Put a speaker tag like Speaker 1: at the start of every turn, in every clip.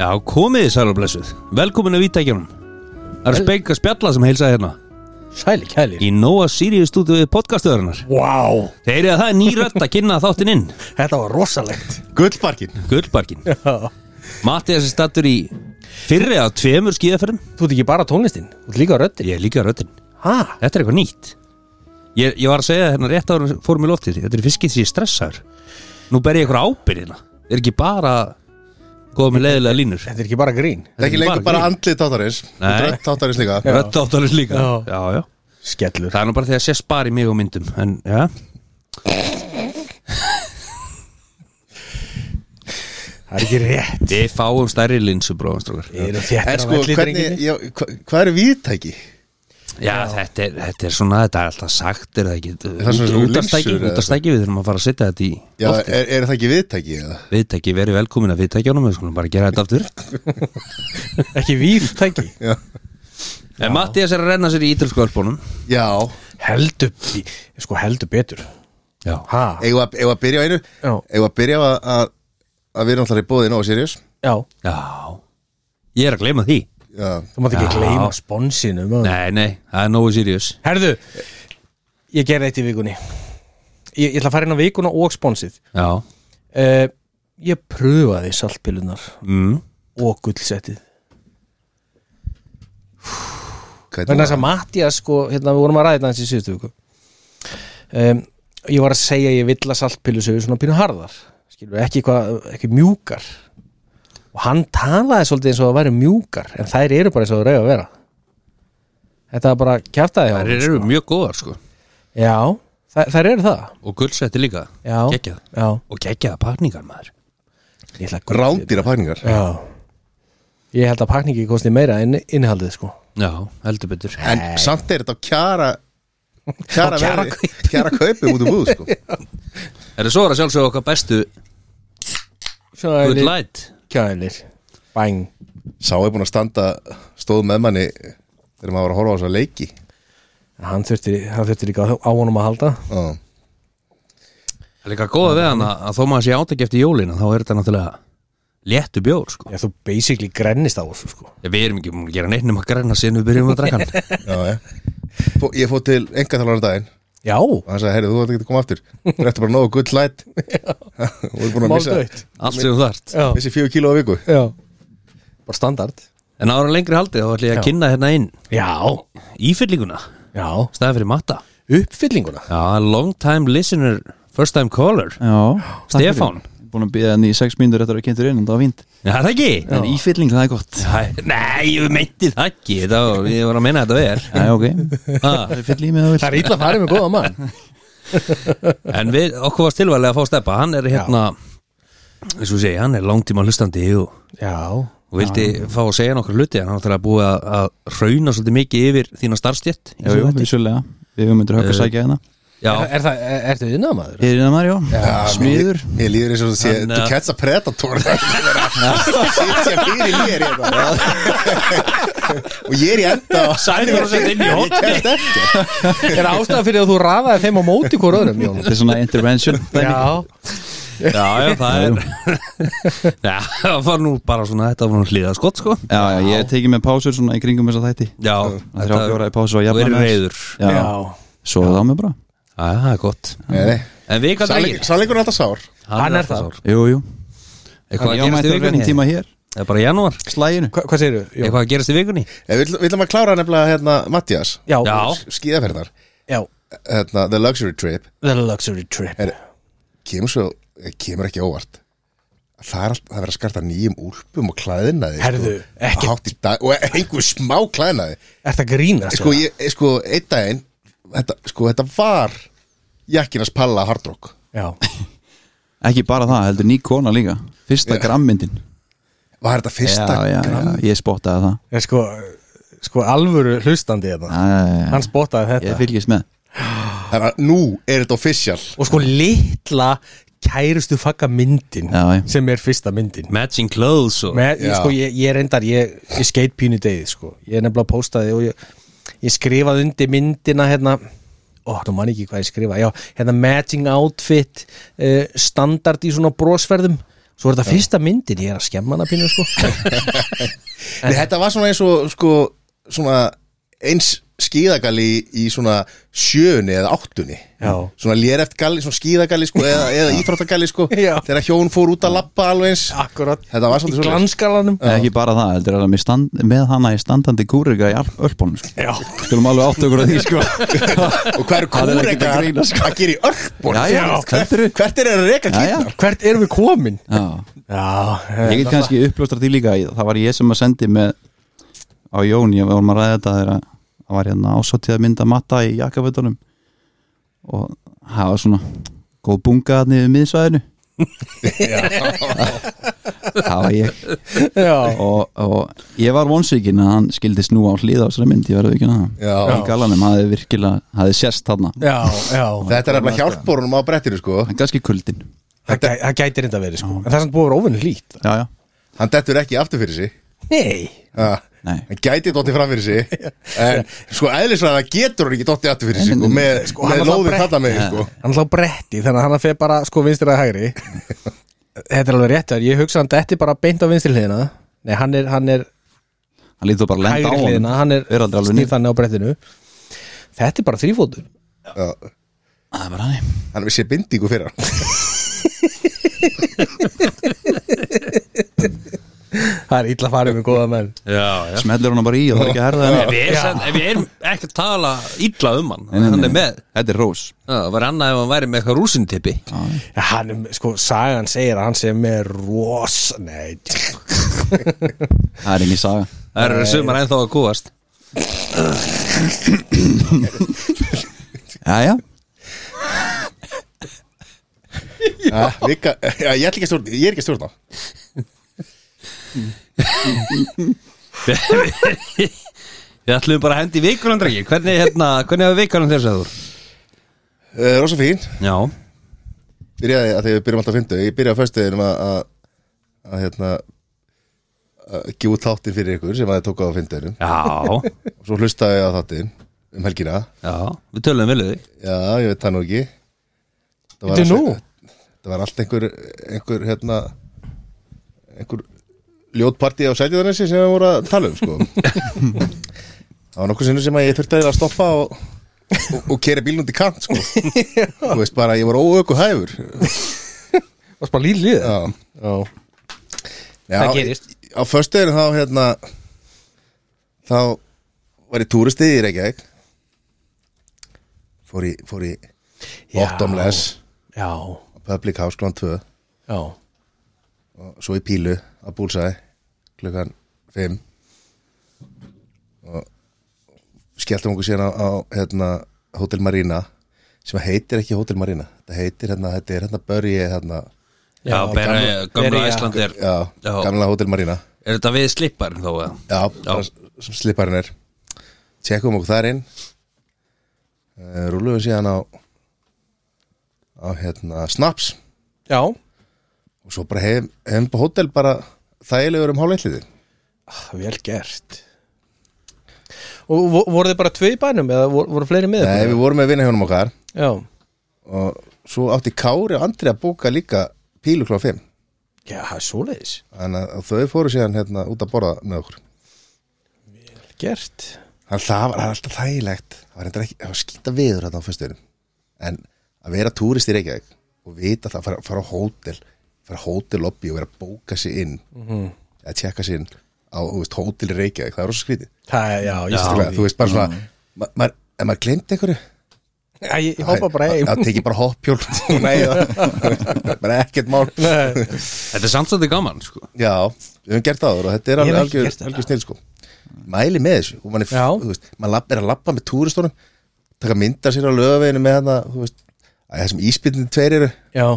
Speaker 1: Já, komið þið sæl og blessuð Velkomin að Vítækjunum Það er
Speaker 2: Vel-
Speaker 1: speik að spjalla sem heilsa hérna
Speaker 2: Sæli kælir
Speaker 1: Í Nóa Sirius stúdíu við podcastöðurnar
Speaker 2: Vá, wow,
Speaker 1: Þeir eru að það er nýrödd að kynna þáttinn inn
Speaker 2: þetta var rosalegt
Speaker 3: Gullbarkin
Speaker 1: Gullbarkin
Speaker 2: Já.
Speaker 1: Matti þessi stattur í fyrri að tveimur skíðaferðum
Speaker 2: Þú ert ekki bara tónlistin, þú ert líka röddin
Speaker 1: Ég er líka röddinn
Speaker 2: Hæ?
Speaker 1: Þetta er eitthvað nýtt Ég, ég var að segja hérna rétt ára fórum í loftið Þetta er fiskið því ég er stressaður Nú ber ég eitthvað ábyrðina Er ekki bara góð með leiðilega línur
Speaker 2: Þetta er ekki bara grín
Speaker 3: Það er ekki lengur bara andlið tátarins
Speaker 1: Nei.
Speaker 3: Rödd tátarins líka
Speaker 1: Rödd áttalins líka
Speaker 2: Já.
Speaker 1: já, já.
Speaker 2: Skellur
Speaker 1: Það er nú bara þegar sést bara í mig og myndum En, já
Speaker 2: Það er ekki rétt
Speaker 1: Við fáum stærri linsu bróðanstrókar
Speaker 2: Ég er
Speaker 3: En
Speaker 2: þéttir
Speaker 3: sko, hvernig, já, hva, hvað eru viðtæki?
Speaker 1: Já, þetta er, þetta er svona, þetta er alltaf sagt er það ekki,
Speaker 3: er svona svona
Speaker 1: útastæki,
Speaker 3: linsur eða
Speaker 1: útastæki við þurfum að fara að setja þetta í
Speaker 3: Já, er, er það ekki viðtæki? Eða?
Speaker 1: viðtæki, verið velkomin að viðtækjónum við skulum bara gera þetta aftur
Speaker 2: Ekki víftæki
Speaker 3: Já,
Speaker 1: En Mattias er að renna sér í ítalskvörpunum
Speaker 3: já.
Speaker 2: Heldur, bí- sko heldur betur
Speaker 1: Já,
Speaker 2: Hæ?
Speaker 3: Eigum við að- eigum við að byrja á einu?
Speaker 2: Já.
Speaker 3: Eigum við að byrja á að, að, að við erum alltaf í bóðin og Sirius?
Speaker 2: Já,
Speaker 1: já Ég er að gleyma því
Speaker 3: Já,
Speaker 2: þú mátt ekki
Speaker 1: Já.
Speaker 2: gleyma sponsinum maður.
Speaker 1: Nei, nei, það er nógu sírjus
Speaker 2: Herðu, ég gerði eitt í vikunni Ég, ég ætla að fara inn á vikuna og sponsið
Speaker 1: Já,
Speaker 2: uh, Ég pröfaði saltpilunar
Speaker 1: mm,
Speaker 2: og gullsettið
Speaker 3: hvernig
Speaker 2: vegna þess að Mattias sko, hérna við vorum að ræða þetta hans í síðustu viku um, ég var að segja að ég vill að saltpillu séu svona pínu harðar skilur ekki, hvað, ekki mjúkar og hann talaði svolítið eins og það væri mjúkar en þær eru bara eins og það reyða að vera þetta var bara kjæftaði
Speaker 1: þær eru mjög góðar sko
Speaker 2: já, þær, þær eru það
Speaker 1: Og gullsetti líka,
Speaker 2: já,
Speaker 1: geggjað
Speaker 2: já.
Speaker 1: Og geggjaða pakningar maður
Speaker 2: Ég, ætla að
Speaker 3: að Rándýra pakningar
Speaker 2: já. ég held að pakningi kosti meira en innihaldið sko
Speaker 1: Já, heldur betur
Speaker 3: En samt er þetta á kjara Kjara,
Speaker 2: Á kjara
Speaker 3: verði- kjara kaupum út um búð sko.
Speaker 1: Er það svo er að sjálfsögðu okkar bestu Good
Speaker 2: kjælir,
Speaker 1: light
Speaker 2: kjælir. bæng
Speaker 3: Sá er búin að standa stóð með manni þegar maður var að horfa á þess að leiki
Speaker 2: hann þurfti, hann þurfti líka á á honum að halda
Speaker 3: Já.
Speaker 1: Það er líka góða við hann að, að þó maður sé átækja eftir jólina þá er þetta náttúrulega léttu bjór sko.
Speaker 2: Já, þú basically grennist á þessu sko
Speaker 1: Ég, við erum ekki múin að gera neitt nema að græna síðan við byrjum að drekka hann
Speaker 3: Já, já. Fó, Ég fór til enga þalvaran daginn
Speaker 2: Já,
Speaker 3: og hann sagði, heyrðu, þú ætti ekki að koma aftur þú ætti bara nógu gull læt og er búin að missa
Speaker 2: Máldautt.
Speaker 1: allt sem þú þart
Speaker 2: já,
Speaker 3: missi fjögur kíló á viku
Speaker 2: já Bara standard
Speaker 1: En ára lengri haldið þá ætlum ég að kynna hérna inn
Speaker 2: Já,
Speaker 1: ífyllinguna
Speaker 2: já
Speaker 1: staðið fyrir matta
Speaker 2: Uppfyllinguna
Speaker 1: Já, long time listener, first time caller
Speaker 4: Já, takk fyrir.
Speaker 1: Stefán.
Speaker 4: Búin að býða henni í sex mínútur eftir að vera kynntur inn, en það var fínt
Speaker 1: Já, það ekki
Speaker 4: En ífylling, það er gott
Speaker 1: Hæ, Nei, ég meinti það ekki Þetta var, Ég var að meina þetta vel
Speaker 4: Já, ok Það er fyll í mig það
Speaker 2: Það er illa farið með góða mann
Speaker 1: En við, okkur varst tilvælega að fá steppa Hann er hérna, eins og ég segi, hann er langtíma hlustandi og
Speaker 2: Já,
Speaker 1: og vildi fá að segja nokkur hluti en hann ætlaði að búið að, að rauna svolítið mikið yfir þína starfstjett
Speaker 4: vil Jú, jú, vissulega Við höfum myndur högg að sækja hérna
Speaker 1: já,
Speaker 2: er, er það, er, ertu yðnað maður?
Speaker 4: Hér er hérna maður, já Smiður
Speaker 3: Mér- Mér líður eins og þú sé,
Speaker 1: Hann,
Speaker 3: þú
Speaker 1: uh,
Speaker 3: ketsa predator Sitja fyrir mér hérna Og ég er í enda og-
Speaker 1: Sæður og setja inn í
Speaker 3: Ég
Speaker 1: hótt
Speaker 3: kemst ekki
Speaker 2: Er ástæða fyrir að þú raðaði þeim á móti hvort öðrum, Jón?
Speaker 4: Þetta er svona intervention
Speaker 2: Já,
Speaker 1: já, já, það er já, það var nú bara svona þetta var nú hliða skott sko
Speaker 4: Já, já, ég hef tekið með pásur svona í kringum þessa þætti
Speaker 1: já,
Speaker 4: Þrjá fjóra í pásu og
Speaker 1: og
Speaker 4: jafna
Speaker 1: er
Speaker 4: með.
Speaker 1: reyður já,
Speaker 4: Já, svo það á mig bara
Speaker 1: það er gott
Speaker 3: Nei, nei.
Speaker 1: en við hvað
Speaker 3: Sannleikur-
Speaker 1: drækir,
Speaker 3: Sannleikur er alltaf sár
Speaker 2: Hann er það.
Speaker 4: Jú, jú
Speaker 1: eitthvað að
Speaker 4: Ég
Speaker 1: gerast
Speaker 4: mætti
Speaker 1: í
Speaker 4: á réttum
Speaker 1: vikunni
Speaker 4: tíma hér
Speaker 1: það er bara janúar,
Speaker 4: Slæginu
Speaker 2: hva, hvað segirðu? Jón?
Speaker 1: eitthvað að gerast í vikunni
Speaker 3: En Eh, Við við ætlum að klára nefnilega hérna Mattias
Speaker 2: Já,
Speaker 1: já,
Speaker 3: skíðaferðar
Speaker 2: já
Speaker 3: hérna, The Luxury Trip
Speaker 2: The Luxury Trip
Speaker 3: er, kemur, svo, eh, kemur ekki óvart Það er, allt- það verður að skarta nýjum úlpum og klæðinaði
Speaker 2: Herðu, ekkert.
Speaker 3: dag, Og einhver smá klæðinaði
Speaker 2: Er það grínast?
Speaker 3: sko,
Speaker 2: eða?
Speaker 3: ég, eh, sko, einn daginn þetta, sko, þetta var jakkinas palla hardrock
Speaker 2: Já,
Speaker 4: Ekki bara það, heldur ný kona líka Fyrsta grammyndin
Speaker 3: var þetta
Speaker 4: Já,
Speaker 3: fyrsta
Speaker 4: já, já,
Speaker 3: gramm
Speaker 4: ég spottaði það
Speaker 2: ég sko Sko alvöru hlustandi þetta
Speaker 4: Já, já, já.
Speaker 2: Hann spottaði þetta
Speaker 4: Ég fylgist með
Speaker 3: þannig að nú er þetta official
Speaker 2: og sko litla kærustu fagga myndin
Speaker 4: Já, já.
Speaker 2: sem er fyrsta myndin
Speaker 1: matching clothes og
Speaker 2: Með, ég,
Speaker 3: Já.
Speaker 2: sko, ég, ég reyndar, ég, ég skeit pínu degið sko. ég er nefnilega postaði og ég, ég skrifaði undir myndina hérna ó, nú man ég eh, ekki hvað ég skrifaði já, hérna matching outfit uh, standard í svona brosferðum Svo er þetta fyrsta myndin, ég er að skemma hana pínu sko
Speaker 3: Nei, þetta var svona eins og sko, svona eins skíðagalli í svona sjöunni eða áttunni
Speaker 2: Já.
Speaker 3: svona léreft galli, svona skíðagalli sko, eða, eða íþróttagalli sko
Speaker 2: Já.
Speaker 3: þegar hjón fór út að labba alveg eins
Speaker 2: Akkurat
Speaker 3: Þetta var
Speaker 2: Í
Speaker 3: svolítið svoleiðis.
Speaker 2: glansgalanum
Speaker 4: Nei, ekki bara það, heldur er það með, stand, með hana í standandi kúrika í alp- ölpunum sko.
Speaker 2: Já.
Speaker 4: Skulum alveg átt okkur að því sko.
Speaker 3: og hvað eru
Speaker 4: Það er ekkert að
Speaker 3: kúrekar
Speaker 4: grína,
Speaker 3: að, gera í örpun
Speaker 4: Já, já, heldur þú?
Speaker 3: hvert er að reka
Speaker 4: Já, já.
Speaker 3: kýrnar
Speaker 2: Hvert erum við komin?
Speaker 4: Já.
Speaker 2: Já,
Speaker 4: Ég get kannski uppljóstra því líka Það var ég sem að sendi með á Jón, ég vorum að ræða þetta þegar að- það var hérna ásáttið að mynda matta í jakkafötunum og það var svona góð bunga hann yfir miðsvæðinu Það var ég
Speaker 2: já,
Speaker 4: og, og ég var vonsvíkin að hann skildi snúa á hlið á þessari mynd, ég verði ekki að það
Speaker 3: Já.
Speaker 4: Í galanum hafði virkilega, hafði sérst þarna
Speaker 2: já, já
Speaker 3: þetta er alveg hjálporunum á brettinu sko
Speaker 4: en kannski kuldin
Speaker 2: Það gæ- það gætir þetta verið sko En það er samt búið að vera óvinni hlýtt
Speaker 4: já, já.
Speaker 3: hann dettur ekki aftur fyrir sig
Speaker 2: Nei
Speaker 3: Ha.
Speaker 4: Nei.
Speaker 3: hann gæti dotti fram fyrir sig en sko eðlislega getur hann ekki dotti aftur fyrir sig sko, með, sko,
Speaker 2: hann
Speaker 3: með
Speaker 2: er alltaf
Speaker 3: lóðin
Speaker 2: brett-
Speaker 3: þarna með sko.
Speaker 2: Hann hlá bretti þannig að hann fer bara sko vinstir að hægri Þetta er alveg rétt þar Ég hugsa hann detti bara beint á vinstri hliðina Nei, hann er, hann er
Speaker 4: hann lítur bara að lenda á
Speaker 2: hægri
Speaker 4: honum.
Speaker 2: hliðina Hann er
Speaker 4: Er aldrei alveg
Speaker 2: snýr
Speaker 4: niður.
Speaker 2: þannig á brettinu Þetta er bara þrýfótur
Speaker 3: Já.
Speaker 4: það er bara hann
Speaker 3: hann vissi bindingu fyrir hann
Speaker 2: Það er illa farið með góða menn
Speaker 1: Já, já
Speaker 4: smellur hann bara í og það er ekki að herða
Speaker 1: Nei,
Speaker 4: henni
Speaker 1: við, er sem, við erum ekki að tala illa um hann Hann er með
Speaker 4: þetta er rós
Speaker 1: Já, Það var annað ef hann væri með eitthvað rúsintipi
Speaker 2: Já, Hann, er- sko, sagan segir að hann sé með ros Nei,
Speaker 4: það er engin saga
Speaker 1: Það eru sumar ennþá að kúast
Speaker 4: já, já
Speaker 3: Ha, Ah, vika, já, ég, ætla ekki að stjórna, ég er ekki að stjórna
Speaker 1: Við ætlum bara að hendi vikurlandræki Hvernig, hérna, hvernig hefur vikurland þess að þú?
Speaker 3: uh, rosa fín
Speaker 1: Já,
Speaker 3: byrjaði að þegar við byrjum alltaf að fyndu ég byrjaði á föstuðinum að að, að hérna að gefa út þáttir fyrir ykkur sem að þið tóka á fynduðinum
Speaker 1: já,
Speaker 3: og svo hlustaði ég á þáttin um helgina
Speaker 1: já Við tölum vel við þig
Speaker 3: já, ég veit það nú ekki það
Speaker 2: Bíddu
Speaker 3: allt-
Speaker 2: nú?
Speaker 3: það var allt einhver einhver hérna einhver ljótparti á sætjöðanessi sem við voru að tala um sko það var nokkuð sinnum sem að ég þurfti að stoppa og, og, og kera bílnum til kant sko þú veist bara að ég var óöku hæfur
Speaker 2: varst bara líl í það
Speaker 3: já, já. já
Speaker 1: Það gerist.
Speaker 3: Á föstuðinu þá hérna þá var ég túristið í Reykjavík fór í, fór í
Speaker 2: Já.
Speaker 3: bottomless
Speaker 2: Já,
Speaker 3: public house kl. 2
Speaker 2: já,
Speaker 3: og svo í pílu að búlsæði klukkan 5 og skelltum okkur síðan á, á hérna Hotel Marina sem heitir ekki Hotel Marina þetta heitir hérna, þetta er hérna börji hérna,
Speaker 1: Já, bara gamla
Speaker 2: Berja-
Speaker 1: Ísland er
Speaker 3: já,
Speaker 1: Já.
Speaker 3: gamla Hotel Marina
Speaker 1: Er þetta við slipparinn þó? eða?
Speaker 3: Já, bara sem slipparinn er Tjekkum okkur þar inn Eh, Rúlum við síðan á á hérna snaps
Speaker 2: já
Speaker 3: og svo bara hefum, hefum på hótel bara þægilegur um hálfleitliði
Speaker 2: Ah, Vel gert Og vo- voru þið bara tvö í bænum eða voru, voru fleiri með
Speaker 3: Nei,
Speaker 2: ykkur?
Speaker 3: við vorum með vinna hjónum okkar
Speaker 2: Já,
Speaker 3: og svo átti Kári og Andri að bóka líka pílu klá 5
Speaker 2: já, það er svoleiðis
Speaker 3: þannig að þau fóru síðan hérna út að borða með okkur
Speaker 2: Vel gert
Speaker 3: Þannig að það var það er alltaf þægilegt það var, reyndar ekki, það var skýta viður þarna á föstuðinum en að vera túrist í Reykjavík og vita það, fara, fara á hótel fara á hótel lobby og vera að bóka sig inn
Speaker 2: Mhm.
Speaker 3: að tjekka sig inn á þú veist, hótel í Reykjavík, það er rosa skrítið
Speaker 2: Það er, já, Mhm. ég
Speaker 3: Stílega,
Speaker 2: stil
Speaker 3: þú veist bara svona ma maður, ef maður glemt einhverju
Speaker 2: að Ég hoppa bara
Speaker 3: að-
Speaker 2: heim
Speaker 3: að tekið bara hoppjól nei, það bara ekkert mál
Speaker 2: Nei.
Speaker 1: Þetta er samt að þetta gaman, sko
Speaker 3: já, við höfum gert það áður og þetta er
Speaker 2: Ég hef
Speaker 3: alveg
Speaker 2: ekki
Speaker 3: algjör,
Speaker 2: gert þetta.
Speaker 3: algjör snill sko mæli með þessu og mann er,
Speaker 2: Já.
Speaker 3: þú veist, mann lapp, er að lappa með túristunum taka myndar sér á lögaveginu með hana þú veist, að þessum íspilnir tveir eru
Speaker 2: Já,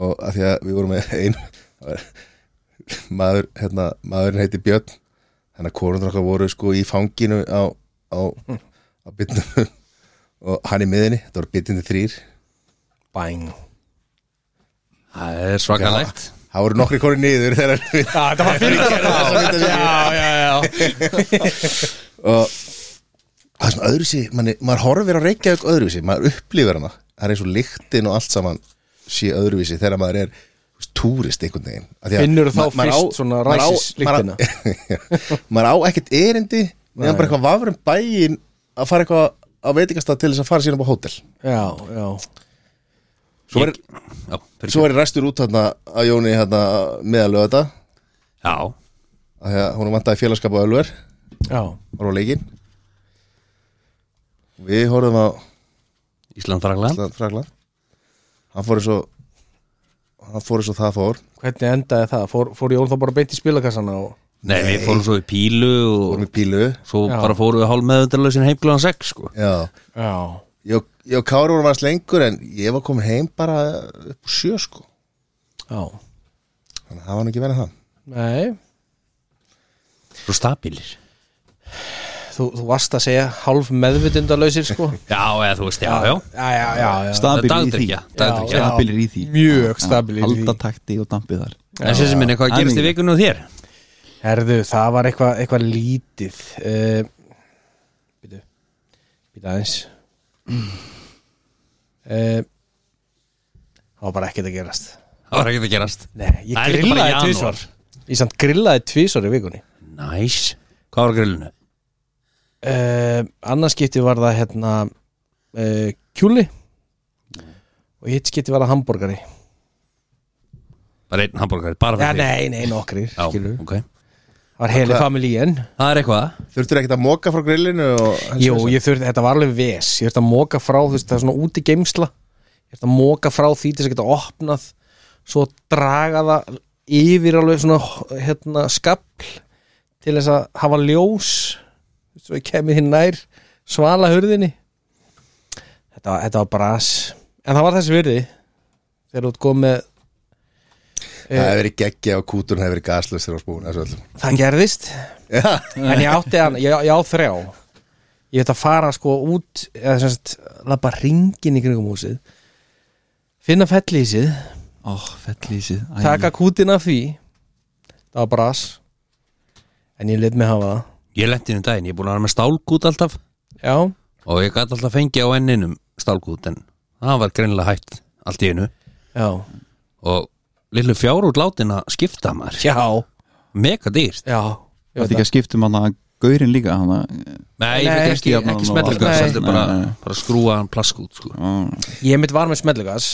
Speaker 3: og að því að við vorum með ein það var- maður, hérna, maðurinn heiti Björn þannig að konundur okkar voru sko í fanginu á, á, á bytnum og hann í miðinni, þetta voru bytnindi þrýr
Speaker 2: bæn
Speaker 1: Það er svakalegt
Speaker 3: það voru nokkri konur niður þegar við
Speaker 2: Já, þetta var fyrir þetta Já, já, já
Speaker 3: og það er svona öðruvísi, manni, maður horfir á Reykjavík öðruvísi, maður upplifir hana það er eins og lyktin og allt saman sé öðruvísi þegar maður er þú veist, túrist einhvern veginn Af því að
Speaker 2: Finnurðu þá
Speaker 3: ma- maður
Speaker 2: fyrst
Speaker 3: á-
Speaker 2: svona
Speaker 3: maður á-
Speaker 2: ræsislyktina?
Speaker 3: maður á- maður á ekkert erindi meðan bara eitthvað vafur um bæin að fara eitthvað á veitingastað til þess að fara síðan upp á hótel
Speaker 2: já, já
Speaker 3: svo var,
Speaker 1: Já, fyrir
Speaker 3: svo var ég ræstur út hérna að Jóni hérna meðalöðu þetta
Speaker 1: Já,
Speaker 3: að því að hún vantaði félagskap á Ölver
Speaker 2: Já,
Speaker 3: var á leikinn við horfum á
Speaker 1: Ísland Fragland
Speaker 3: Ísland Fragland hann fór eins og hann fór eins og það fór
Speaker 2: hvernig endaði það? Fór, fór Jón þá bara beint í spilakassana og
Speaker 1: Nei, við fórum svo í pílu
Speaker 3: fór
Speaker 1: og
Speaker 3: með pílu
Speaker 1: svo
Speaker 2: Já.
Speaker 1: bara fórum við hálf meðvendurlausin heimglugan 6 sko
Speaker 3: já
Speaker 2: Já,
Speaker 3: ég, og- ég og Kári vorum aðeins lengur en ég var komin heim bara upp á sjö sko
Speaker 2: já
Speaker 3: þannig að það var nú ekki verið það
Speaker 2: Nei,
Speaker 1: Svo stabilir
Speaker 2: þú, þú varst að segja hálf meðvitundalausir sko
Speaker 1: Já, eða þú veist, já, já
Speaker 2: Já, já, já, já.
Speaker 4: Stabil í því
Speaker 1: Dagdrykja, dagdrykja
Speaker 2: Já.
Speaker 4: Stabilir í því
Speaker 2: Mjög stabilir í því.
Speaker 4: Haldatakti og dampið þar
Speaker 1: En sér sem minn, eitthvað gerist í vikunum þér?
Speaker 2: Herðu, það var eitthvað eitthva lítið uh, Býtu Býtu aðeins uh, Það var bara ekkert að gerast
Speaker 1: Það var ekkert að gerast
Speaker 2: Nei, ég
Speaker 1: Það er líka bara
Speaker 2: grillaði
Speaker 1: janúar.
Speaker 2: tvisvar Ég samt grillaði tvisvar í vikunni
Speaker 1: Næs Hvað var á grillinu?
Speaker 2: uh, Annars skipti var það hérna uh, kjúli og hitt skipti var það hambúrgari
Speaker 1: Bara einn hambúrgari, bara
Speaker 2: Já,
Speaker 1: fyrir þig.
Speaker 2: nei, nei, nokkrir
Speaker 1: Já,
Speaker 2: skilurðu.
Speaker 1: ok
Speaker 2: Það var heili
Speaker 3: Hvað-
Speaker 2: familíin
Speaker 1: Það er eitthvað
Speaker 3: þurftur ekkert að moka frá grillinu og
Speaker 2: Jú, ég þurfti, þetta var alveg ves Ég þurfti að móka frá, þú veist, það er svona úti geimsla Ég þurfti að móka frá því til þess að geta opnað Svo draga það yfir alveg svona hérna, skapl Til þess að hafa ljós Svo ég kemið hinn nær svala hurðinni Þetta, var- þetta var bras En það var þessi virði Þegar þú ert komið með
Speaker 3: það hefur verið geggja og kúturinn hefur verið gaslaus þegar á spún þessu öllum
Speaker 2: Það gerðist
Speaker 3: já
Speaker 2: En ég átti hann, ég, ég á þrjá Ég veit að fara sko út eða sem sagt, labba ringin í kringum húsið finna fellísið,
Speaker 4: Ó, fellísið Æ,
Speaker 2: taka kútin af því það var bras en ég lit mig hafa það
Speaker 1: Ég lenti um daginn, ég er búin að vera með stálgút alltaf
Speaker 2: Já,
Speaker 1: og ég gæti alltaf fengið á enninum stálgút en það var greinilega hægt allt í einu
Speaker 2: já,
Speaker 1: og lillu fjár út látin að skipta maður
Speaker 2: já
Speaker 1: mega dýrt
Speaker 2: Já, ég
Speaker 4: Þetta
Speaker 2: veit
Speaker 4: ekki að skiptum hann að Gaurinn líka hann að
Speaker 1: Nei, ég
Speaker 2: Nei,
Speaker 1: veit ekki,
Speaker 4: ekki-
Speaker 1: ekki
Speaker 4: ekki
Speaker 1: smetlugast
Speaker 2: Nei.
Speaker 1: heldur bara,
Speaker 4: Nei, nei.
Speaker 1: bara skrúa hann plaskút sko.
Speaker 2: það. Ég mitt var með smellugas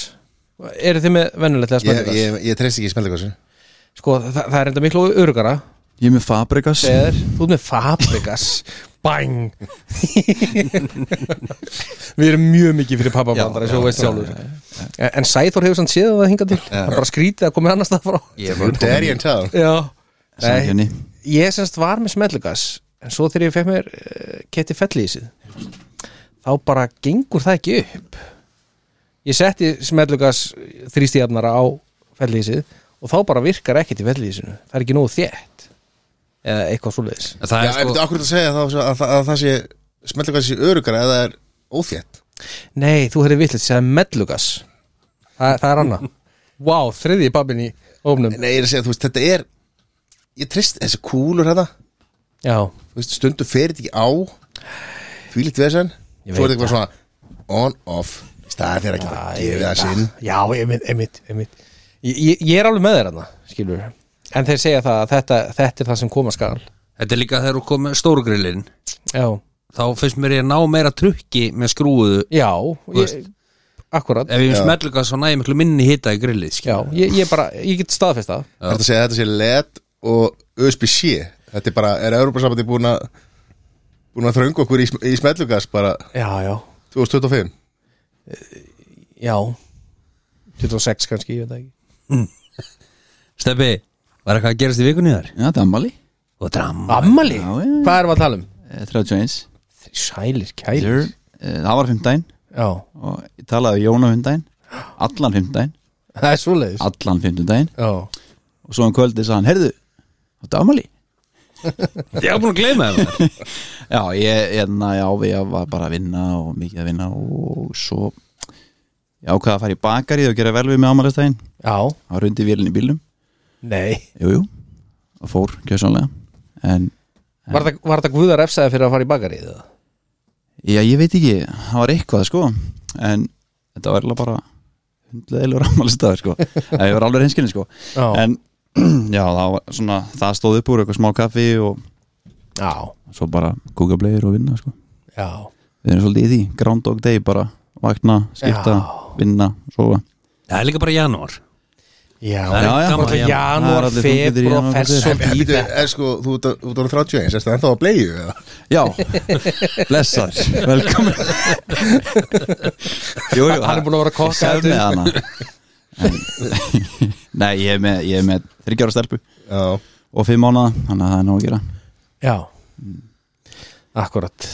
Speaker 2: Eru þið með vennulegtlega
Speaker 3: ég,
Speaker 2: smellugas?
Speaker 3: ég, ég treyst ekki í smeldugasi
Speaker 2: Sko, það, það er enda miklu örgara
Speaker 4: Ég er með Fabregas
Speaker 2: Þegar þú ert með Fabregas Bang Við erum mjög mikið fyrir pappabandar eins og þú veist sjálfur En- En Sæþór hefur sann séð það hingað til Það er bara skrítið að koma annars það frá
Speaker 1: Ég var
Speaker 3: Deri en tjá
Speaker 2: Já Nei,
Speaker 4: Sækjani
Speaker 2: Ég semst var með smellugas En svo þegar ég fekk mér uh, keti fellísið Þá bara gengur það ekki upp Ég setti smellugas þrýstíðafnara á fellísið Og þá bara virkar ekki til fellísinu Það er ekki nógu þétt Eða eitthvað svoleiðis
Speaker 1: Það
Speaker 3: já,
Speaker 1: er
Speaker 3: sko...
Speaker 1: sko,
Speaker 3: akkur að segja þá að, að, að, það sé smeldugasi sé örugara eða er óþétt
Speaker 2: Nei, þú hefði vitlega segja mellugas Þa, Það er annað Vá, wow, þriði pappin í ofnum
Speaker 3: nei, ég er að segja, þú veist, þetta er ég treyst þessi kúlur hérna
Speaker 2: Já,
Speaker 3: þú veist, stundu fer þetta ekki á því lítið vesen
Speaker 2: Ég
Speaker 3: svo er
Speaker 2: veit
Speaker 3: þetta eitthvað svona on, off staðir ekki bara að gefa það sinn
Speaker 2: Já, einmitt, einmitt, einmitt. Ég, ég, ég er alveg með þér annað, skilur En þeir segja það að þetta, þetta er það sem koma skal
Speaker 1: þetta er líka þegar þú kom með stórgrillin
Speaker 2: Já,
Speaker 1: þá finnst mér ég að ná meira trukki með skrúðu
Speaker 2: já ég,
Speaker 1: veist.
Speaker 2: Akkurat
Speaker 1: ef ég smetlugast þá næ ég miklu minni hita í grillið skil.
Speaker 2: Já, ég, ég bara, ég get staðfest það
Speaker 3: Það er að segja að þetta sé LED og USB-C Þetta er bara, er Európa-sambandi búin að búin að þröngu okkur í, sm- í smetlugas bara
Speaker 2: Já, já,
Speaker 3: 2025
Speaker 2: já 26 kannski, ég veit það ekki
Speaker 1: Steppi, var eitthvað að gerast í vikunni þar?
Speaker 4: Já, þetta er ammali
Speaker 1: Og drama
Speaker 2: Ammali,
Speaker 4: Já, já.
Speaker 2: hvað erum við að tala um?
Speaker 4: Eh, 31
Speaker 2: Sælir,
Speaker 4: Sir,
Speaker 2: kælir
Speaker 4: eh, Það var fimmtæn
Speaker 2: Já,
Speaker 4: Og ég talaði við Jóna fimmtæn Allan fimmtæn
Speaker 2: það er svoleiðis
Speaker 4: Allan fimmtæn
Speaker 2: Já,
Speaker 4: Og svo um kvöldi sagði hann Herðu, þetta er ammali
Speaker 1: Ég var búin að gleyma það maður.
Speaker 4: Já, ég, hérna, já, ég var bara að vinna og mikið að vinna og svo ég ákvaði að fara í bakarið og gera vel við með ámælastæðin
Speaker 2: já,
Speaker 4: þá rundi vélinn í bílnum,
Speaker 2: nei
Speaker 4: jú, jú og fór, kjössanlega en,
Speaker 2: Var það, var það guðar efsaði fyrir að fara í bakarið? eða?
Speaker 4: já, ég veit ekki, það var eitthvað sko en þetta var eiginlega bara hundleðilur ámælistafur sko en ég var alveg hinskinni sko
Speaker 2: Já.
Speaker 4: en já, það, var, svona, það stóð upp úr eitthvað smá kaffi og
Speaker 2: Já,
Speaker 4: svo bara kúka blegir og vinna sko
Speaker 2: já,
Speaker 4: við erum svolítið í því, ground dog day bara vakna, skipta,
Speaker 2: Já.
Speaker 4: vinna sofa
Speaker 1: Það er líka bara janúar
Speaker 2: já,
Speaker 1: Það er gaman í
Speaker 2: já,
Speaker 1: janúar.
Speaker 4: Það er
Speaker 2: janúar,
Speaker 4: allir þungir í
Speaker 2: februar,
Speaker 4: janúar,
Speaker 2: fess
Speaker 4: þetta
Speaker 2: og
Speaker 3: En býtu,
Speaker 2: bíða
Speaker 3: er sko, þú ert að- þú ert orðin 31, erstu ennþá að bleiðu eða?
Speaker 4: já, blessar velkomin jú, jú,
Speaker 2: Hann er búin að vera að kokka
Speaker 4: ég sagði
Speaker 2: þetta
Speaker 4: með hana En- nei, ég er með, ég er með þryggjára stelpu
Speaker 3: Já,
Speaker 4: og fimm mánuða, þannig að það er nóg að gera
Speaker 2: Já, akkurat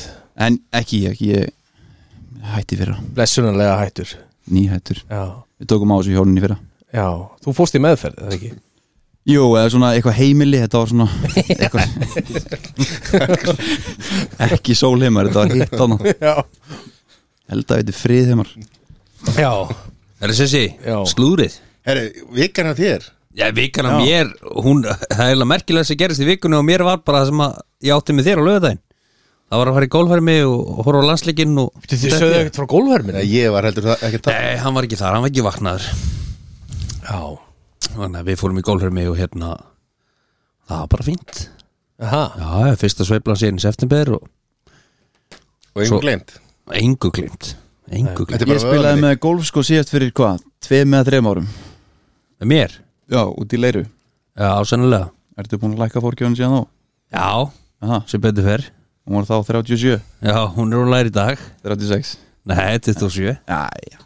Speaker 4: en ekki, ég, ekki ég hætti fyrra,
Speaker 2: Blessunarlega hættur
Speaker 4: nýhættur
Speaker 2: Já,
Speaker 4: við tókum á þessu hjóninni fyrra
Speaker 2: já, þú fórst í meðferð, er það ekki?
Speaker 4: jú, eða svona eitthvað heimili, þetta var svona eitthvað ekki sólheimar, þetta var hitt ána
Speaker 2: Já,
Speaker 4: held að þetta er friðheimar
Speaker 2: já,
Speaker 1: Það er þessi,
Speaker 2: Já.
Speaker 1: slúrið
Speaker 3: herri, vikan af þér
Speaker 1: Já, vikan af mér, hún, það er eiginlega merkilega sem gerist í vikunni og mér var bara það sem að ég átti með þér á lögðaðin Það var að fara í golfhermi og horfa á landsleikinn og
Speaker 2: þið sögðu ekkert frá gólverminu
Speaker 3: Nei, ég var heldur það ekki það
Speaker 1: Nei, hann var ekki þar, hann var ekki vaknaður
Speaker 2: Já,
Speaker 1: Þannig að við fórum í golfhermi og hérna Það var bara fínt Já,
Speaker 2: aha,
Speaker 1: já, fyrsta sveiflan síðan í september og
Speaker 3: Og einhvern glemt
Speaker 1: engu glimt Engu glimt
Speaker 3: Þetta er bara
Speaker 4: ég spilaði
Speaker 3: vöðvarnir.
Speaker 4: með golf sko síðast fyrir hvað, tveim eða þreim árum
Speaker 1: Með mér,
Speaker 4: já, út í leiru,
Speaker 1: já, ásennilega
Speaker 4: ertu búin að lækka fórkjóðun síðan þá?
Speaker 1: Já,
Speaker 4: Aha,
Speaker 1: sem betur fer
Speaker 4: hún var þá 37,
Speaker 1: Já, hún er hún læri í dag
Speaker 4: 36
Speaker 1: Nei, 27
Speaker 4: já,
Speaker 1: Ha, Það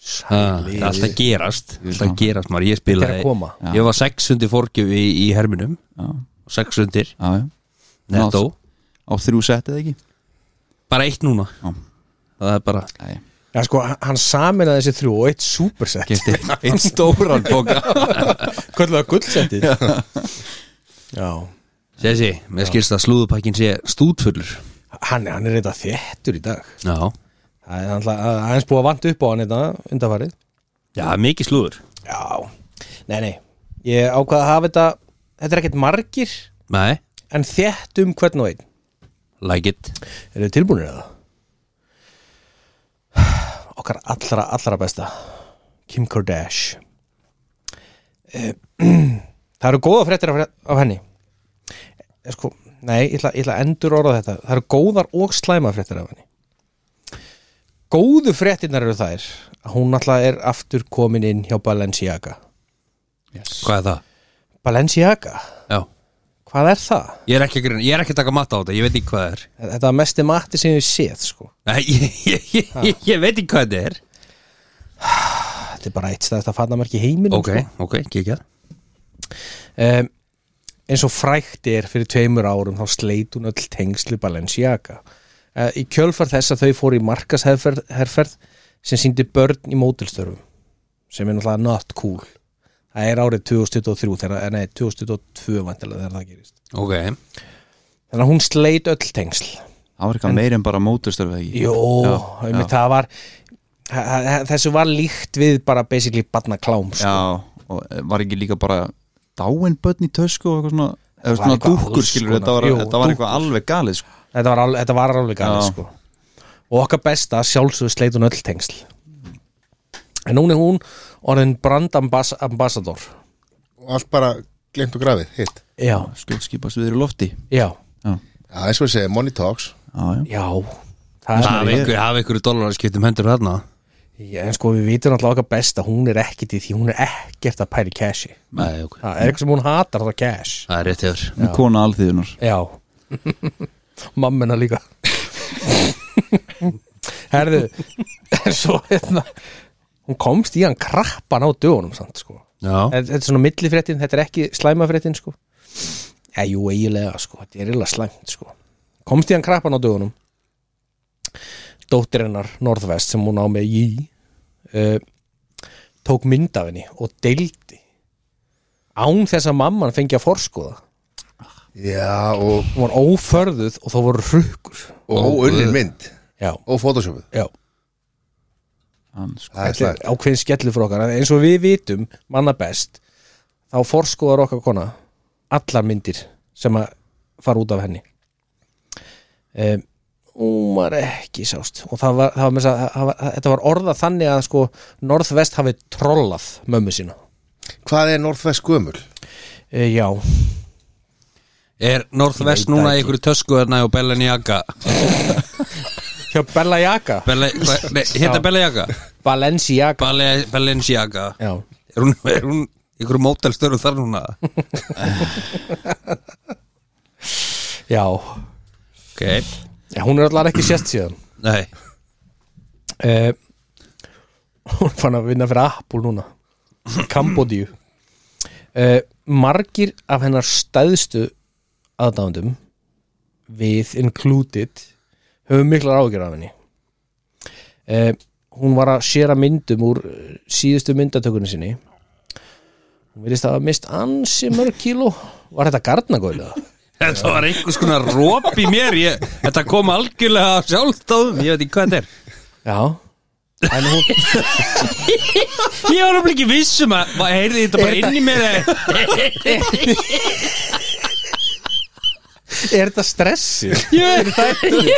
Speaker 1: Ah, er alltaf gerast Alltaf gerast, maður, ég
Speaker 2: þetta er
Speaker 1: spilaði
Speaker 2: að koma
Speaker 1: Ég var 600 fórgjöf í, í herminum
Speaker 4: já,
Speaker 1: 600
Speaker 4: já, já.
Speaker 1: nettó
Speaker 4: á þrjú sett eða ekki?
Speaker 1: Bara eitt núna
Speaker 4: Já.
Speaker 1: Það er bara
Speaker 4: Nei,
Speaker 2: Já, sko, hann saminaði þessi þrjú og eitt supersett
Speaker 4: kefti einn stóran boka
Speaker 2: Kvöldlega gullsettið Já,
Speaker 1: Sessi, mér skilst að slúðupakkin sé stútfullur
Speaker 2: hann, hann er reynda þéttur í dag
Speaker 1: Já
Speaker 2: Það er alltaf aðeins búið að vanta upp á hann hérna þetta undarfarið
Speaker 1: Já, mikið slúður
Speaker 2: Já, nei, nei Ég ákvað að hafa þetta Þetta er ekkert margir
Speaker 1: Nei,
Speaker 2: en þétt um hvern og einn
Speaker 1: like it
Speaker 2: Eru þið tilbúinir að það? Okkar allra, allra besta Kim Kardashian Eh, Það eru góða fréttir af, af henni Eh, sko, Nei, ég ætla, ég ætla að endur orða þetta Það eru góðar og slæma fréttir af henni Góðu fréttirnar eru þær að hún alltaf er aftur komin inn hjá Balenciaga
Speaker 1: Hvað er það?
Speaker 2: Balenciaga,
Speaker 1: Já
Speaker 2: hvað er það?
Speaker 1: Ég er ekki að, grina- ég er ekki að taka matta á þetta, ég veit ekki hvað það er
Speaker 2: Þetta var mesti matti sem ég hef séð sko.
Speaker 1: Nei, ég, ég, ég, ég, ég veit ekki hvað þetta er
Speaker 2: Þetta er bara eitt stæðast að fatna í heiminum
Speaker 1: Ok,
Speaker 2: sko.
Speaker 1: ok, kíkjað
Speaker 2: um, eins og frækt er fyrir tveimur árum þá sleit hún öll tengslu Balenciaga uh, í kjölfar þess að þau fóru í markasherferð sem síndi börn í mótilstörfum sem er náttúrulega not cool það er árið 2023 þegar, eh, nei 2022 vantilega þegar það gerist
Speaker 1: Ok
Speaker 2: þannig að hún sleit öll tengsl
Speaker 4: það var eitthvað meir en bara móturstörf eða ekki
Speaker 2: Jó, já, það var þa- þa- þessu var líkt við bara basically barnaklám sko.
Speaker 4: já, og eh, var ekki líka bara dáin börn í tösku og eitthvað svona eða
Speaker 2: var
Speaker 4: svona
Speaker 2: eitthvað
Speaker 4: dúkkur
Speaker 2: alls
Speaker 4: skilur,
Speaker 2: konar.
Speaker 4: þetta var,
Speaker 2: Jú,
Speaker 4: þetta var
Speaker 2: dúkkur.
Speaker 4: eitthvað alveg galið sko.
Speaker 2: þetta var, alveg- þetta var alveg gæli
Speaker 4: Já.
Speaker 2: sko. og okkar besta sjálfsögur sleit hún öll tengsl en núna er hún orðin brandambassador
Speaker 3: Og allt bara glemt og grafið, hitt
Speaker 2: já,
Speaker 4: skjótskipast við í lofti
Speaker 2: já,
Speaker 4: já,
Speaker 3: Já, eins og ég segi, money talks
Speaker 4: já, já.
Speaker 2: já það er
Speaker 1: Af einhverju- af einhverju dólararskiptum hendur þarna
Speaker 2: Já, en sko við vitum alltaf okkar besta hún er ekkit í því hún er ekkert að pæri cashi
Speaker 1: Nei, ok
Speaker 2: það er eitthvað sem hún hatar það cash
Speaker 1: Það er rétt hefur
Speaker 4: Hún er kona alþýðunar
Speaker 2: já mammina líka herðu svo hérna hún komst í hann krappan á dögunum samt sko
Speaker 1: Já
Speaker 2: þetta þetta er svona millifréttin, þetta er ekki slæmafréttin sko eða jú eiginlega sko, þetta er illa slæmt sko komst í hann krappan á dögunum dóttir hennar Norðvest sem hún á með í uh, tók mynd af henni og deildi án þess að mamman fengi að forskóða
Speaker 3: Já, og,
Speaker 2: hún var óförðuð og þá voru hrukkur
Speaker 3: og óunnin mynd
Speaker 2: já,
Speaker 3: Og photoshopuð
Speaker 2: já
Speaker 4: Hann, sko.
Speaker 3: Það er
Speaker 2: Þetta
Speaker 3: slægt
Speaker 2: er ákveðin skellur frá okkar en eins og við vitum manna best þá forskóðar okkar kona allar myndir sem að fara út af henni um, hún var ekki sást og það var, það var, með þess að- það var, þetta var orðað þannig að sko norðvest hafi trollað mömmu sína
Speaker 3: Hvað er Northwest gömul?
Speaker 2: e, já,
Speaker 1: Er Northwest
Speaker 2: Ég veit
Speaker 1: núna
Speaker 2: það
Speaker 1: í einhverju tösku þarna og Bella Njaka
Speaker 2: hjá Bella Jaka
Speaker 1: Hérna
Speaker 2: Já.
Speaker 1: Bella Njaka
Speaker 2: Balenciaga
Speaker 1: Balenciaga
Speaker 2: já,
Speaker 1: Er hún, er hún í einhverju mótelstörðu þar núna?
Speaker 2: já.
Speaker 1: Ok,
Speaker 2: Já, hún er allar ekki sérst síðan
Speaker 1: nei
Speaker 2: e, hún fann að vinna fyrir Apple núna Kambodíu e, margir af hennar stæðstu aðdándum við included höfum miklar ágjör af henni e, hún var að séra myndum úr eh, síðustu myndatökunni sinni hún virðist að hafa mist ansi mörg kíló var þetta garnagóðlega?
Speaker 1: Þetta var einhvers konar róp í mér ég, Þetta kom algjörlega sjálfstáðum Ég veit ekki hvað þetta er
Speaker 2: Já en hún,
Speaker 1: Ég var alveg ekki viss um að Hvað heyrði þetta bara inn í mér eða-
Speaker 2: er þetta stressi?
Speaker 1: Ég veit það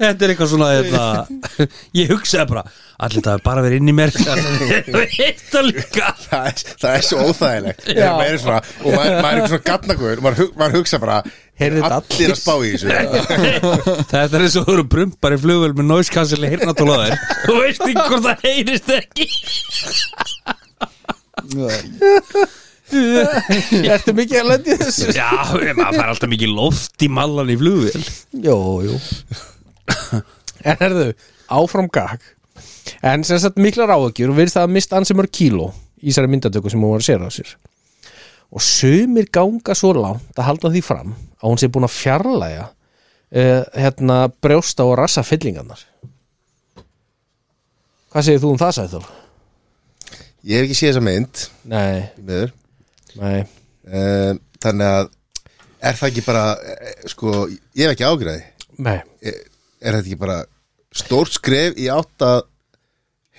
Speaker 1: Þetta er eitthvað svona hérna, þetta, Ég hugsaði bara Allir það er bara verið inn í mér Ég veit það líka
Speaker 3: Það er, það er svo óþægilegt
Speaker 2: Já.
Speaker 3: Þegar maður er svona, og maður, maður er svona gatnagöður og maður, hug- maður hugsa bara
Speaker 2: Heyrðu þetta
Speaker 3: allir
Speaker 2: allir?
Speaker 3: að spá í þessu
Speaker 1: Þetta er eins og þú eru brumpar í flugvel með nóiskansili hirnatólaður Þú veist ekki hvort það heyrist ekki
Speaker 2: Ertu mikið að lendi þessu?
Speaker 1: Já, maður fær alltaf mikið loft í mallan í flugvel
Speaker 2: Jó, jú En herðu, áfram gag En sem sagt miklar áhugjur og virðist það að mist ansi mörg kíló í þessari myndatöku sem hún var að séra á sér og sumir ganga svo langt að halda því fram að hún sé búin að fjarlæga uh, hérna brjósta og rassa fyllingarnar Hvað segir þú um það, sagði þú?
Speaker 3: Ég hef ekki séð þessa mynd
Speaker 2: Nei,
Speaker 3: miður.
Speaker 2: nei
Speaker 3: Eh, Þannig að er það ekki bara eh, sko, ég hef ekki ágræði
Speaker 2: Nei,
Speaker 3: er er þetta ekki bara stórt skref í átt að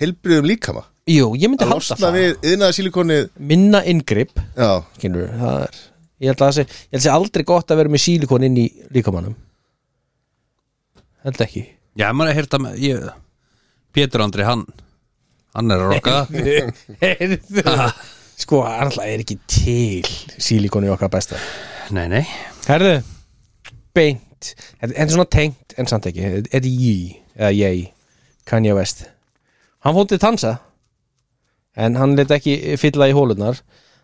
Speaker 3: helbriðum líkama
Speaker 2: jú, ég myndi
Speaker 3: að
Speaker 2: halda
Speaker 3: losna
Speaker 2: það
Speaker 3: við yðnaða sílikonið
Speaker 2: Minna inngrip
Speaker 3: já,
Speaker 2: skilur, það er ég held að það sé, ég held að sé aldrei gott að vera með sílikon inn í líkamannum held ekki
Speaker 1: Já, maður er að heyrta með ég, Pétur Andri, hann Hann er að rokka Ah,
Speaker 2: sko, hann alltaf er ekki til sílikon í okkar besta
Speaker 1: Nei, nei
Speaker 2: herðu, beint þetta þetta er svona tengt, en samt ekki þetta þetta er ég, eða ég Kanye West hann fótið tansa en hann let ekki fylla í hólunar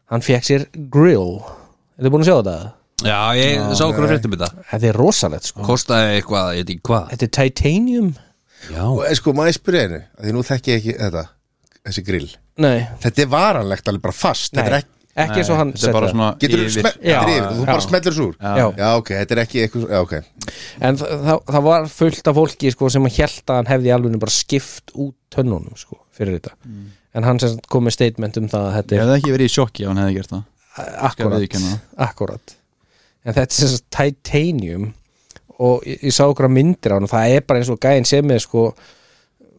Speaker 2: hann fekk sér grill er þið búin að sjá þetta?
Speaker 1: Já, ég sá okkur að fréttum þetta
Speaker 2: þetta er rosalegt sko
Speaker 1: Kostaði eitthvað, ég veit ekki hvað
Speaker 2: þetta er titanium
Speaker 1: Já,
Speaker 3: og eh, sko maður spyrja einu af því nú þekki ég ekki þetta, þessi grill
Speaker 2: nei,
Speaker 3: þetta er varanlegt alveg bara fast þetta er ekki,
Speaker 2: ekki eins og hann
Speaker 4: þetta er bara
Speaker 2: setti
Speaker 4: svona
Speaker 3: getur þú
Speaker 4: yfir-
Speaker 3: smelt
Speaker 2: Já,
Speaker 3: yfir, og þú
Speaker 2: já.
Speaker 3: bara smellir svo úr
Speaker 2: það. Já.
Speaker 3: já ok, þetta er ekki eitthvað já, okay.
Speaker 2: en það, það, það var fullt af fólki sko, sem að held að hann hefði alveg bara skipt út tönnunum sko, fyrir þetta en hann sem sagt kom með statement um það að
Speaker 4: Mm.
Speaker 2: þetta
Speaker 4: Ég
Speaker 2: er
Speaker 4: hefði ekki verið í sjokki ef hann hefði gert það skal
Speaker 2: akkurat,
Speaker 4: viðurkenna það.
Speaker 2: akkurat en þetta er sem sagt titanium og ég, ég sá okkur myndir á hann það er bara eins og gæinn sem er sko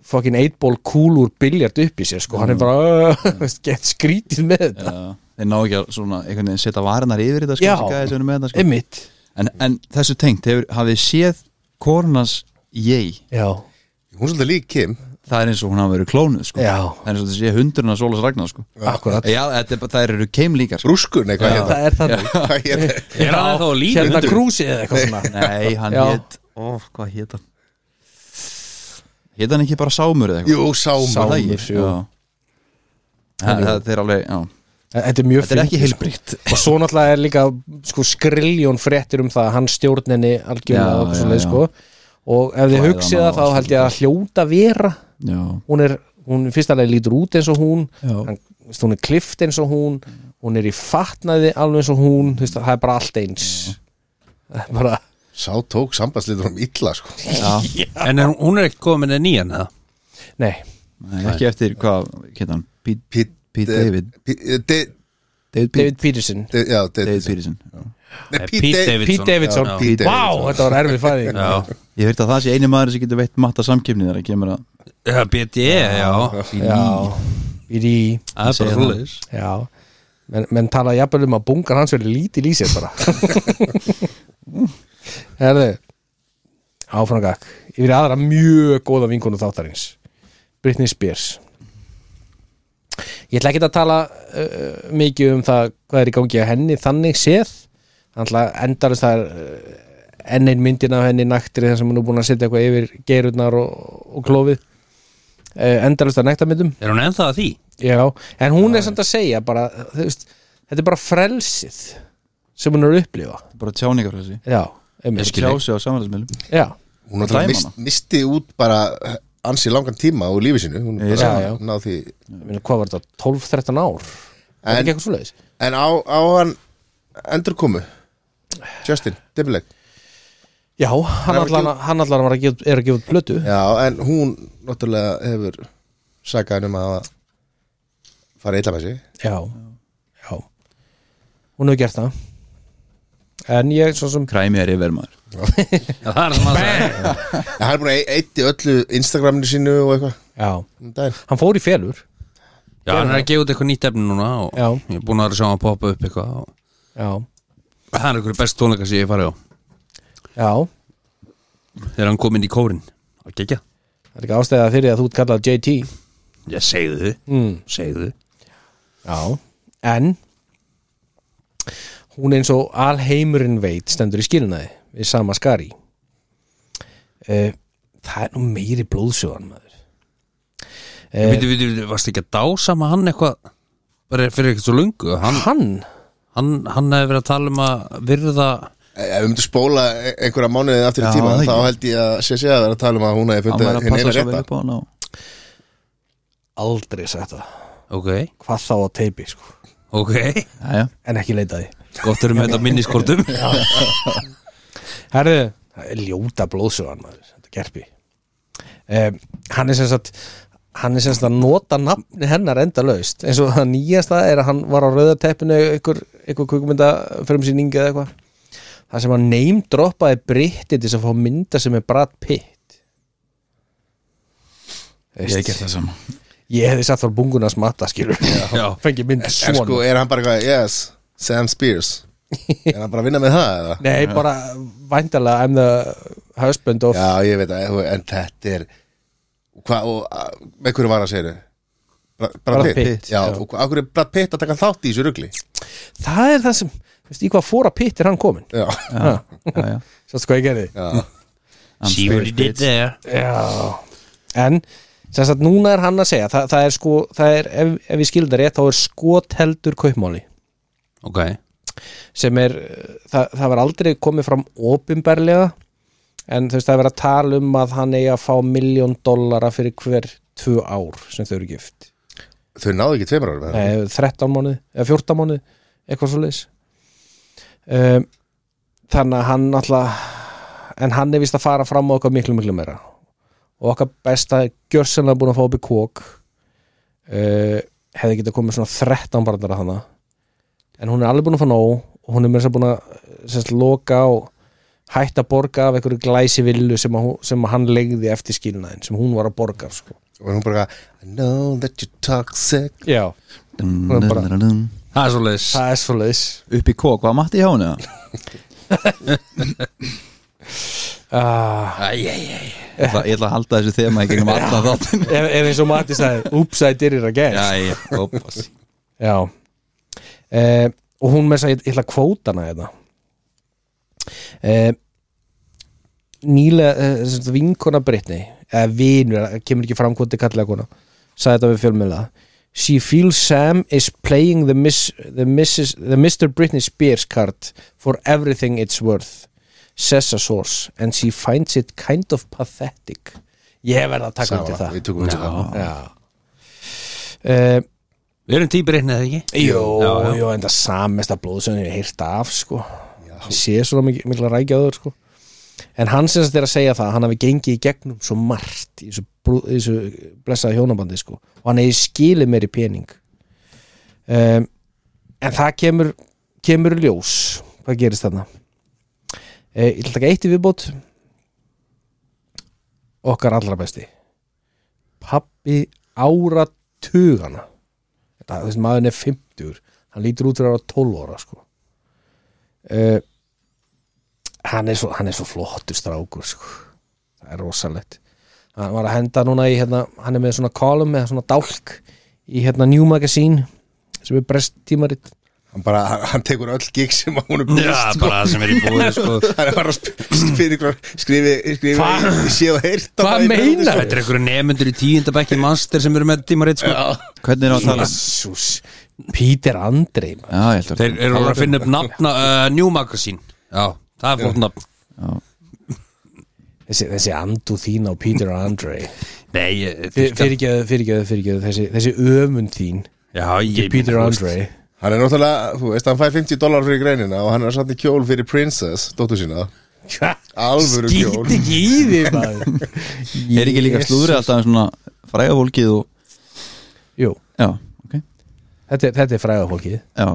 Speaker 2: fokkin 8-ból kúlur biljart upp í sér sko, hann er bara mm. gett skrítið með þetta,
Speaker 4: Já, Þeir ná ekki að svona einhvern veginn setja varnar yfir þetta sko,
Speaker 2: Já.
Speaker 4: þessi gæði sem eru með þetta, sko.
Speaker 2: ymmit
Speaker 4: en, en þessu tengt, hefur, hafið séð korunas ég
Speaker 2: já,
Speaker 3: hún er svolítið lík Kim
Speaker 4: það er eins og hún hafa verið klónuð sko.
Speaker 2: Já.
Speaker 4: það er eins og þessi hundurinn að Sólas Ragnar sko.
Speaker 2: akkurat
Speaker 4: Já, þetta er bara, þær eru keimlíkar sko.
Speaker 3: rúskun
Speaker 2: það
Speaker 3: eitthvað hérna
Speaker 2: er þannig
Speaker 3: Hvað hét það?
Speaker 1: er hann eða þá að líka
Speaker 2: hérna krúsi eða eitthvað svona
Speaker 4: Nei, hann
Speaker 2: Já.
Speaker 4: hét ó, hvað hét hann hét hann ekki bara Sámur eða eitthvað
Speaker 3: jú, sámur
Speaker 4: Var það
Speaker 2: Sámur,
Speaker 4: ekki?
Speaker 2: jú.
Speaker 4: Já. Það það er alveg, já
Speaker 2: þetta er mjög
Speaker 4: Þetta er
Speaker 2: fyndið,
Speaker 4: ekki
Speaker 2: sko.
Speaker 4: heilbríkt
Speaker 2: og svo náttúrulega er líka sko, skriljón fréttir um það að hann stjórninni algjörlega
Speaker 4: Já,
Speaker 2: og eitthvað
Speaker 4: já,
Speaker 2: svoleiði
Speaker 4: já.
Speaker 2: sko. og ef þið
Speaker 4: Klæða
Speaker 2: hugsið
Speaker 4: hana
Speaker 2: það þá
Speaker 4: og
Speaker 2: held ég að hljóta vera
Speaker 4: Já,
Speaker 2: hún er, hún í fyrsta lagi lítur út eins og hún
Speaker 4: Já.
Speaker 2: hann, veist, hún er klift eins og hún hún er í fatnaði alveg eins og hún þú veist, það er bara allt eins Það er bara,
Speaker 3: sá tók sambandslitur um illa sko.
Speaker 4: já.
Speaker 1: En er, hún er ekkert komin með nýjan eða
Speaker 2: nei,
Speaker 4: Nei, ekki eftir hvað hét hann Pete,
Speaker 3: Pete-
Speaker 4: Pete David
Speaker 3: Eh, Pete- De-
Speaker 4: David, Pete,
Speaker 2: David Peterson
Speaker 3: De- já, De-
Speaker 4: David Peterson já.
Speaker 3: Nei,
Speaker 1: Eh,
Speaker 3: Pete Da-
Speaker 2: Pete Davidson,
Speaker 1: Já,
Speaker 2: vá,
Speaker 3: Pete Davidson.
Speaker 2: þetta var erfið fæðing
Speaker 1: Já,
Speaker 4: Ég veit að það sé einu maður sem getur veitt matta samkipni þegar að kemur að
Speaker 1: Já, BD, já
Speaker 2: já, í því
Speaker 1: Það er
Speaker 4: Segja
Speaker 1: bara
Speaker 4: það.
Speaker 1: svoleiðis
Speaker 2: já, menn, menn talaði jafnvel um að bungar hans verið lítil í sér bara Herðu Áframgak Yfir í aðra mjög góða vinkonu þáttarins Britney Spears Ég ætla ekki að tala uh, mikið um það hvað er í gangi að henni þannig séð Þannig að endarist það er uh, enn ein myndin af henni naktir þar sem hún er búin að setja eitthvað yfir gerurnar og, og klófið uh, endarist það nektarmyndum
Speaker 1: Er hún ennþá að því?
Speaker 2: Já, en hún er samt að segja bara, þú veist, þetta er bara frelsið sem hún er að upplifa
Speaker 4: bara tjáningar þessi
Speaker 2: Já, einmitt
Speaker 1: skil- Skilji.
Speaker 4: tjási á samverðismiðlum
Speaker 2: Já,
Speaker 3: Hún náttúrulega
Speaker 4: Dæma
Speaker 3: mist,
Speaker 4: hana.
Speaker 3: misti út bara ansi langan tíma úr lífi sinu Hún
Speaker 4: Já,
Speaker 3: bara
Speaker 2: já.
Speaker 3: náð því
Speaker 2: ég meina, hvað var þetta, 12-13 ár Það er
Speaker 3: En-
Speaker 2: ekki eitthvað svoleiðis
Speaker 3: En á, á hann endurkomu Justin, Timberlake
Speaker 2: Já, hann
Speaker 3: var að
Speaker 2: allan, hann allan var að gefa, er að gefa út plötu
Speaker 3: Já, en hún náttúrulega hefur sagði hann um að hafa fara illa með sig
Speaker 2: Já, já Hún hefur gert það En ég, svo sem
Speaker 4: kræmi er yfir maður
Speaker 1: Já, það er sem að segja
Speaker 3: En hann er búin að eitt í öllu Instagraminu sínu og eitthvað
Speaker 2: Já,
Speaker 3: um daginn.
Speaker 2: hann fór í felur
Speaker 1: Já, hann er að gefa út eitthvað nýtt efni núna og
Speaker 2: Já.
Speaker 1: ég er búin að vera að sjá hann poppa upp eitthvað og
Speaker 2: Já,
Speaker 1: það er einhverju best tónleika sem ég hef farið á
Speaker 2: já
Speaker 1: þegar hann kom inn í kórin og gegja
Speaker 2: Það er ekki ástæða fyrir að þú ert kallað JT
Speaker 1: Ég segðu þið,
Speaker 2: mm.
Speaker 1: segðu þið
Speaker 2: Já, en hún eins og alheimurinn veit stendur í skilnaði við sama skari uh, Það er nú meiri blóðsjóðan maður
Speaker 1: Við veitum, við veitum, varst ekki að dásama hann eitthvað bara fyrir ekkert svo lungu hann,
Speaker 2: Hann,
Speaker 1: hann, hann hefði verið að tala um að virða
Speaker 3: Eh, Ef við myndum spóla e- einhverja mánuðið aftur í
Speaker 4: Já,
Speaker 3: tíma
Speaker 4: það
Speaker 3: þá
Speaker 4: ekki.
Speaker 3: held ég að sé sé að vera að tala um að hún hefði
Speaker 4: hann
Speaker 3: fundið
Speaker 4: væri að
Speaker 3: hinn
Speaker 4: passa
Speaker 3: eina
Speaker 4: svo vel
Speaker 3: rétta
Speaker 4: upp á hann og
Speaker 2: aldrei sagt það
Speaker 1: Ok,
Speaker 2: hvað þá á teipi sko
Speaker 1: ok,
Speaker 4: já, já,
Speaker 2: en ekki leitaði
Speaker 1: gott erum með þetta minniskortum Já,
Speaker 2: Herðu, það er ljóta blóðsjóðan maður þetta gerpi um, Hann er sem sagt hann er sem sagt að nota nafni hennar enda laust eins og það nýjasta er að hann var á rauðateppinu ykkur, ykkur kvikmynda frumsýningi eða eitthvað það sem hann neymdroppaði britti til þess að fá mynda sem er Brad Pitt
Speaker 4: ég hef gert það sama
Speaker 2: ég hefði satt þar bunguna að smatta skilur
Speaker 1: Já.
Speaker 2: fengið mynd
Speaker 3: En
Speaker 2: svona
Speaker 3: sko, er hann bara eitthvað, yes, Sam Spears Er hann bara að vinna með það eða?
Speaker 2: nei, bara væntalega I'm the husband of
Speaker 3: Já, ég veit að, en þetta er Hvað, og a- með hverju var að segja Brad, Brad Pitt,
Speaker 2: Pitt,
Speaker 3: Já,
Speaker 2: já.
Speaker 3: og hvað- af hverju er Brad Pitt að taka þátt í þessu rugli
Speaker 2: það er það sem, veist, í hvað fóra pitt er hann komin
Speaker 3: Já,
Speaker 2: ja.
Speaker 4: já, já.
Speaker 2: Sástu hvað ég gerði?
Speaker 3: já,
Speaker 4: I'm
Speaker 1: See what he did
Speaker 4: Spears, bitch.
Speaker 1: there
Speaker 2: Já En, sem sagt, núna er hann að segja það, það er sko, það er, ef, ef ég skilda rétt þá er skoteldur kaupmáli
Speaker 1: Ok,
Speaker 2: sem er, eh, það, það var aldrei komið fram opinberlega en þú veist, það er verið að tala um að hann eigi að fá miljón dollara fyrir hver tvö ár sem þau eru gift
Speaker 3: þau náðu ekki tveimur árum eða?
Speaker 2: Nei, 13 mánuð, eða 14 mánuð eitthvað svo leis um, þannig að hann alltaf en hann er vist að fara fram á okkar miklu miklu meira og okkar besta er gjörsenlega búin að fá upp í kók uh, hefði getað komið svona 13 barnar að hana en hún er alveg búin að fá nóg og hún er meira þess að búin að sérst, loka og hætta að borga af einhverju glæsi villu sem, að hún- sem að hann legði eftir skilnaðin sem hún var að borga af, sko.
Speaker 3: Og hún bara, I know that you're toxic
Speaker 2: Já,
Speaker 4: Dun,
Speaker 2: Hún er
Speaker 4: dun,
Speaker 2: bara-
Speaker 4: dun, dun.
Speaker 1: það er svo leis
Speaker 2: það er svo leiðis
Speaker 4: upp í kók, var Matti hjá henni eða?
Speaker 2: ah.
Speaker 1: Æjæjæj
Speaker 4: ég ætla ég ætla að halda þessu þema í gegnum alla þáttin
Speaker 2: ef, ef eins og Matti sagði Oops, I did it again Já,
Speaker 4: já, ópas
Speaker 2: Eh, Og hún með þess að ég, ég ætla að kvóta hana þetta eh, Nýlega eh, sem sagt, vinkona Brittany eða vinur, það kemur ekki fram hvort þið kallega kona sagði þetta við fjölmjöla She feels Sam is playing the, miss, the, Mrs, the Mr. Britney Spears card for everything it's worth says a source and she finds it kind of pathetic Ég verð að taka undir það
Speaker 3: Við tökum undir það
Speaker 2: Já uh,
Speaker 1: Við erum týpir einn eða ekki?
Speaker 2: Jó,
Speaker 1: Já, já.
Speaker 2: jó, en það samesta blóðsöðin ég hef heyrt af, sko Ég sé svona mik mikla rækjaður, sko En hann sem þetta er að segja það, hann hafi gengið í gegnum svo margt í þessu, brú- í þessu blessaða hjónabandi, sko og hann hefði skilið meiri pening um, En það kemur kemur í ljós hvað gerist þarna e, Ég ætla að taka eitt í viðbót okkar allra besti pappi áratugana þetta, þessi maðurinn er 50 hann lítur út fyrir að vera 12 ára sko. uh, hann er svo, hann er svo flottur strákur sko. það er rosalegt hann var að henda núna í hérna, hann er með svona column eða svona dálk í hérna New Magazine sem er brest tímarit
Speaker 3: hann bara, hann, hann tekur öll gig sem að hún er búið
Speaker 1: Já, bara það sem er í búið sko.
Speaker 3: hann er bara að sp- fyrir ykkur skrifi, skrifi
Speaker 1: Hva-
Speaker 3: sé og heyrt
Speaker 2: Hvað meinar
Speaker 1: Þetta er einhverju nefnundur í tíundabækki mannster sem eru með tímarit sko.
Speaker 4: Hvernig er það að tala?
Speaker 2: Jesus, Peter Andrei maður.
Speaker 4: Já, ég heldur
Speaker 1: Þeir eru að finna upp nafna uh, New Magazine Já, það er flott nafn
Speaker 2: þessi, þessi andu þín á Peter Andrei
Speaker 1: Nei, ég,
Speaker 2: fyrirgeðu, fyrirgeðu, fyrirgeðu þessi, þessi öfund þín
Speaker 1: já, ég
Speaker 2: Peter
Speaker 1: meina, þú veist,
Speaker 2: Andrei
Speaker 3: hann er náttúrulega, þú veist, hann fær 50 dólar fyrir greinina og hann er satt í kjól fyrir Princess dóttur sína, alvöru
Speaker 2: skýt
Speaker 3: kjól
Speaker 2: ekki í þig maður
Speaker 4: Er ekki líka slúðri alltaf svona frægafólkið og
Speaker 2: Jú,
Speaker 4: Já, ok
Speaker 2: þetta, er- þetta er fræða fólkið
Speaker 4: Já,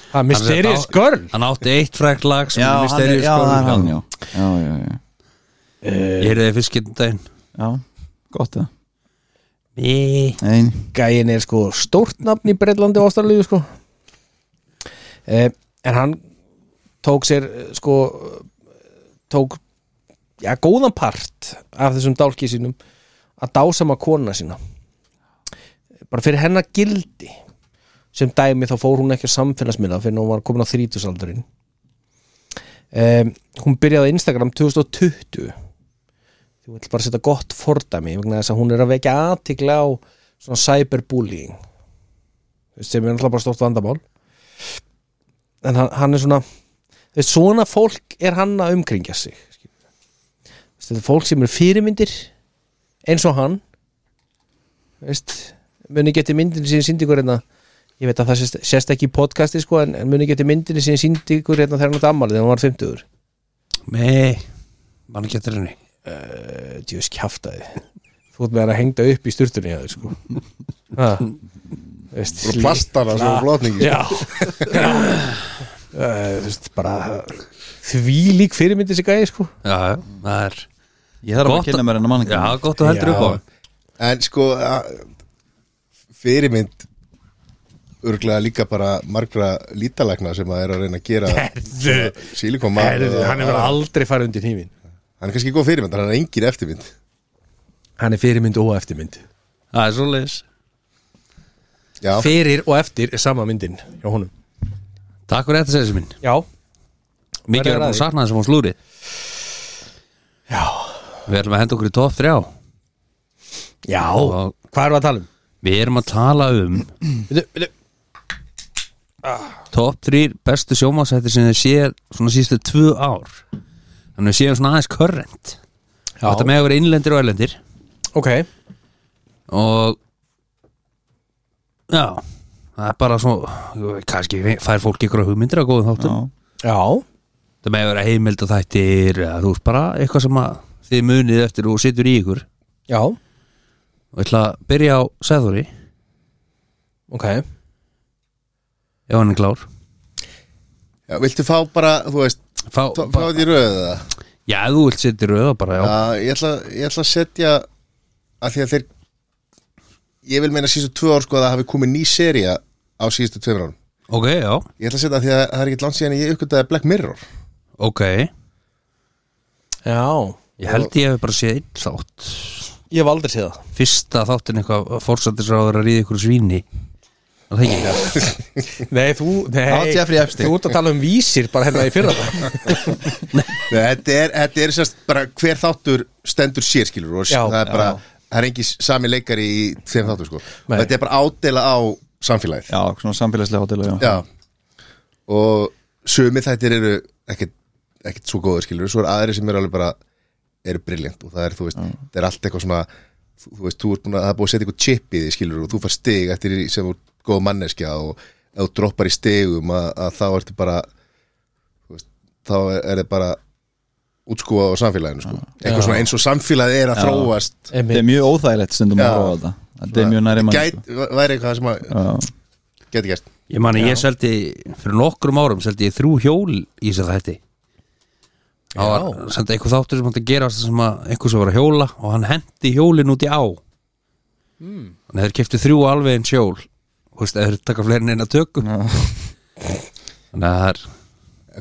Speaker 2: Það er Mysterious Girl
Speaker 1: Hann átti eitt frækt lag sem
Speaker 4: já,
Speaker 1: er
Speaker 4: hann er,
Speaker 1: mysterious
Speaker 4: já, það er
Speaker 1: Girl.
Speaker 4: hann, já Já, já, já,
Speaker 1: Ég heyrði það fyrst getum daginn
Speaker 4: já. gott það
Speaker 1: Nei.
Speaker 4: Nein,
Speaker 2: gæin er sko stórt nafn í Breitlandi og Ástralíu sko eh, en hann tók sér eh, sko eh, tók já, góðan part af þessum dálki sínum að dásama kona sína bara fyrir hennar gildi sem dæmi þá fór hún ekki á samfélagsmiðla fyrir hún var komin á þrítusaldurinn um, hún byrjaði á Instagram 2020 þú vill bara setja gott fordæmi vegna þess að hún er að vekja aðtikla á svona cyberbullying Þú veist, sem er náttúrulega bara stort vandamál en hann, hann er svona þú veist, svona fólk er hann að umkringja sig skilurðu. Þú veist, þetta er fólk sem eru fyrirmyndir eins og hann Þú veist, muni geti myndin sem síndi ykkur hérna ég veit að það sést, sést ekki í podcasti sko, en, en muni geti myndin sem síndi ykkur hérna þegar hann átti ammálið þegar hann var 50
Speaker 1: Nei, mann getur henni
Speaker 2: djöðs kjaftaði þú ert með hann að hengda upp í styrtunni hjá þér sko ha, veist,
Speaker 3: og plastana sem er flotningi
Speaker 2: já Eh, þú veist bara því lík fyrirmyndi sig gæði sko
Speaker 1: Já, já, það er
Speaker 4: ég þarf
Speaker 1: Gott
Speaker 4: að kynna mér hennar manninga
Speaker 1: Já, gott að heldur
Speaker 2: Já.
Speaker 1: upp á hann.
Speaker 3: En sko a- fyrirmynd örglega líka bara margra lítalagna sem að er að reyna að gera sílikoma
Speaker 2: hann
Speaker 3: hann
Speaker 2: hefur aldrei farið undir hífin
Speaker 3: er kannski góð fyrirmynd, en hann er engin eftirmynd
Speaker 2: hann er fyrirmynd og eftirmynd
Speaker 1: Það er svoleiðis
Speaker 3: Já,
Speaker 2: fyrir og eftir er sama myndin hjá honum
Speaker 1: Takk fyrir þetta segðis minn
Speaker 2: já,
Speaker 1: Mikið
Speaker 2: Verður
Speaker 1: er
Speaker 2: að
Speaker 1: búin
Speaker 2: því.
Speaker 1: að sakna þessum hún slúri
Speaker 2: já,
Speaker 1: Við erum að henda okkur í top 3
Speaker 2: já. hvað er það að tala um?
Speaker 1: Við erum að tala um
Speaker 2: Bíddu, bíddu.
Speaker 1: top 3 bestu sjómasættir sem þið séð svona síðustu tvö ár þannig við séum svona aðeins körrent
Speaker 2: Já.
Speaker 1: þetta með að vera innlendir og erlendir
Speaker 2: ok,
Speaker 1: og já, það er bara svona kannski fær fólk ykkur hugmyndir að góðum þáttum
Speaker 2: já
Speaker 1: þetta með að vera heimild og þættir eða þú veist bara eitthvað sem að þið munið eftir og situr í ykkur
Speaker 2: já,
Speaker 1: og ég ætla að byrja á Sæðóri
Speaker 2: ok
Speaker 1: ef hann er klár
Speaker 3: já viltu fá bara, þú veist
Speaker 1: Fá,
Speaker 3: fá fá þetta í röðu það
Speaker 1: já, ef þú vilt setja rauða bara já.
Speaker 3: Já, ég ætla, ég ætla að setja að því að þeir ég vil meina síðustu tvö ár sko að það hafi komið ný seria á síðustu tveimur árum
Speaker 1: ok, já,
Speaker 3: Ég ætla að setja að því að það er ekkert langt síðan að ég uppgöndaði Black Mirror
Speaker 1: ok
Speaker 2: já,
Speaker 1: ég held ég hef bara séð einn þátt
Speaker 2: ég hef aldrei séð það
Speaker 1: fyrsta þáttin eitthvað fórsættisráður að ríða ykkur svíni Er það er ekki
Speaker 2: Nei, þú,
Speaker 4: Það var
Speaker 2: nei,
Speaker 4: Jeffrey Epstein.
Speaker 2: þú ert að tala um vísir bara hérna í fyrra
Speaker 3: Nei, þetta er, þetta er sérst bara hver þáttur stendur sér skilur og
Speaker 2: Já,
Speaker 3: það er bara,
Speaker 2: já.
Speaker 3: það er engi sami leikari í þeim þáttur sko
Speaker 2: Nei.
Speaker 3: Þetta er bara ádela á samfélagið
Speaker 4: Já, svona samfélagslega hótel já.
Speaker 3: Já. Og sumi þættir eru ekkert, ekkert svo góður skilur Svo er aðri sem eru alveg bara eru briljant og það er, þú veist, það er allt eitthvað svona þú, þú veist, þú ert búin að það er búin að setja eitthvað chip í því skilur og þú fær stig eftir því sem þú ert góð manneskja og ef þú droppar í stigum að, að þá ertu bara þú veist, þá er, er það bara útskúað á samfélaginu sko. eitthvað svona eins og samfélagið er að þróast
Speaker 4: Þetta er mjög óþægilegt stundum
Speaker 3: Já.
Speaker 4: að róa þetta Þetta er mjög næri mann
Speaker 3: Gæt, væri eitthvað sem að geti gæst
Speaker 1: ég mani ég seldi fyrir nokkrum árum seldi ég þrjú hjól í þess að þetta það var seldi eitthvað þáttur sem hann að gera sem að einhvers var að hjóla og hann hendi hjólin út í á mm. hann hefur kefti þrjú alveg eins hjól Þú veist, eða þeir taka fleiri en eina tökum þannig að það er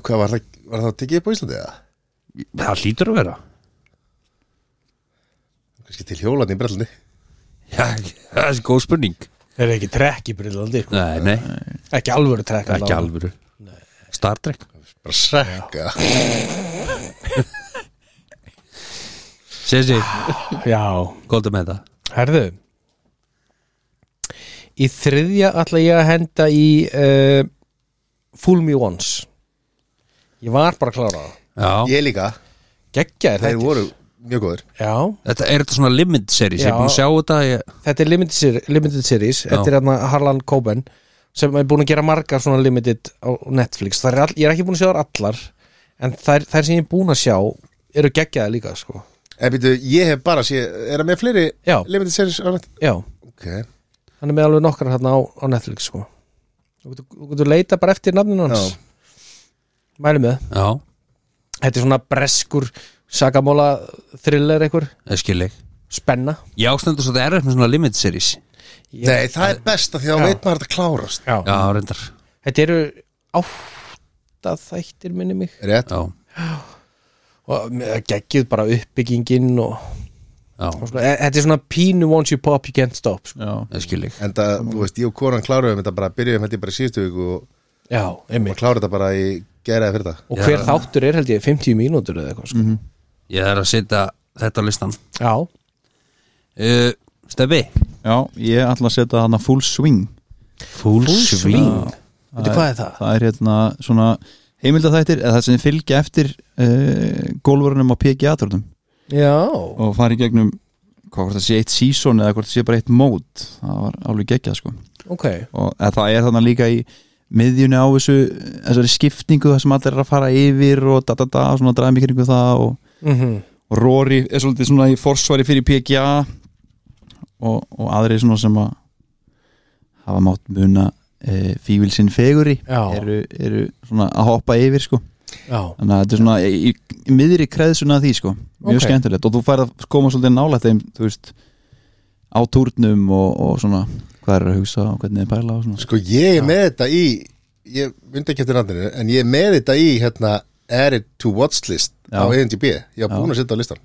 Speaker 3: Hvað var það, var það tekið upp á Íslandi eða?
Speaker 1: það hlýtur að vera
Speaker 3: kannski til hjólan í brellandi
Speaker 1: já, það er góð spurning
Speaker 2: Er það ekki trekk í brillandi?
Speaker 1: nei, nei,
Speaker 2: Ekki alvöru trekk
Speaker 1: ekki alvöru Star Trek
Speaker 3: bara sekka
Speaker 1: Sessi,
Speaker 2: alveg Já,
Speaker 1: góða með það
Speaker 2: herðu Í þriðja ætla ég að henda í uh, Fool Me Once Ég var bara að klára það
Speaker 1: Já,
Speaker 3: ég líka,
Speaker 2: Geggja er
Speaker 3: þeir
Speaker 2: þetta
Speaker 3: voru mjög góður
Speaker 2: Já,
Speaker 1: þetta er þetta svona limit series, ég
Speaker 2: Já.
Speaker 1: er búin að sjá þetta ég,
Speaker 2: þetta er limited, ser- limited series
Speaker 1: Já.
Speaker 2: Þetta er hérna Harlan Coben sem er búin að gera margar svona limited á Netflix Það er all, Ég er ekki búin að sjá þar allar en þær, þær sem ég er búin að sjá eru geggjaði líka sko
Speaker 3: En býtu, ég hef bara sé, er það með fleiri
Speaker 2: Já.
Speaker 3: limited series á nætt?
Speaker 2: Já,
Speaker 3: Ok,
Speaker 2: hann er með alveg nokkar hérna á, á Netflix sko Þú getur- þú getur leita bara eftir nafninu hans
Speaker 3: Já.
Speaker 2: Mælum við
Speaker 1: Já,
Speaker 2: Þetta er svona breskur sakamóla thriller einhver,
Speaker 1: það skil ég
Speaker 2: spenna
Speaker 1: Ég ástendur svo þetta er með svona limit series
Speaker 2: Ég-
Speaker 3: nei, það er best að því að
Speaker 2: Já.
Speaker 3: veit maður þetta klárast
Speaker 2: Já.
Speaker 1: Já, reyndar
Speaker 2: Þetta eru átta þættir minni mig
Speaker 3: Rétt,
Speaker 1: Já,
Speaker 2: og með- geggjuð bara uppbyggingin og,
Speaker 1: já,
Speaker 2: og svona, e- þetta er svona pínu once you pop you can't stop sko.
Speaker 4: já,
Speaker 1: það skil ég
Speaker 3: en það, þú veist, ég og konan kláruðum þetta bara, byrjuðum held ég bara í síðustu viku og
Speaker 2: Já,
Speaker 3: maður
Speaker 2: einmitt
Speaker 3: klára þetta bara í geraði fyrir það
Speaker 2: Og hver þáttur er held ég 50 mínútur eða eitthvað sko.
Speaker 1: Ég er að setja þetta á listan
Speaker 2: Já,
Speaker 1: uh, Stebbi
Speaker 4: já ég ætla að setja þarna full swing
Speaker 1: Full
Speaker 2: Swing. veitu
Speaker 4: er-
Speaker 2: hvað er það?
Speaker 4: það er hérna svona heimildaþættir eða það sem fylgja eftir uh, gólverunum á PGA-törnum
Speaker 2: Já,
Speaker 4: og fara í gegnum hvað hvort það sé eitt season eða hvort það sé bara eitt mót það var alveg geggjað sko
Speaker 2: ok
Speaker 4: og eða, það er þannig líka í miðjunni á þessu þessari skiptingu það sem allir er að fara yfir og da da da og svona dræmi kringu það og,
Speaker 2: mm
Speaker 4: og Rory er svolítið svona í forsvari fyrir PGA og, og aðri svona sem að hafa mátt muna e, fífil sinn feguri
Speaker 2: Já.
Speaker 4: eru, eru svona að hoppa yfir sko
Speaker 2: Já,
Speaker 4: þannig að þetta er svona í, í, í miðri kreðsuna af því sko, mjög
Speaker 2: Ok.
Speaker 4: skemmtilegt og þú færð að koma svolítið nálægt þeim, þú veist á túrnum og, og svona hvað er að hugsa og hvernig er pæla og svona
Speaker 3: Sko, ég er með þetta í, ég myndi ekki eftir randinu, en ég er með þetta í, hérna, added to watch list
Speaker 4: Já.
Speaker 3: á IMDb, ég var búin að setja á listan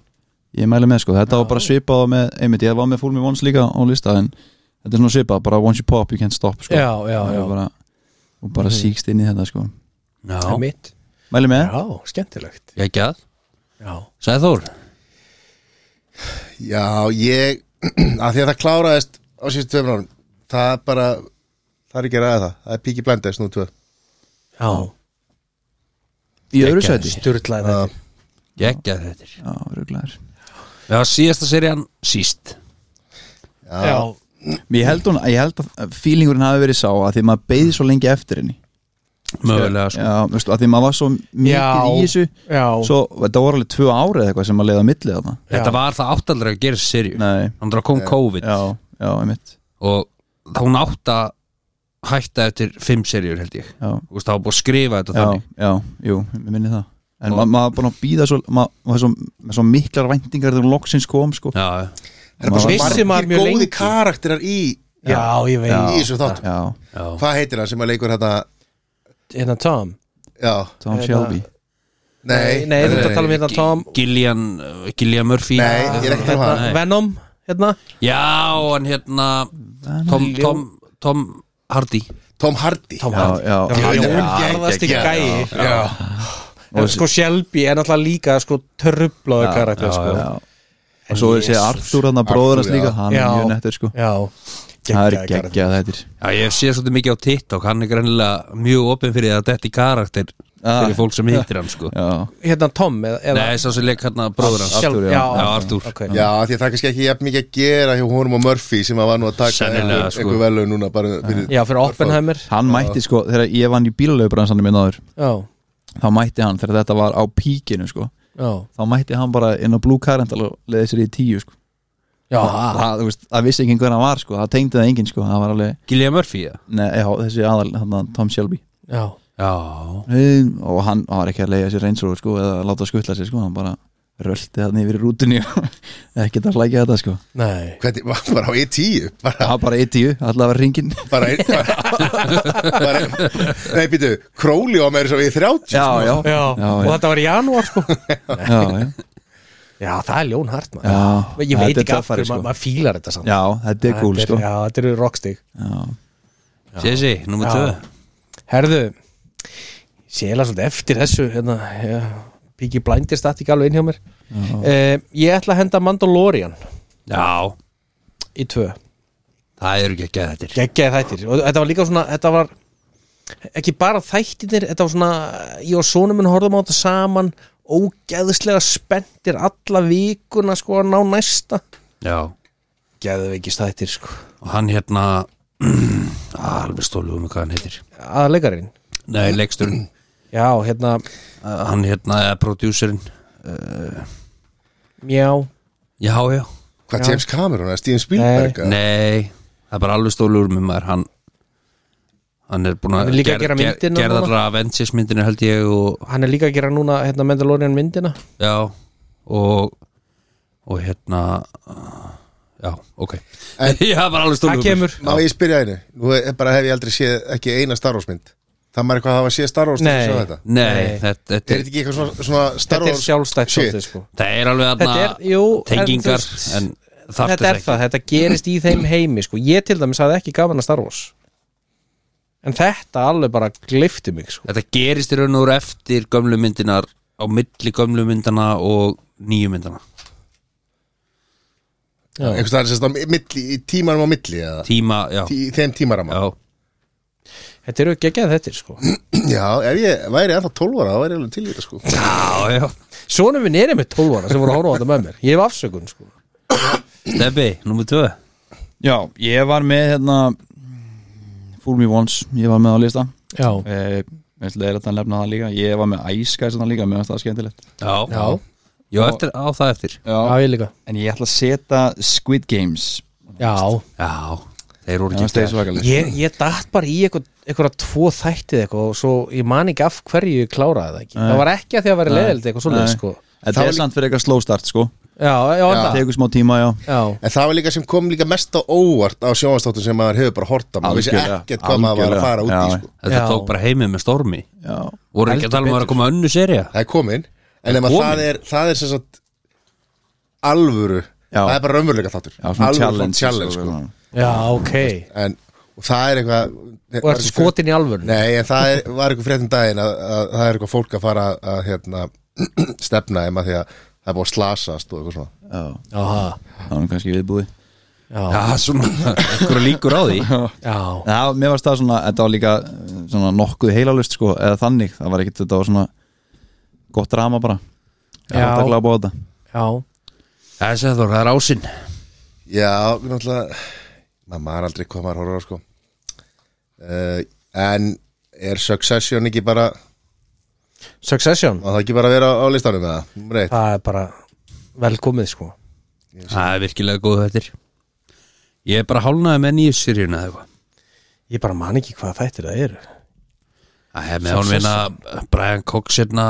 Speaker 4: ég mæli með sko, þetta var bara svipað og með, einmitt, ég var með Full Me Once líka á lista en þetta er svona svipað, bara once you pop you can't stop sko,
Speaker 2: já, já,
Speaker 4: Það er
Speaker 2: já.
Speaker 4: bara, og bara síkst inn í þetta sko
Speaker 1: Já,
Speaker 2: Einmitt.
Speaker 4: mæli með,
Speaker 2: já skemmtilegt
Speaker 1: ég ekki að
Speaker 2: Já,
Speaker 1: Sæði Þór
Speaker 3: Já, ég að því að það kláraðist á síðustu tveimur árum það er bara, það er ekki að ræða það það er Piki Blinders nú tvö
Speaker 2: já
Speaker 4: í öðru sæti
Speaker 2: Sturlaði þetta
Speaker 1: Ég ekki að þetta
Speaker 4: já, ruglaður.
Speaker 1: Já, síðasta serían síst
Speaker 2: Já,
Speaker 4: ég held, hún, ég held að feelingurinn hafi verið sá að því maður beið svo lengi eftir henni
Speaker 1: Mögulega sko
Speaker 4: já, veistu, að því maður var svo mikið í þessu
Speaker 2: já,
Speaker 4: svo þetta voru alveg tvö ári eða eitthvað sem að leiða á milli þarna
Speaker 1: Þetta
Speaker 2: já.
Speaker 1: var það áttaldra að gera seríu
Speaker 4: nei,
Speaker 1: Þannig að kom COVID
Speaker 4: já, já, einmitt
Speaker 1: og þá hún átt að hætta eftir fimm seríur held ég
Speaker 4: já,
Speaker 1: Þú veist, það var búið að skrifa þetta
Speaker 4: já,
Speaker 1: þannig
Speaker 4: já, jú, ég minni það en
Speaker 1: Og-
Speaker 4: maður ma bara að býða svo maður ma svo, með svo miklar væntingar þegar loksins kom sko. já,
Speaker 1: Já,
Speaker 3: það er bara
Speaker 2: Vissi
Speaker 3: svo
Speaker 2: maður
Speaker 3: margir
Speaker 2: mjög
Speaker 3: góði
Speaker 2: lengi.
Speaker 3: karakterar í,
Speaker 2: já, ég veit
Speaker 3: í þessu þáttum
Speaker 4: já,
Speaker 1: já,
Speaker 3: Hvað heitir hann sem að leikur hérna
Speaker 2: Hérna Tom
Speaker 3: Já,
Speaker 4: Tom
Speaker 2: Eða-
Speaker 4: Shelby
Speaker 3: nei
Speaker 2: Nei, þú ert að tala um hérna Tom
Speaker 1: Gillian, uh, Gillian Murphy
Speaker 3: Nei, ég er ekki að tala um
Speaker 2: hérna,
Speaker 3: hann
Speaker 1: Nei.
Speaker 2: Venom hérna
Speaker 1: Já, hann hérna Tom, Tom, Tom Hardy
Speaker 3: Tom Hardy
Speaker 2: Tom
Speaker 4: já,
Speaker 2: Hardy.
Speaker 4: já,
Speaker 2: Já,
Speaker 3: Jón
Speaker 2: Jón
Speaker 3: gegn-
Speaker 2: Garðasti
Speaker 3: gegn-
Speaker 2: gæi.
Speaker 3: Já,
Speaker 2: En sko Shelby er náttúrulega líka sko törrublaðu karakter sko
Speaker 4: já. og svo þessi Arthur hann að bróður hans
Speaker 3: Arthur,
Speaker 4: líka
Speaker 3: já.
Speaker 4: hann
Speaker 2: Já.
Speaker 4: er mjög nettur sko
Speaker 2: Já,
Speaker 4: það
Speaker 2: geggjaði
Speaker 4: er
Speaker 2: karakter.
Speaker 4: geggjað þetta
Speaker 1: Já, ég sé svolítið mikið á TikTok Hann er greinlega mjög opinn fyrir að þetta er karakter
Speaker 4: Ah.
Speaker 1: fyrir fólk sem hittir hann sko
Speaker 4: já,
Speaker 2: Hérna Tom eða, eða
Speaker 1: Nei, sá sem leik hérna bróður hans
Speaker 2: Shelby,
Speaker 4: Arthur, já.
Speaker 2: já,
Speaker 1: Já, Arthur.
Speaker 2: okay.
Speaker 3: já af því að það er kannski ekki jafn mikið að gera hjá honum og Murphy sem að var nú að taka
Speaker 1: Sennilega,
Speaker 3: einhver,
Speaker 1: sko.
Speaker 3: einhver velu núna bara fyrir
Speaker 2: já, fyrir Oppenheimer
Speaker 4: hann mætti sko, þegar ég vann í bílalöfbransanum minn áður,
Speaker 2: Já,
Speaker 4: þá mætti hann þegar þetta var á píkinu sko
Speaker 2: já
Speaker 4: þá mætti hann bara inn á Blue Carental og leiði sér í tíu sko.
Speaker 2: Já,
Speaker 4: það, þú veist, það vissi ekki hver hann var sko. það tengdi það enginn sko. það var alveg,
Speaker 1: Gillian Murphy, já
Speaker 4: nei, já, þessi aðal hana, Tom Shelby
Speaker 2: já,
Speaker 1: Já,
Speaker 4: um, og hann hann var ekki að leiða sér reynsróð sko, eða láta skuttla sér sko. hann bara rölti þannig yfir í rútunni og ekkert að flækja þetta sko
Speaker 2: Nei
Speaker 3: Hvernig, var bara á E10 bara,
Speaker 4: það var bara 1-10, allavega ringin
Speaker 3: bara, bara, bara Nei, býtu, Króli á meira svo E30
Speaker 4: já, já,
Speaker 2: Já, og
Speaker 4: já,
Speaker 2: þetta var í janúar sko
Speaker 4: já, já.
Speaker 2: Já, það er ljón hart maður
Speaker 4: Já,
Speaker 2: Ég veit
Speaker 4: þetta er
Speaker 2: ekki af
Speaker 4: töffari,
Speaker 2: hverju,
Speaker 4: sko.
Speaker 2: maður maður fílar þetta samt
Speaker 4: já, þetta er cool
Speaker 2: Þetta
Speaker 4: sko
Speaker 2: Já, þetta eru rockstig
Speaker 4: já.
Speaker 1: Sessi, nummer
Speaker 2: Já.
Speaker 1: 2
Speaker 2: Herðu Sjela svolítið eftir þessu hérna, já, Piki Blindist þetta ekki alveg inn hjá mér uh, Ég ætla að henda Mandalorian
Speaker 1: Já,
Speaker 2: í tvö
Speaker 1: það eru ekki að geða þetta
Speaker 2: Geggjaði þættir og þetta var líka svona Þetta var ekki bara þættirnir Þetta var svona Ég og sonum minn horfðum á þetta saman Ógeðslega spenntir alla vikuna sko að ná næsta
Speaker 1: Já,
Speaker 2: Geðveikist þættir sko
Speaker 1: og hann hérna Ah, alveg stóluðum hvað hann heitir
Speaker 2: Aðleikarinn
Speaker 1: Nei, leiksturinn,
Speaker 2: Já, hérna
Speaker 1: uh, hann hérna eða prodúserinn
Speaker 2: Mjá
Speaker 1: Já, já,
Speaker 3: Hvað James Cameron, eða Steven Spielberg eða?
Speaker 1: nei það er bara alveg stóluður með maður hann, hann er búin
Speaker 2: Hann
Speaker 1: að
Speaker 2: er líka að gera myndina
Speaker 1: gerða
Speaker 2: núna.
Speaker 1: allra Avengers myndinu held ég og
Speaker 2: Hann er líka að gera núna hérna, Mandalorian myndina
Speaker 1: já, og og hérna uh, já, ok
Speaker 3: En-
Speaker 1: ég haf bara alveg
Speaker 2: Það
Speaker 1: stóluður
Speaker 2: kemur
Speaker 3: Má ég spyrja einu, nú er- bara hef ég aldrei séð ekki eina Star Wars mynd Það maður eitthvað að hafa séð Star Wars til
Speaker 2: Nei.
Speaker 3: að sjá þetta
Speaker 1: Nei,
Speaker 2: Nei.
Speaker 1: Þetta, þetta,
Speaker 3: Er þetta ekki eitthvað svona, svona Star
Speaker 2: Þetta er
Speaker 3: Wars
Speaker 2: sjálfstætt
Speaker 3: shit?
Speaker 2: svolítið sko
Speaker 1: það er alveg aðna
Speaker 2: Þetta er- jú, en
Speaker 1: tengingar
Speaker 2: þú veist,
Speaker 1: en, þarft
Speaker 2: Þetta er
Speaker 1: þess
Speaker 2: það, þetta gerist í þeim heimi sko Ég til dæmis hafði ekki gaman að Star Wars En þetta alveg bara glifti mig sko
Speaker 1: þetta gerist í raun og úr eftir gömlu myndinar á milli gömlu myndana og nýju myndana
Speaker 3: Einhvers staðar sérst á milli, í tímanum á milli eða
Speaker 1: tíma, já,
Speaker 3: Tí, í þeim tímarama
Speaker 1: já
Speaker 2: Þetta eru geggjað þetta sko
Speaker 3: Já, ef ég væri ennþá 12 ára, þá væri ég alveg til í þetta sko
Speaker 1: já, já,
Speaker 2: Svona minn er með 12 ára sem voru að horfa á þetta með mér Ég hef afsökun sko
Speaker 1: Stebbi, nummer 2
Speaker 4: já, ég var með hérna Fool Me Once, ég var með á lista
Speaker 2: Já,
Speaker 4: Eh, Mér finnst leðilegt að nefna það líka Ég var með æskæði svona líka, mér finnst það skemmtilegt
Speaker 1: já,
Speaker 2: já,
Speaker 1: Jó, eftir, á það eftir
Speaker 4: Já.
Speaker 2: ég líka
Speaker 4: En ég ætla að setja Squid Games
Speaker 2: Já,
Speaker 1: Já, þeir voru
Speaker 4: Mér
Speaker 1: ekki
Speaker 4: fannst þeir svakalegir.
Speaker 2: ég, ég datt bara í eitthvað, eitthvað tvo þættið eitthvað og svo ég man ekki af hverju ég kláraði það ekki Það var ekki að því að vera leðild eitthvað svoleið
Speaker 4: Nei.
Speaker 2: sko
Speaker 4: Þetta er samt fyrir eitthvað slow start sko
Speaker 2: Já, já,
Speaker 4: Það
Speaker 2: já,
Speaker 4: tekur smá tíma, já
Speaker 2: já.
Speaker 3: En það var líka sem kom líka mest á óvart á sjónvastáttum sem maður hefur bara horta maður vissi
Speaker 4: Algjörlega,
Speaker 3: ekkert hvað maður var að fara út í
Speaker 4: algjörlega,
Speaker 3: sko.
Speaker 1: Þetta
Speaker 2: Já.
Speaker 1: tók bara heimið með stormi
Speaker 4: Já,
Speaker 1: voru ekki að tala um að vera að koma önnu serja
Speaker 3: Það er komin En ef að
Speaker 1: komin.
Speaker 3: það er, það er sem sagt alvöru
Speaker 4: Já.
Speaker 3: Það er bara raunveruleika þáttur
Speaker 4: já svona
Speaker 3: Alvöru
Speaker 4: challenge,
Speaker 3: svona challenge sko.
Speaker 4: svona.
Speaker 2: já ok
Speaker 3: En og það er eitthvað
Speaker 2: Og ertu skotin í alvörn
Speaker 3: Nei, en það er, var eitthvað fréttum daginn að, að það er eitthvað fólk að fara að, að hérna, stefna þeim að því að það er búið að slasast og eitthvað svona
Speaker 4: Já,
Speaker 2: Aha.
Speaker 4: það var nú kannski viðbúi
Speaker 1: Já,
Speaker 2: Já,
Speaker 1: svona, einhverja líkur á því
Speaker 2: já,
Speaker 4: Já, mér varst það svona, þetta var líka eh, svona nokkuð heilalust sko, eða þannig það var ekkit, þetta var svona gott drama bara
Speaker 2: Já.
Speaker 4: Þetta að glapa á þetta
Speaker 2: já
Speaker 1: Það er sæður, það er ásinn
Speaker 3: Já, við náttúrulega maður maður aldrei hvað maður horfður á sko uh, En er Succession ekki bara má
Speaker 2: Succession,
Speaker 3: það ekki bara vera á listanum með það? Númer eitt
Speaker 2: það er bara velkomið sko
Speaker 1: Það er virkilega góð þetta Ég er bara hálnaði með nýju serjuna eða eitthvað
Speaker 2: Ég bara man ekki hvað þættir það eru
Speaker 1: Það er með honum vinna Brian Cox hérna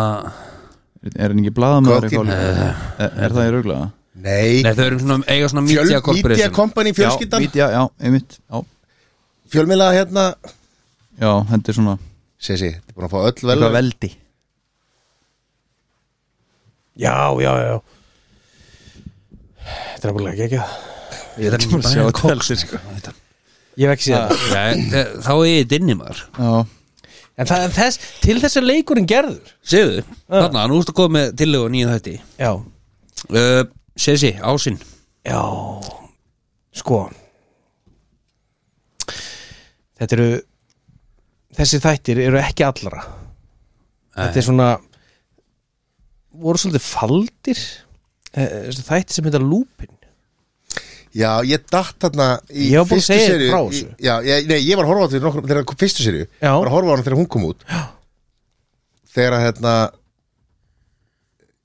Speaker 4: Er- Er hann ekki blaðamöður
Speaker 3: Gott í-
Speaker 4: eitthvað? líka?
Speaker 2: Eh,
Speaker 4: Er, er það í rauglega?
Speaker 3: Nei,
Speaker 1: Nei, þau eru svona, eiga svona
Speaker 3: Fjöl-
Speaker 1: media
Speaker 3: Media
Speaker 1: corporation
Speaker 3: Company,
Speaker 4: Já,
Speaker 3: fjölskyldan
Speaker 4: mít- já, já, einmitt Já,
Speaker 3: Fjölmila hérna
Speaker 4: já þetta er svona
Speaker 3: Sessi, þetta er búin að fá öll vel
Speaker 4: eitthvað veldi
Speaker 2: Já, já, já Þetta er bara ekki ekki það
Speaker 1: Ég þarf ekki
Speaker 4: Sjá
Speaker 1: Brian
Speaker 4: þetta
Speaker 1: Cox
Speaker 4: heldur, sko.
Speaker 2: Ég hef ekki séð það
Speaker 1: Nei, þe- Þá er ég dinni maður
Speaker 4: Já,
Speaker 2: En það, en þess, til þess er leikurinn gerður
Speaker 1: Segðu, þarna, nú ertu að koma með tillögu nýju þætti
Speaker 2: Já,
Speaker 1: uh, Sessi, ásinn
Speaker 2: já Sko Þetta eru Þessi þættir eru ekki allra Þetta er svona voru svolítið faldir eh, þessi þættir sem heita Lúpin
Speaker 3: Já, ég datt þarna í
Speaker 2: Ég var búin að
Speaker 3: fyrstu
Speaker 2: segja
Speaker 3: seríu-
Speaker 2: frá þessu.
Speaker 3: í- Já, ég, nei, ég var að horfa á þetta í nokkrum- þegar það- fyrstu serju
Speaker 2: Já.
Speaker 3: Var að horfa á hana þegar hún kom út Já Þegar að hérna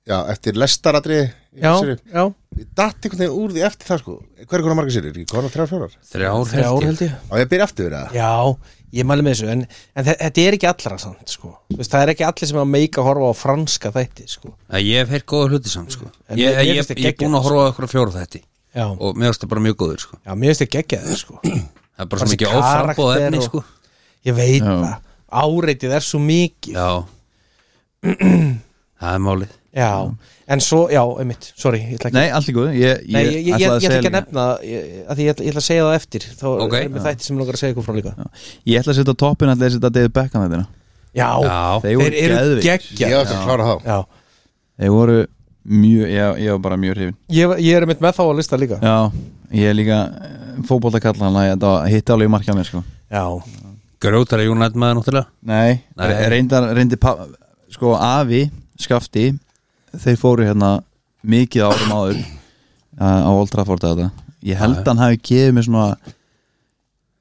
Speaker 3: já, eftir lestaratri í
Speaker 2: já,
Speaker 3: seríu.
Speaker 2: já,
Speaker 3: Ég datt einhvern veginn úr því eftir það sko Hver er konar margar sérir? Ég konar þrjá fjórar
Speaker 1: Þrjár
Speaker 2: þrjár
Speaker 1: held ég
Speaker 2: held ég
Speaker 3: Á ég að byrja aftur verið það?
Speaker 2: Já, ég mæli með þessu en, en þe- þetta er ekki allra samt sko. Þú veist, það er ekki allir sem að meika horfa á franska þætti sko.
Speaker 1: Að Ég hef heyrt góða hluti samt sko
Speaker 2: En
Speaker 1: Ég,
Speaker 2: mér- mér
Speaker 1: ég, ég,
Speaker 2: finnst þið
Speaker 1: ég er búin að
Speaker 2: geggjað,
Speaker 1: horfa á okkur fjóra þætti
Speaker 2: já.
Speaker 1: og mér finnst það bara mjög góður sko
Speaker 2: já, mér finnst ég geggjað sko.
Speaker 1: Það er bara
Speaker 2: Bara
Speaker 1: svo
Speaker 2: þessi
Speaker 1: mikið oframbóð
Speaker 2: karakter
Speaker 1: efni
Speaker 2: og-
Speaker 1: sko
Speaker 2: Ég veit
Speaker 4: Já.
Speaker 2: það, áreitið er svo mikið
Speaker 1: Já Það er málið
Speaker 2: Já, en svo, já, einmitt, sorry ég ætla ekki,
Speaker 4: Nei, allt í góð Ég,
Speaker 2: Nei, ég, ég, ég, ég ætla
Speaker 4: ætlaði segja
Speaker 2: ekki að
Speaker 4: líka-
Speaker 2: nefna það ég, að því ég, ætla- ég ætla að segja það eftir þá
Speaker 1: Ok.
Speaker 2: er mér þætti sem mig langar að segja ykkur frá líka Já,
Speaker 4: Ég ætla að setja á toppin ætla að setja David Beckham þetta hérna.
Speaker 1: Já,
Speaker 4: Þeir voru
Speaker 2: eru
Speaker 3: Ég
Speaker 4: geðveikir.
Speaker 2: geggjað
Speaker 3: á eftir að klára þá
Speaker 2: Já,
Speaker 4: Þeir voru mjög, ég, ég var bara mjög hrifin
Speaker 2: ég, ég er einmitt með þá að lista líka Já,
Speaker 4: Já, ég er líka fótboltakalla hann að þetta var- hitti alveg í markið á mér sko
Speaker 2: já,
Speaker 1: grjótari United maður náttúrulega
Speaker 4: Nei,
Speaker 1: Nei.
Speaker 4: re- reyndar reyndi pa, sko afi, skafti þeir fóru hérna mikið árum áður uh, á Old Trafford að þetta ég held
Speaker 1: Já,
Speaker 4: að hann hafi gefið mér svona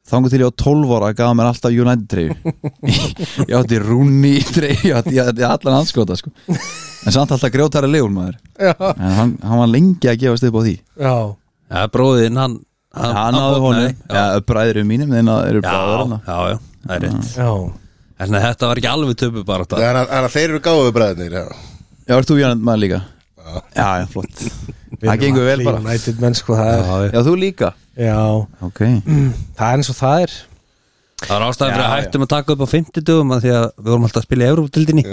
Speaker 4: þangu til ég á 12 ára gaf hann mér alltaf United treyju ég átti Rúni treyju ég átti, ég átti allan anskota sko en samt alltaf grjótari legul maður en hann, hann var lengi að gefast upp á því
Speaker 2: já,
Speaker 1: Já, bróðin hann
Speaker 4: hann, hann áður honum,
Speaker 1: bognaði.
Speaker 4: já, bræðurum mínum þeirna eru bræður
Speaker 1: Já,
Speaker 4: hann
Speaker 1: já, já, það er rétt
Speaker 2: já.
Speaker 1: En þetta var ekki alveg töpu bara þetta
Speaker 3: Þannig að- þannig að þeir eru gáðu bræðinir já.
Speaker 4: já, ert þú United maður líka? já, já, flott það gengur vel bara
Speaker 2: United menn, sko, það er
Speaker 4: Já, þú líka
Speaker 2: Já,
Speaker 4: Ok
Speaker 2: það er eins og það er
Speaker 1: Það var ástæðan fyrir
Speaker 4: Já,
Speaker 1: að
Speaker 4: já.
Speaker 1: hættum að taka upp á 50 dögum að því að við vorum alltaf að spila í Európa-tildinni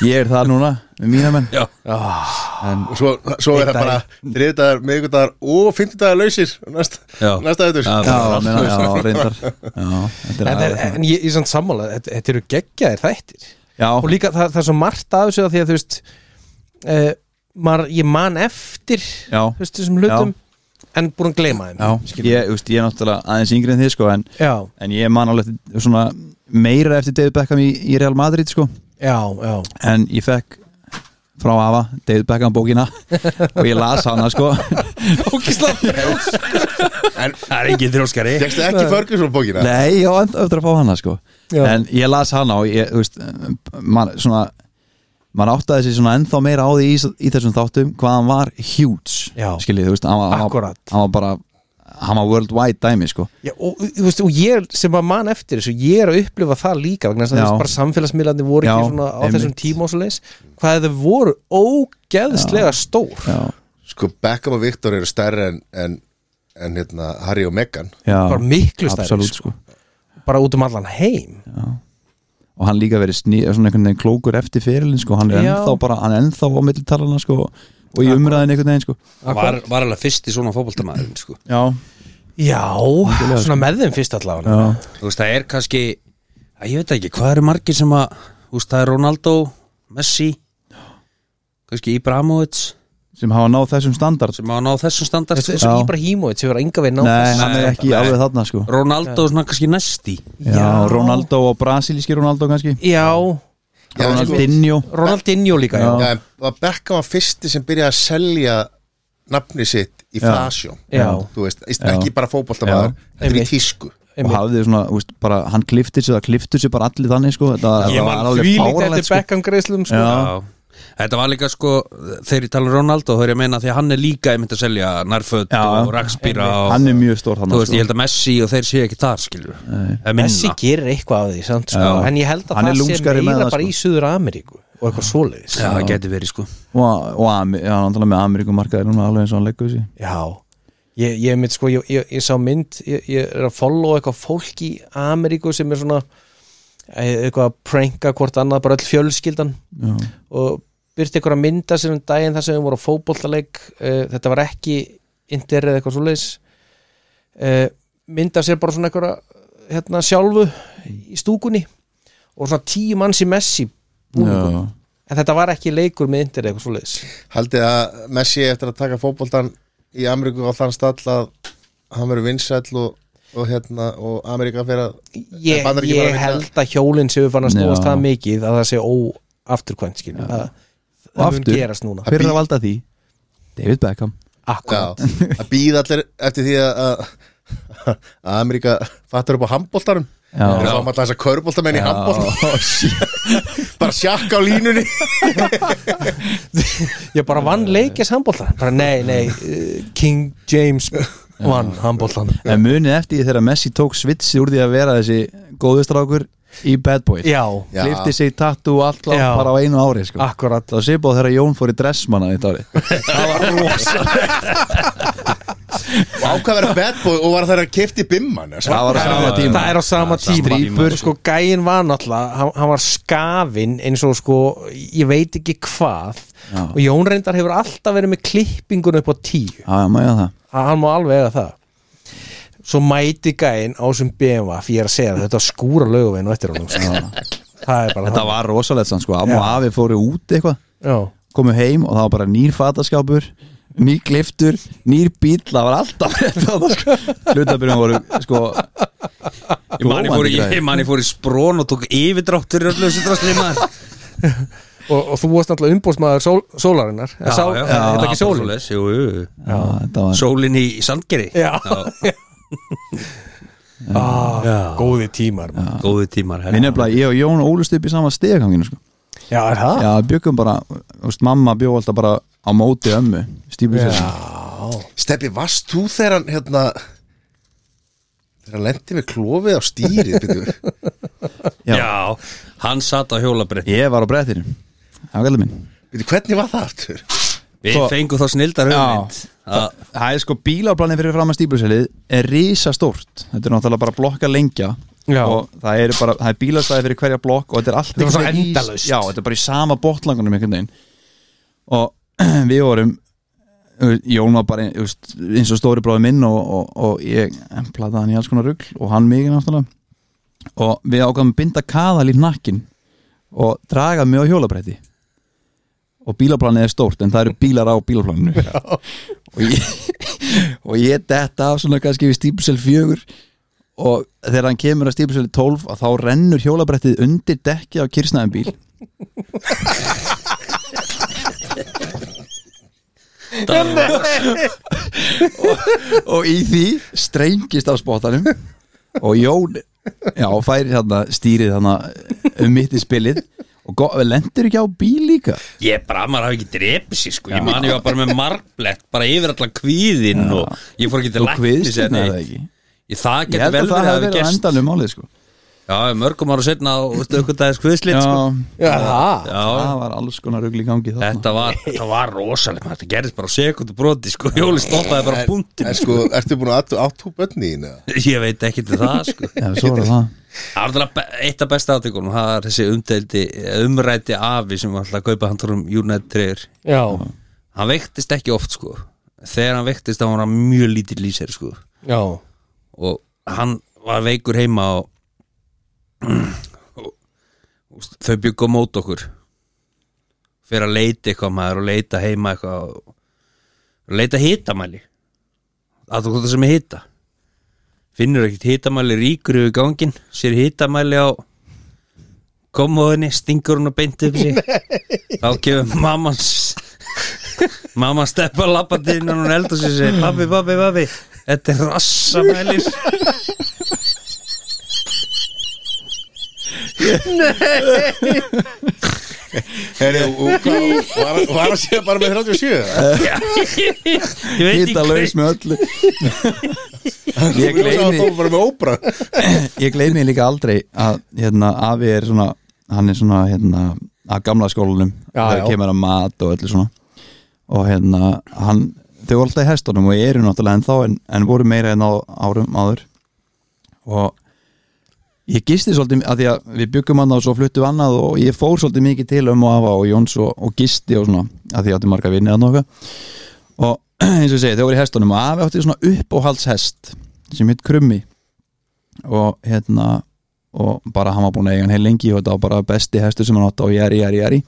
Speaker 4: Ég er það núna með mína menn
Speaker 1: Já,
Speaker 3: Og svo, svo er það bara Þriðdagar, miðgudagar og fimmtudagar lausir Næsta,
Speaker 1: Já.
Speaker 3: næsta þetta
Speaker 1: Já,
Speaker 4: Já, meina, já, reyndar Já,
Speaker 2: En, en,
Speaker 4: þetta er aðeins
Speaker 2: en ég, ég samt sammála, þetta, þetta eru geggjaðir þættir og
Speaker 4: Já,
Speaker 2: líka það, það er svo margt af þessu að því að þú veist uh, maður, ég man eftir
Speaker 4: Já.
Speaker 2: þú veist þessum hlutum en búin að gleyma þeim
Speaker 4: já
Speaker 2: skilurðu.
Speaker 4: Ég, þú veist, ég er náttúrulega aðeins yngri en þið sko En,
Speaker 2: já,
Speaker 4: en ég man alveg eftir- svona meira eftir David Beckham í, í Real Madrid sko
Speaker 2: já, já,
Speaker 4: En ég fekk frá afa David Beckham bókina Og ég las hana sko
Speaker 3: En
Speaker 1: það er engin þrjóskari
Speaker 3: fegstu ekki Ferguson bókina?
Speaker 4: Nei, já, en- eftir að fá hana sko
Speaker 2: Já.
Speaker 4: En ég las hana og ég, þú veist man, svona, Man áttaði sig svona ennþá meira á því í, í þessum þáttum Hvað hann var huge
Speaker 2: Já.
Speaker 4: Skiljið, þú veist, hann var, hann var,
Speaker 2: Akkúrat.
Speaker 4: hann var bara Hann var worldwide dæmi sko
Speaker 2: já og, þú veist, og ég sem að man eftir þessu ég er að upplifa það líka vegna þess að
Speaker 4: Já.
Speaker 2: þú veist, bara samfélagsmiðlandi voru
Speaker 4: Já,
Speaker 2: ekki svona á þessum
Speaker 4: einmitt.
Speaker 2: tíma og svo leis hvað þau voru ógeðslega stór
Speaker 4: Já,
Speaker 3: Sko Beckham og Viktor eru stærri en, en, en hérna, Harry og Meghan
Speaker 4: já
Speaker 2: bara miklu stærri,
Speaker 4: Absolutt
Speaker 2: sko.
Speaker 4: sko
Speaker 2: bara út um allan heim
Speaker 4: Og hann líka verið sný, svona einhvern veginn klókur eftir fyrirlin sko Hann er
Speaker 2: Já.
Speaker 4: ennþá bara, hann er ennþá á millitalana sko Og í umræðin einhvern veginn sko
Speaker 1: var, var alveg fyrst í svona fótboltamaðurinn sko.
Speaker 4: Já,
Speaker 2: já, svona með þeim fyrst allavega
Speaker 4: já,
Speaker 1: Þú veist, það er kannski að ég veit ekki, hvað eru margir sem að þú veist, það er Ronaldo, Messi kannski Ibramovic
Speaker 4: sem hafa náð þessum standard
Speaker 1: sem á að ná þessum standart
Speaker 2: Þessu,
Speaker 1: sko.
Speaker 2: eins og
Speaker 4: Já.
Speaker 2: Íbrahimovic hefur enga veginn á
Speaker 4: Nei,
Speaker 2: þessu
Speaker 4: hann er
Speaker 1: Nei,
Speaker 4: ekki
Speaker 1: nei.
Speaker 4: alveg þarna sko
Speaker 1: Ronaldo svona kannski næsti
Speaker 4: Já, Ronaldo og brasilíski Ronaldo kannski
Speaker 2: Já,
Speaker 3: Já, en sko-
Speaker 4: Ronaldinho
Speaker 2: Ronaldinho líka já.
Speaker 3: Já, en var Beckham var fyrsti sem byrjaði að selja nafni sitt í fasjón
Speaker 2: Já.
Speaker 3: Þú veist, ekki bara fótboltamaður Þetta er í
Speaker 2: Einmitt.
Speaker 3: tísku
Speaker 4: og hafði svona, þú veist, bara, hann kliftir sig það kliftur sig bara allir þannig sko þetta
Speaker 2: Ég
Speaker 4: var
Speaker 2: var
Speaker 4: alveg
Speaker 2: þvílíkt
Speaker 4: fáralegt
Speaker 2: eftir
Speaker 4: sko
Speaker 2: Beckham greiðslum sko.
Speaker 4: Já.
Speaker 1: Þetta var líka sko, þegar ég tala um Ronaldo þá er ég að meina því að hann er líka einmitt að selja nærföt
Speaker 4: Já, já.
Speaker 1: og rakspýra og
Speaker 4: hann er mjög stór sko. hann
Speaker 1: þú veist, ég held að Messi og þeir séu ekki þar skilur Eða minna.
Speaker 2: Messi gerir eitthvað af því samt, sko.
Speaker 4: Já.
Speaker 2: En ég held að
Speaker 4: Hann er
Speaker 2: það sé
Speaker 4: lúmskari með
Speaker 2: meira
Speaker 4: það,
Speaker 2: bara
Speaker 4: sko.
Speaker 2: í Suður Ameríku Og eitthvað svoleiðis
Speaker 1: Já, það geti verið sko
Speaker 4: og, og hann tala með Ameríkumarkaði núna alveg eins og hann leggur sig
Speaker 2: Já. Ég, ég, mynd, sko, ég, ég, ég sá mynd ég, ég er að follow eitthvað fólk í Ameríku Sem er svona e- Eitthvað að pranka hvort annað Bara öll fjölskyldan
Speaker 4: já,
Speaker 2: Og byrti eitthvað að mynda sér um daginn Þar sem við voru á fótboltaleik uh, Þetta var ekki Inter eða eitthvað svoleiðis uh, mynda sér bara svona einhverja hérna sjálfu í stúkunni og svona tíu manns í Messi búningum
Speaker 4: já.
Speaker 2: en þetta var ekki leikur með Inter eða eitthvað svoleiðis
Speaker 3: Haldið að Messi eftir að taka fótboltan í Ameríku á þann stall að hann verður vinsæll og, og hérna og Ameríka fyrir að
Speaker 2: ég,
Speaker 3: Bandaríkin var að
Speaker 2: ég
Speaker 3: vinna.
Speaker 2: held að hjólinn séu fann að snúast
Speaker 4: Já.
Speaker 2: það mikið að það sé óafturkvæmt skilur það,
Speaker 4: Og
Speaker 2: það mun
Speaker 4: aftur.
Speaker 2: gerast núna
Speaker 4: hver er að valda því? David Beckham
Speaker 3: Já,
Speaker 2: akkurat
Speaker 3: að býða allir eftir því að- að að Ameríka fattar upp á handbóltarum Við
Speaker 4: já, Oh,
Speaker 3: fáum alltaf þessa körbóltamenn í handbólt Bara sjakka á línunni
Speaker 2: Ég bara vann leikis handbólta Bara nei, nei, eh, King James vann handbóltan
Speaker 4: en munið eftir því þegar Messi tók svitsi úr því að vera þessi góðustrákur í bad boy
Speaker 2: Já,
Speaker 3: Já.
Speaker 4: Klifti sig tattoo allt langt
Speaker 2: Já.
Speaker 4: bara á einu ári sko.
Speaker 2: akkurat
Speaker 4: Það sé búið þegar Jón fór í dressmanna þetta ári
Speaker 3: Og ákvað að vera bad boy og var það að kefti bimman
Speaker 4: Það var á sama tíma
Speaker 2: Það er á
Speaker 1: Það er
Speaker 2: sama
Speaker 1: sama
Speaker 2: tíma
Speaker 1: tíma.
Speaker 2: Sko gæinn var náttúrulega hann, hann var skafinn eins og sko Ég veit ekki hvað
Speaker 4: Já.
Speaker 2: Og Jón Reyndar hefur alltaf verið með klippingun upp á tíu
Speaker 4: Já, má ég að það
Speaker 2: Ha- Hann má alveg ega það Svo mæti gæinn á sem BMW Fyrir að segja það, þetta var skúra laugavinn og eftir honum sko. Það er bara
Speaker 4: Þetta var rosalegt sann sko, amma og afi fóru út eitthvað
Speaker 2: Já,
Speaker 4: komu heim og það var bara nýr fataskápur nýr gliftur, nýr bíl það var alltaf þetta sko. hlutabyrjum voru sko
Speaker 1: Ég man ég fór í, ég man ég fór í sprón og tók yfirdráttur í öllu þessu drastli maður
Speaker 2: og, og þú varst náttúrulega umbúrsmaður sól, sólarinnar já, sá, já,
Speaker 1: já,
Speaker 2: Þetta ekki sólin
Speaker 1: svoleiðis, jú, jú, jú.
Speaker 4: Já, þetta var
Speaker 1: Sólin í Sandgeri
Speaker 2: Já, Ah, Góði tímar já.
Speaker 1: Góði tímar herra.
Speaker 4: Mér nefnilega, ég og Jón ólust upp í sama steganginu sko.
Speaker 2: já, er það?
Speaker 4: Já, bjögum bara, þú veist, mamma bjó alltaf bara á móti ömmu Stífur sér
Speaker 3: Steppi, varst þú þegar hann hérna Þegar hann lendi með klófið á stýrið byrju?
Speaker 1: já. hann satt á hjólabrett
Speaker 4: Ég var á brettinu Það var gæðið minn
Speaker 3: Byrju, Hvernig var það aftur?
Speaker 1: Við
Speaker 4: Svo-
Speaker 1: fengum þá snildar hugmynd
Speaker 4: Já.
Speaker 1: að-
Speaker 4: Það er sko bíláplanin fyrir fram að stífluselið er risastórt Þetta er náttúrulega bara blokka lengja
Speaker 2: Já.
Speaker 4: og það er bara, það er bílastæði fyrir hverja blokk og þetta er allt
Speaker 2: Þetta var svo
Speaker 4: einhvern veginn í-
Speaker 2: endalaust.
Speaker 4: Já, þetta er bara í sama botlangunum einhvern veginn og við vorum þú veist, Jón var bara þú veist, eins og stóri bróði minn og, og, og ég plataði hann í alls konar rugl og hann mikið náttúrulega og við ákvæmum að binda kaðal í hnakkin og draga mig á hjólabrætti og bílaplanið er stórt en það eru bílar á bílaplaninu og ég og ég detta af svona kannski við stípusel fjögur og þegar hann kemur að stípusel 12 að þá rennur hjólabrettið undir dekki á kyrsnaðum bíl
Speaker 1: Það var-
Speaker 4: og í því strengist á spottanum og Jón já, færi þarna stýrið þarna um mitt í spilið og go- lendir ekki á bíl líka
Speaker 1: Ég bara, maður hafi ekki drepið sér sko Ég man ég var bara með marblett bara yfir allan kvíðinn og ég fór ekki til
Speaker 4: og
Speaker 1: læknis eða
Speaker 4: kviðstinn er það
Speaker 1: neitt.
Speaker 4: ekki
Speaker 1: Ég- Það
Speaker 4: ég
Speaker 1: getur
Speaker 4: held
Speaker 1: vel
Speaker 4: að
Speaker 1: verið
Speaker 4: það
Speaker 1: að
Speaker 4: hefði
Speaker 1: hafi
Speaker 4: verið á
Speaker 1: gerst
Speaker 4: endanum málið sko
Speaker 1: Já, mörgum ára setna á stökkundæðis kviðslit
Speaker 4: já,
Speaker 1: sko
Speaker 2: Já, það
Speaker 1: Já,
Speaker 4: það var alls konar rugl í gangi þarna
Speaker 1: þetta var, þetta var rosalega maður, Þetta gerðist bara á sekundu broti sko Hjóli stoppaði bara punktin
Speaker 3: En sko, ertu búin að áttu bönni þín? eða?
Speaker 1: Ég veit ekki til það sko
Speaker 4: já, svo var það
Speaker 1: Það er náttúrulega be- eitt af besta átíkunum það er þessi umdeildi, umræti afi sem var alltaf að kaupa hann um United 3
Speaker 2: Já,
Speaker 1: hann veiktist ekki oft sko þegar hann veiktist þá var hann mjög lítill í sér sko
Speaker 2: já,
Speaker 1: og hann var veikur heima og, og, og þau byggum mót okkur fyrir að leita eitthvað maður og leita heima eitthvað og, og leita hitamæli að það sem er hita finnur ekkert hitamæli ríkur yfir gangin sér hitamæli á komóðinni, stingur hún og beint upp sig þá kemur mamans mamma steppa lappandi inn og hún eldur sér sér pabbi, pabbi, pabbi, þetta er rassamælir
Speaker 3: Heri, og, og, hvað- var, var að séða bara með 37?
Speaker 1: ég veit
Speaker 4: hitta laus með öllu ég
Speaker 3: Það
Speaker 4: gleymi
Speaker 3: var bara með óbra
Speaker 4: ég gleymi líka aldrei að hérna, afi er svona hann er svona hérna, að gamla skólanum
Speaker 2: Já,
Speaker 4: það
Speaker 2: já.
Speaker 4: kemur að mat og öllu svona og hérna hann, þau voru alltaf í hestunum og eru náttúrulega ennþá en, en voru meira en á árum áður og ég gisti svolítið að því að við byggum annað og svo fluttum við annað og ég fór svolítið mikið til um og afa og Jóns og, og gisti og svona að því ég átti marga vinni að nokka og eins og ég segi þau voru í hestunum og afi átti svona uppáhaldshest sem hitt krummi og hérna og bara hann var búin að eiga hann heil lengi og þetta var bara besti hestur sem hann átti og jæri, jæri, jæri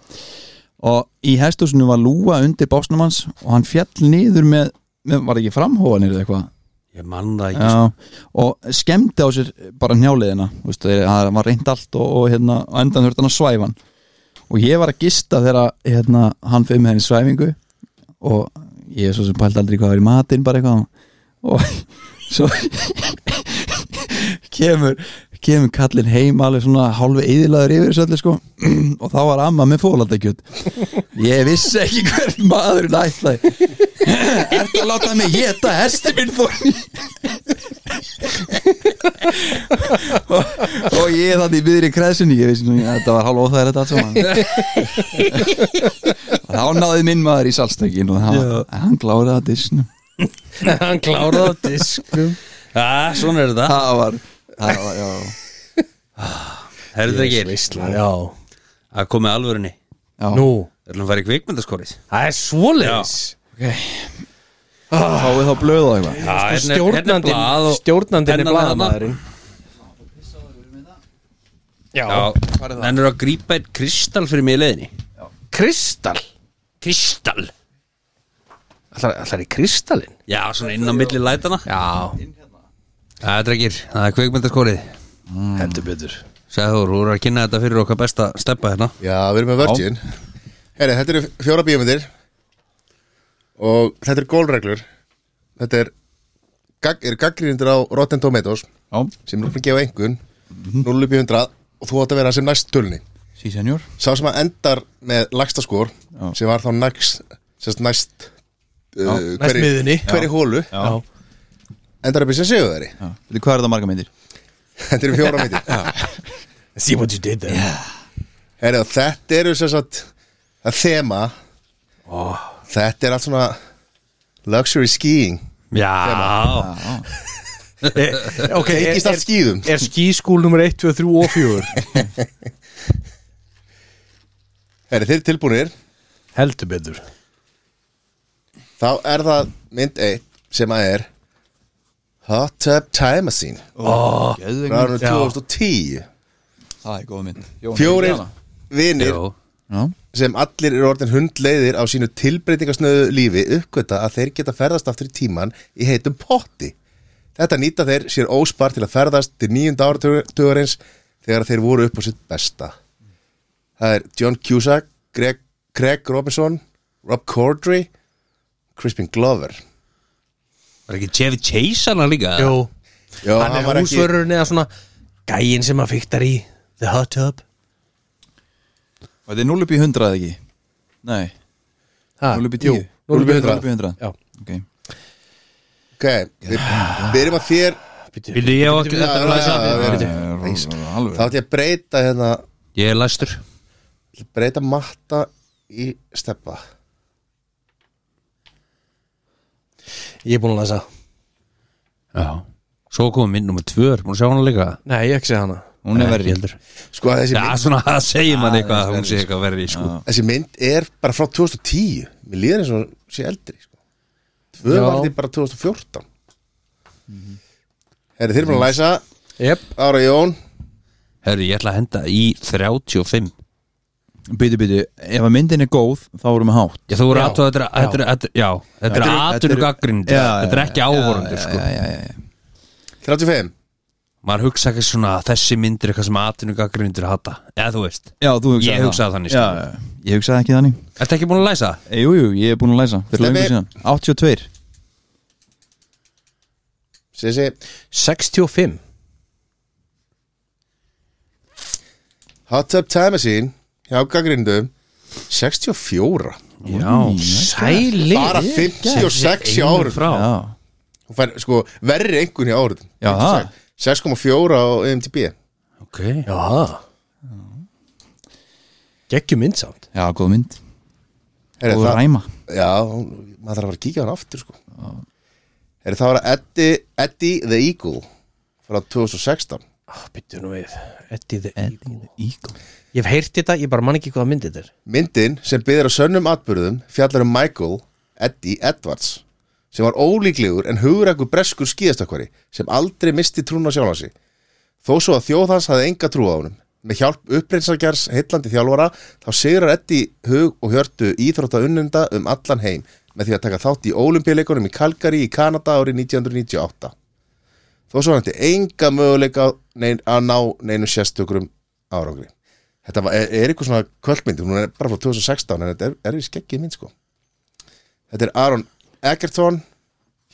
Speaker 4: og í hestusinu var lúa undir básnum hans og hann fjall niður með, með var ekki framhóðanir eða eitthvað
Speaker 1: ég man það ekki
Speaker 4: Já, og skemmti á sér bara njáliðina veistu, það var reynd allt og, og hérna, á endan þurfti hann að svæfa hann og ég var að gista þegar hérna, hann fyrir með henni svæfingu og ég er svo sem pælt aldrei hvað var í matinn bara eitthvað og svo kemur kemur kallin heim alveg svona hálfi eðilaður yfir þessu öllu sko og þá var amma með fólatakjöt ég vissi ekki hvern maðurinn ætlaði ertu að láta mig geta hesti minn fór og, og ég þannig í miðri kreðsunni ég vissi svona, þetta var hálf óþægir þetta allt saman og þá náði minn maður í salstökin og hann, hann gláraði að disnum
Speaker 2: hann kláraði á diskum
Speaker 1: Já, Ah, svona er þetta
Speaker 4: það var, það var, já
Speaker 1: Herðu ekki,
Speaker 2: Veistla, já
Speaker 1: að komið alvörunni
Speaker 4: Já.
Speaker 2: Nú,
Speaker 1: Það er að fara í kvikmyndaskorið
Speaker 2: það er svoleiðis
Speaker 4: Fáið þá blöð og eitthvað
Speaker 1: Já, hérna er- hérna er
Speaker 2: sko, Stjórnandinn
Speaker 1: blað og-
Speaker 2: Stjórnandinn er
Speaker 1: pennan þarna.
Speaker 2: blaðamaðurinn Já,
Speaker 1: Já, hann er að grípa einn kristall fyrir mig í leiðinni
Speaker 2: kristall
Speaker 1: Kristall?
Speaker 2: Það er í kristallinn
Speaker 1: Já, svona inn á milli lætana
Speaker 2: Já,
Speaker 1: Það er drekir, það er kveikmyndaskorið
Speaker 2: Mm. heldur betur
Speaker 1: Sæður, þú eru að kynna þetta fyrir okkar besta steppa hérna
Speaker 3: Já, við erum með Virgin Herri, þetta eru fjóra bíómyndir og þetta eru gólreglur Þetta er, gag, er gaggrindur á Rotten Tomatoes
Speaker 4: Já,
Speaker 3: sem er að gefa einhvern
Speaker 2: Mhm.
Speaker 3: 0 upp í 100 og þú átt að vera sem næst tölni
Speaker 4: sí senjór
Speaker 3: Sá sem að endar með lagsta skor
Speaker 4: Já.
Speaker 3: sem var þá næst sérst næst uh,
Speaker 2: næst miðjunni.
Speaker 3: hverri hólu
Speaker 2: Já,
Speaker 3: endar upp í sem sigurveri
Speaker 4: Veitir hvað er það marga myndir?
Speaker 3: Þetta eru fjóra myndir
Speaker 2: see what you did there
Speaker 3: Herri, og þetta eru sem sagt að þema
Speaker 2: Oh.
Speaker 3: Þetta er allt svona luxury skiing
Speaker 1: Já,
Speaker 2: Eh, Ok, er,
Speaker 3: Tengist allt
Speaker 2: er,
Speaker 3: skíðum
Speaker 2: er skískúl nummer 1, 2, 3 og 4
Speaker 3: Herri, þeir tilbúinir
Speaker 2: Heldur betur
Speaker 3: Þá er það mynd 1 sem að er Hot Tub Time Machine frá
Speaker 4: Geðveik mynd.
Speaker 3: árunum 2010
Speaker 4: Það er góð mynd Jón,
Speaker 3: Fjórir
Speaker 4: Jana.
Speaker 3: vinir
Speaker 1: Jú.
Speaker 4: Já,
Speaker 3: sem allir eru orðin hundleiðir á sínu tilbreytingasnöðu lífi uppgöta að þeir geta ferðast aftur í tíman í heitum potti. Þetta nýta þeir sér óspar til að ferðast til nýjunda áratugurins þegar þeir voru upp á sitt besta. Það er John Cusack, Greg, Greg Robinson, Rob Corddry, Crispin Glover.
Speaker 1: Var ekki Chevy Chase hann líka?
Speaker 2: Jú,
Speaker 3: Já,
Speaker 2: hann er húsvörurinn eða svona Gæin sem að fyktar í The hot tub
Speaker 4: Og þetta er 0 upp í 100 eða ekki? Nei, 0 upp í 10
Speaker 2: 0 upp í 100
Speaker 4: upp í 100
Speaker 2: Já.
Speaker 4: Ok
Speaker 3: Ok, við byrjum að þér,
Speaker 1: Vildi ég á ekki
Speaker 3: bíddu,
Speaker 1: þetta
Speaker 3: já,
Speaker 1: er lagið
Speaker 3: já,
Speaker 1: saman?
Speaker 3: já, já.
Speaker 4: Það er
Speaker 3: þá
Speaker 4: rosa- Alveg
Speaker 3: ætlum ég að breyta hérna,
Speaker 1: Ég er læstur
Speaker 3: breyta matta í steppa.
Speaker 2: Ég er búin að lesa
Speaker 1: Já Svo komum minn nummer tvö, er múin að sjá hana líka
Speaker 2: Nei, ég hef ekki segja hana
Speaker 4: Hún er verri
Speaker 3: Sko, þessi
Speaker 1: Já,
Speaker 3: mynd,
Speaker 1: svona, það segir mann eitthvað að hún sé eitthvað verri, sko
Speaker 3: þessi mynd er bara frá 2010 Mér líður eins og hún sé eldri sko. Tvö
Speaker 2: Já.
Speaker 3: var því bara 2014 Herri, þeir eru búin að læsa
Speaker 2: Jep
Speaker 3: Ára Jón
Speaker 1: Herru, ég ætla að henda í 35
Speaker 4: Bítu, bítu Ef að myndin er góð, þá erum við hátt
Speaker 1: Já, þú voru
Speaker 2: Já.
Speaker 1: aðtöð, þetta er, þetta er, þetta er, já, þetta er aðtöðu gaggrindur, þetta er ekki áhorundur, sko
Speaker 4: Já, já, já, já
Speaker 3: 35
Speaker 1: maður hugsa ekki svona að þessi myndir er eitthvað sem atvinnu gaggrindur hata eða þú veist,
Speaker 4: Já, þú hugsaði
Speaker 1: Ég
Speaker 4: það.
Speaker 1: hugsaði þannig,
Speaker 4: Já,
Speaker 1: sko.
Speaker 4: já, já. ég hugsaði ekki þannig
Speaker 1: ertu ekki búin að læsa?
Speaker 4: Eh, Jú, jú, ég er búin að læsa
Speaker 3: Stebbi.
Speaker 4: Fyrir lengur síðan 82
Speaker 3: Sissi
Speaker 2: 65
Speaker 3: Hot Tub Time Machine Hjá gaggrindum 64
Speaker 1: Já,
Speaker 2: Sæli
Speaker 3: Bara 56 hjá árum
Speaker 1: frá
Speaker 4: Já,
Speaker 3: Hún fær sko verri einhvern hjá árum
Speaker 4: já, það
Speaker 3: 6,4 á MTB
Speaker 1: Ok,
Speaker 2: Já Geggjum myndsamt
Speaker 4: Já, góð mynd
Speaker 3: Herri,
Speaker 4: Góð
Speaker 3: það,
Speaker 4: ræma
Speaker 3: Já, hún- maður þarf að fara að kíkja á hann aftur sko Herri, það var Eddie, Eddie the Eagle Frá 2016
Speaker 2: ah, Byttu nú við Eddie the Eagle
Speaker 4: Ígó
Speaker 2: Ég hef heyrt þetta, ég bara man ekki hvaða myndi þetta er
Speaker 3: Myndin sem byggðir á sönnum atbyrðum fjallar um Michael Eddie Edwards sem var ólíklegur en hugrækur breskur skíðastakvari sem aldrei misti trúna sjálfansi. Þó svo að þjóð hans hafði enga trú á honum. Með hjálp uppreynsargjars heillandi þjálfara þá sigrar Eddie hug og hjörtu íþrótta unnenda um allan heim með því að taka þátt í ólimpíuleikunum í Calgary í Kanada árið 1998. Þó svo hann hefði enga möguleika á nein, að ná neinum sérstökurum árangri. Þetta var, er, er eitthvað svona kvöldmynd, hún er bara frá 2016 en þetta er, er í skeggið mynd sko. Þetta er Aaron Egerton,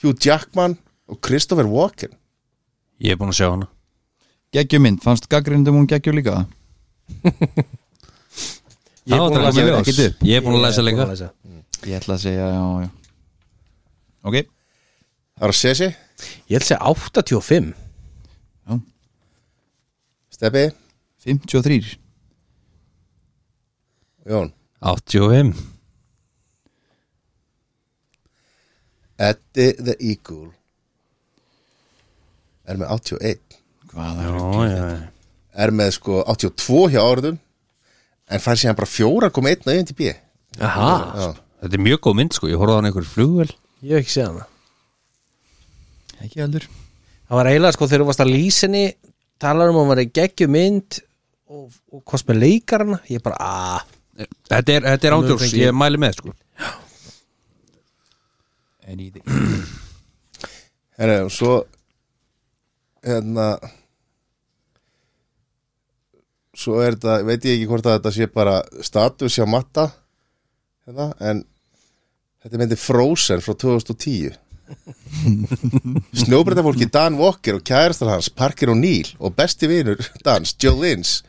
Speaker 3: Hugh Jackman og Christopher Walken.
Speaker 1: ég er búin að sjá hana
Speaker 4: geggjum mynd, fannst gaggrindum hún geggjum líka
Speaker 1: Ég er búin að
Speaker 4: kemur
Speaker 1: lesa
Speaker 4: ekkert upp.
Speaker 1: Ég er búin að lesa líka
Speaker 4: ég ætla að segja, já, já ok,
Speaker 3: Það er Sesi,
Speaker 2: Ég held að segja 85
Speaker 3: Steppi,
Speaker 4: 53
Speaker 3: Jón
Speaker 1: 85
Speaker 3: Eddie the Eagle er með 81
Speaker 4: hvað
Speaker 1: Já,
Speaker 4: er
Speaker 1: já, já
Speaker 3: er með sko 82 hjá áriðum en fær síðan bara 4,1 á IMDb
Speaker 2: Aha,
Speaker 3: Já.
Speaker 1: Þetta er mjög góð mynd sko, ég horfði á hann einhver flugvel
Speaker 2: ég hef ekki séð hana
Speaker 4: ekki heldur
Speaker 2: Það var eiginlega sko þegar þú varst að lýsinni talar um að hún var í geggjum mynd og, og hvort með leikarana ég bara "Ah." aaa
Speaker 1: Þetta er, þetta er
Speaker 2: Nú
Speaker 1: ándjóks,
Speaker 2: fengi-
Speaker 1: ég mæli með sko
Speaker 4: en í því
Speaker 3: Herra, og svo hérna svo er þetta, veit ég ekki hvort að þetta sé bara status hjá matta hérna, en þetta myndi Frozen frá 2010 Snjóbreytafólki Dan Walker og kærastar hans Parker og Neil og besti vinur Dans, Joe Lins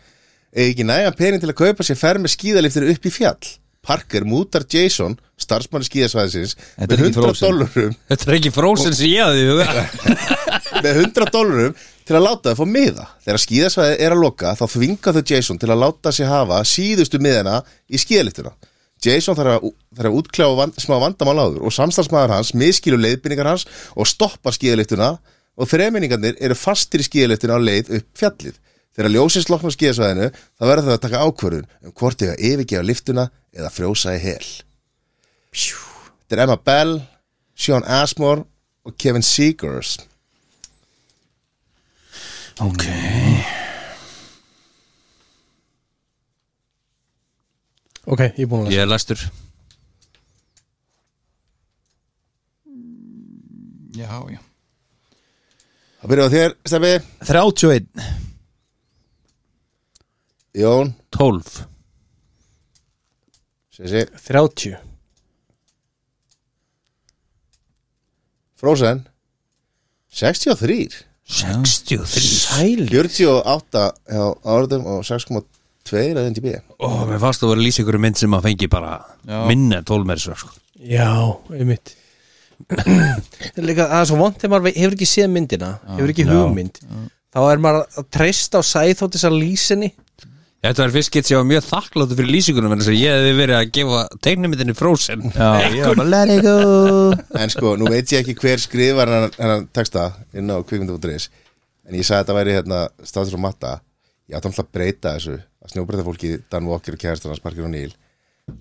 Speaker 3: eða ekki nægan pening til að kaupa sér ferð með skíðaliftir upp í fjall Parker mútar Jason, starfsmann skíðasvæðisins
Speaker 4: Þetta er
Speaker 3: með
Speaker 4: ekki
Speaker 3: 100
Speaker 4: Frozen.
Speaker 3: dollurum
Speaker 1: Þetta er ekki frósin sem ég hafði í huga.
Speaker 3: með 100 dólarum til að láta þau fá miða þegar skíðasvæði er að loka þá þvinga þau Jason til að láta sig hafa síðustu miðina í skíðaliftuna Jason þarf að, þarf að útkljá vand, smá vandamál áður og samstagsmaður hans miskilur leiðbynningar hans og stoppar skíðaliftuna og þreminningarnir eru fastir í skíðaliftuna á leið upp fjallið þegar ljósins loknar skíðasvæðinu þá verður þau að taka ákvörðun um hvort þau að yfirgefa liftuna eða frjósa í hel Þetta er Emma Bell, Sean Asmore og Kevin Seegers
Speaker 1: Ok
Speaker 2: Ok, ég er búin að lesa
Speaker 1: Ég er læstur
Speaker 4: já, já
Speaker 3: Það byrjaði á þér, Steffi
Speaker 4: 31
Speaker 3: Jón,
Speaker 1: 12
Speaker 3: Sissi,
Speaker 2: 30
Speaker 3: Frozen 63
Speaker 1: 63
Speaker 2: Sæl
Speaker 3: 48 á árðum og 6,2 að NDB
Speaker 1: Ó, mér fannst að vera að lýsa ykkur um mynd sem að fengi bara
Speaker 4: Já.
Speaker 1: minna 12 meir svo sko.
Speaker 2: Já, einmitt Líka, það er svo vont þegar maður hefur ekki séð myndina hefur ekki hugmynd þá er maður að treysta á sæð þótt þess að lýsinni
Speaker 1: Þetta var fyrst gett sem ég var mjög þakkláttu fyrir lýsingunum en þess að ég hefði verið að gefa teiknumyndinni frósin
Speaker 4: já, já, bara let it go
Speaker 3: En sko, nú veit ég ekki hver skrifar hennan, hennan texta inn á kvikmynda.is En ég sagði að þetta væri hérna status og matta Ég átti alltaf að breyta þessu að snjóbreyta fólki Dan Walker og kæristur hans Parker og Neil